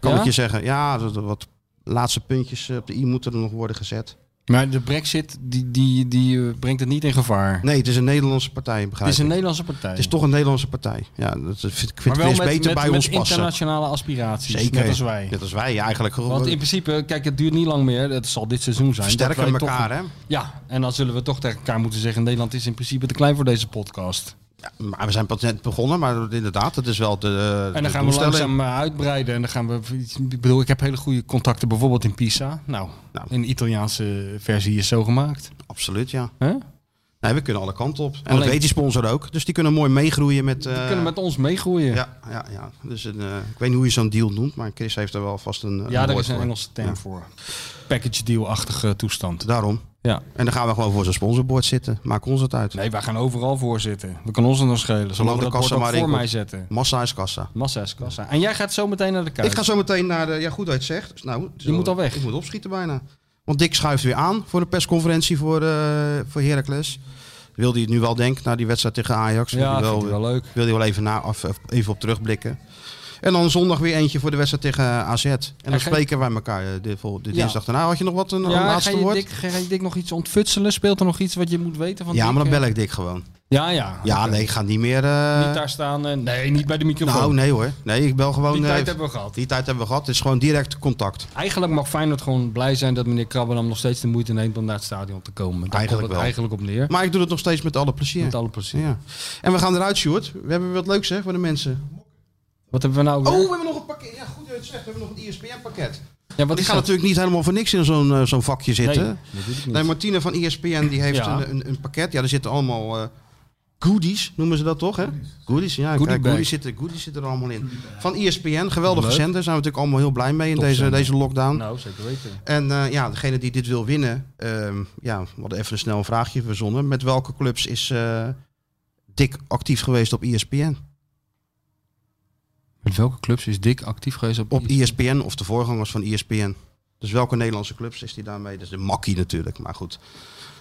[SPEAKER 2] Kan
[SPEAKER 3] Ja?
[SPEAKER 2] ik je zeggen. Ja, dat- dat wat laatste puntjes eh, op de i moeten er nog worden gezet.
[SPEAKER 3] Maar de brexit, die, die, die eh, brengt het niet in gevaar.
[SPEAKER 2] Nee, het is een Nederlandse partij, begrijp
[SPEAKER 3] Het is een
[SPEAKER 2] ik.
[SPEAKER 3] Nederlandse partij.
[SPEAKER 2] Het is toch een Nederlandse partij. Ja, dat vind ik- ik vind
[SPEAKER 3] maar wel
[SPEAKER 2] Chris
[SPEAKER 3] met,
[SPEAKER 2] beter
[SPEAKER 3] met,
[SPEAKER 2] bij
[SPEAKER 3] met
[SPEAKER 2] ons passen.
[SPEAKER 3] internationale aspiraties.
[SPEAKER 2] Zeker.
[SPEAKER 3] Net als wij.
[SPEAKER 2] Net als wij eigenlijk.
[SPEAKER 3] Want in principe, kijk, het duurt niet lang meer. Het zal dit seizoen zijn.
[SPEAKER 2] Versterken
[SPEAKER 3] dat wij
[SPEAKER 2] elkaar,
[SPEAKER 3] toch-
[SPEAKER 2] hè?
[SPEAKER 3] Ja, en dan zullen we toch tegen elkaar moeten zeggen... Nederland is in principe te klein voor deze podcast.
[SPEAKER 2] Maar we zijn pas net begonnen, maar inderdaad, dat is wel de
[SPEAKER 3] En dan gaan we langzaam eh, uitbreiden. En dan gaan we. Ik bedoel, ik heb hele goede contacten bijvoorbeeld
[SPEAKER 2] Nou.
[SPEAKER 3] in Pisa. Nou, een Italiaanse versie is zo gemaakt.
[SPEAKER 2] Absoluut, ja.
[SPEAKER 3] Hè?
[SPEAKER 2] Nee, we kunnen alle kanten op. En dat
[SPEAKER 3] Alleen-
[SPEAKER 2] weet die sponsor ook. Dus die kunnen mooi meegroeien met... eh,
[SPEAKER 3] Die kunnen met ons meegroeien.
[SPEAKER 2] Ja, ja, ja. Dus een, eh, ik weet niet hoe je zo'n deal noemt, maar Chris heeft er wel vast een. eh,
[SPEAKER 3] Ja, daar
[SPEAKER 2] woord
[SPEAKER 3] is een
[SPEAKER 2] voor.
[SPEAKER 3] Engelse term voor.
[SPEAKER 2] Package deal-achtige toestand. Daarom. Ja. En dan gaan we gewoon voor zo'n sponsorbord zitten. Maak ons het uit.
[SPEAKER 3] Nee, wij gaan overal voor zitten. We kunnen ons er nog schelen. Ze
[SPEAKER 2] Zolang de
[SPEAKER 3] mogen dat bord
[SPEAKER 2] kassa
[SPEAKER 3] ook
[SPEAKER 2] maar
[SPEAKER 3] voor
[SPEAKER 2] inkomt.
[SPEAKER 3] mij zetten.
[SPEAKER 2] Massa is kassa.
[SPEAKER 3] Massa is kassa. En jij gaat zo meteen naar de kuip.
[SPEAKER 2] Ik ga zo meteen naar de. Ja, goed dat je het zegt. Nou,
[SPEAKER 3] Je moet al weg.
[SPEAKER 2] Ik moet opschieten bijna. Want Dick schuift weer aan voor de persconferentie voor, eh voor Heracles. Wil hij het nu wel denken na die wedstrijd tegen Ajax?
[SPEAKER 3] Ja,
[SPEAKER 2] Wil hij
[SPEAKER 3] vindt hij wel leuk.
[SPEAKER 2] Wil hij wel even, na, of, of even op terugblikken. En dan zondag weer eentje voor de wedstrijd tegen AZ. En dan
[SPEAKER 3] ga je-
[SPEAKER 2] spreken wij elkaar eh, de, vol- de
[SPEAKER 3] Ja.
[SPEAKER 2] dinsdag daarna. Had je nog wat een, een
[SPEAKER 3] ja, ga
[SPEAKER 2] laatste
[SPEAKER 3] je,
[SPEAKER 2] woord?
[SPEAKER 3] Dick, ga je Dick nog iets ontfutselen? Speelt er nog iets wat je moet weten van
[SPEAKER 2] ja,
[SPEAKER 3] Dick,
[SPEAKER 2] maar dan
[SPEAKER 3] eh? Ah,
[SPEAKER 2] bel ik Dick gewoon.
[SPEAKER 3] Ja, ja.
[SPEAKER 2] Ja, nee, ik ga niet meer... eh,
[SPEAKER 3] Niet daar staan. eh, nee, niet bij de microfoon.
[SPEAKER 2] nou, nee hoor. Nee, ik bel gewoon...
[SPEAKER 3] Die tijd
[SPEAKER 2] eh,
[SPEAKER 3] hebben we gehad.
[SPEAKER 2] Die tijd hebben we gehad. Het is gewoon direct contact.
[SPEAKER 3] Eigenlijk mag Feyenoord gewoon blij zijn dat meneer Krabbenam nog steeds de moeite neemt om naar het stadion te komen. Daar
[SPEAKER 2] Eigenlijk
[SPEAKER 3] komt het
[SPEAKER 2] wel.
[SPEAKER 3] eigenlijk op neer.
[SPEAKER 2] Maar ik doe het nog steeds met alle plezier.
[SPEAKER 3] Met alle plezier.
[SPEAKER 2] Ja. En we gaan eruit, Sjoerd. We hebben wat leuks, hè, voor de mensen.
[SPEAKER 3] Wat hebben we nou
[SPEAKER 2] Oh,
[SPEAKER 3] weer?
[SPEAKER 2] we hebben nog een pakket. Ja, goed dat je het zegt. We hebben nog een E ESPN-pakket.
[SPEAKER 3] ja,
[SPEAKER 2] Want
[SPEAKER 3] wat
[SPEAKER 2] die
[SPEAKER 3] is
[SPEAKER 2] gaan
[SPEAKER 3] dat?
[SPEAKER 2] natuurlijk niet helemaal voor niks in zo'n eh, zo'n vakje zitten.
[SPEAKER 3] natuurlijk
[SPEAKER 2] Nee,
[SPEAKER 3] niet.
[SPEAKER 2] Martine van E ESPN die heeft
[SPEAKER 3] Ja.
[SPEAKER 2] een, een, een pakket. Ja, daar zitten allemaal eh, goodies, noemen ze dat toch? Hè? Goodies, ja.
[SPEAKER 3] Goodie
[SPEAKER 2] kijk,
[SPEAKER 3] bag.
[SPEAKER 2] goodies, zitten, goodies zitten er allemaal in. Van E ESPN, geweldige
[SPEAKER 3] Leuk.
[SPEAKER 2] zender. Zijn we natuurlijk allemaal heel blij mee in deze,
[SPEAKER 3] Topzender.
[SPEAKER 2] deze lockdown.
[SPEAKER 3] Nou, zeker weten.
[SPEAKER 2] En eh, ja, degene die dit wil winnen, ehm, ja, we hadden even snel een vraagje verzonnen. Met welke clubs is eh Dick actief geweest op E ESPN?
[SPEAKER 3] Met welke clubs is Dick actief geweest op, E
[SPEAKER 2] Op E ESPN of de voorgangers van ESPN. Dus welke Nederlandse clubs is die daarmee? Dus de makkie natuurlijk, maar goed.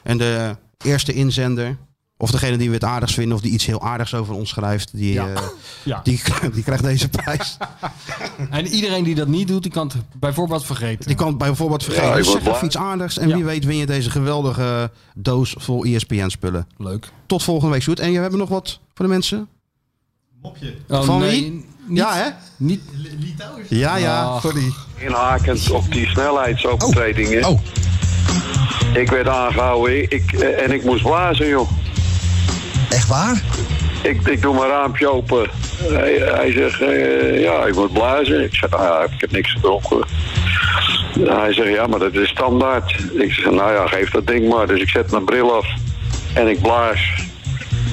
[SPEAKER 2] En de eerste inzender, of degene die we het aardigst vinden, of die iets heel aardigs over ons schrijft, die,
[SPEAKER 3] Ja.
[SPEAKER 2] eh,
[SPEAKER 3] Ja.
[SPEAKER 2] die, [laughs] die krijgt deze prijs.
[SPEAKER 3] En iedereen die dat niet doet, die kan het bijvoorbeeld vergeten.
[SPEAKER 2] Die kan het bijvoorbeeld vergeten.
[SPEAKER 3] Ja, ik word
[SPEAKER 2] zeg even
[SPEAKER 3] blij.
[SPEAKER 2] iets aardigs en
[SPEAKER 3] Ja.
[SPEAKER 2] wie weet win je deze geweldige doos vol E ESPN-spullen.
[SPEAKER 3] Leuk.
[SPEAKER 2] Tot volgende week, Sjoerd. En we hebben nog wat voor de mensen?
[SPEAKER 5] Mopje.
[SPEAKER 2] van
[SPEAKER 3] Oh, nee,
[SPEAKER 2] wie?
[SPEAKER 3] niet-
[SPEAKER 2] ja, hè?
[SPEAKER 3] Niet.
[SPEAKER 5] Litouwers.
[SPEAKER 2] Ja, ja,
[SPEAKER 3] Ah.
[SPEAKER 12] Ach.
[SPEAKER 2] sorry.
[SPEAKER 12] Inhakend op die
[SPEAKER 7] Oh.
[SPEAKER 12] snelheidsovertredingen. Ik werd aangehouden ik, eh, en ik moest blazen, joh. Echt waar? Ik, ik doe mijn raampje open. Hij, hij zegt, eh, ja, ik moet blazen. Ik zeg, nou ja, ik heb niks gedronken. Hij zegt, ja, maar dat is standaard. Ik zeg, nou ja, geef dat ding maar. Dus ik zet mijn bril af en ik blaas.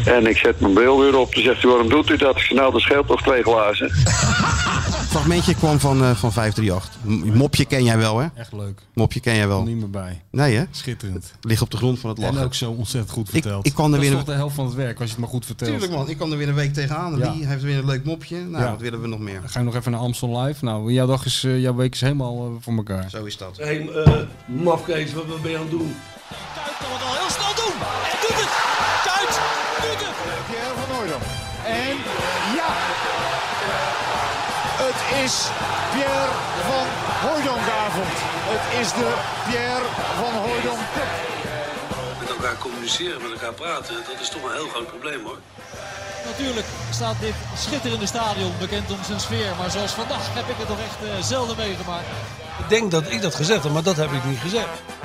[SPEAKER 12] En ik zet mijn bril weer op. Dan zegt hij, waarom doet u dat? Ik zeg, nou, dat scheelt toch twee glazen.
[SPEAKER 2] fragmentje kwam van, eh, van 538. M- Mopje ken jij wel, hè?
[SPEAKER 3] Echt leuk.
[SPEAKER 2] Mopje ken jij wel.
[SPEAKER 3] Niet meer bij.
[SPEAKER 2] Nee, hè?
[SPEAKER 3] Schitterend.
[SPEAKER 2] Ligt op de grond van het lachen.
[SPEAKER 3] En ook zo ontzettend goed
[SPEAKER 2] Ik,
[SPEAKER 3] verteld.
[SPEAKER 2] ik kan er
[SPEAKER 3] dat
[SPEAKER 2] weer
[SPEAKER 3] is
[SPEAKER 2] een...
[SPEAKER 3] toch de helft van het werk, als je het maar goed vertelt.
[SPEAKER 2] Tuurlijk, man. Ik kan er weer een week tegenaan.
[SPEAKER 3] Ja.
[SPEAKER 2] Die heeft weer een leuk mopje. Nou,
[SPEAKER 3] Ja.
[SPEAKER 2] wat willen we nog meer?
[SPEAKER 3] Dan Ga je nog even naar Amstel Live? Nou, jouw dag is, eh, jouw week is helemaal eh, voor elkaar.
[SPEAKER 2] Zo is dat.
[SPEAKER 1] Hé, hey, eh, mafkees, wat wat ben je aan het doen?
[SPEAKER 13] Heel snel doen. En doet het. Kuit. Doet het.
[SPEAKER 4] Pierre van Hooydonk. En ja, het is Pierre van Hooijdonkavond. Het is de Pierre van Hooijdonk Cup.
[SPEAKER 1] Met elkaar communiceren, met elkaar praten, dat is toch een heel groot probleem hoor.
[SPEAKER 13] Natuurlijk staat dit schitterende stadion bekend om zijn sfeer. Maar zoals vandaag heb ik het nog echt eh, zelden meegemaakt.
[SPEAKER 14] Ik denk dat ik dat gezegd heb, maar dat heb ik niet gezegd.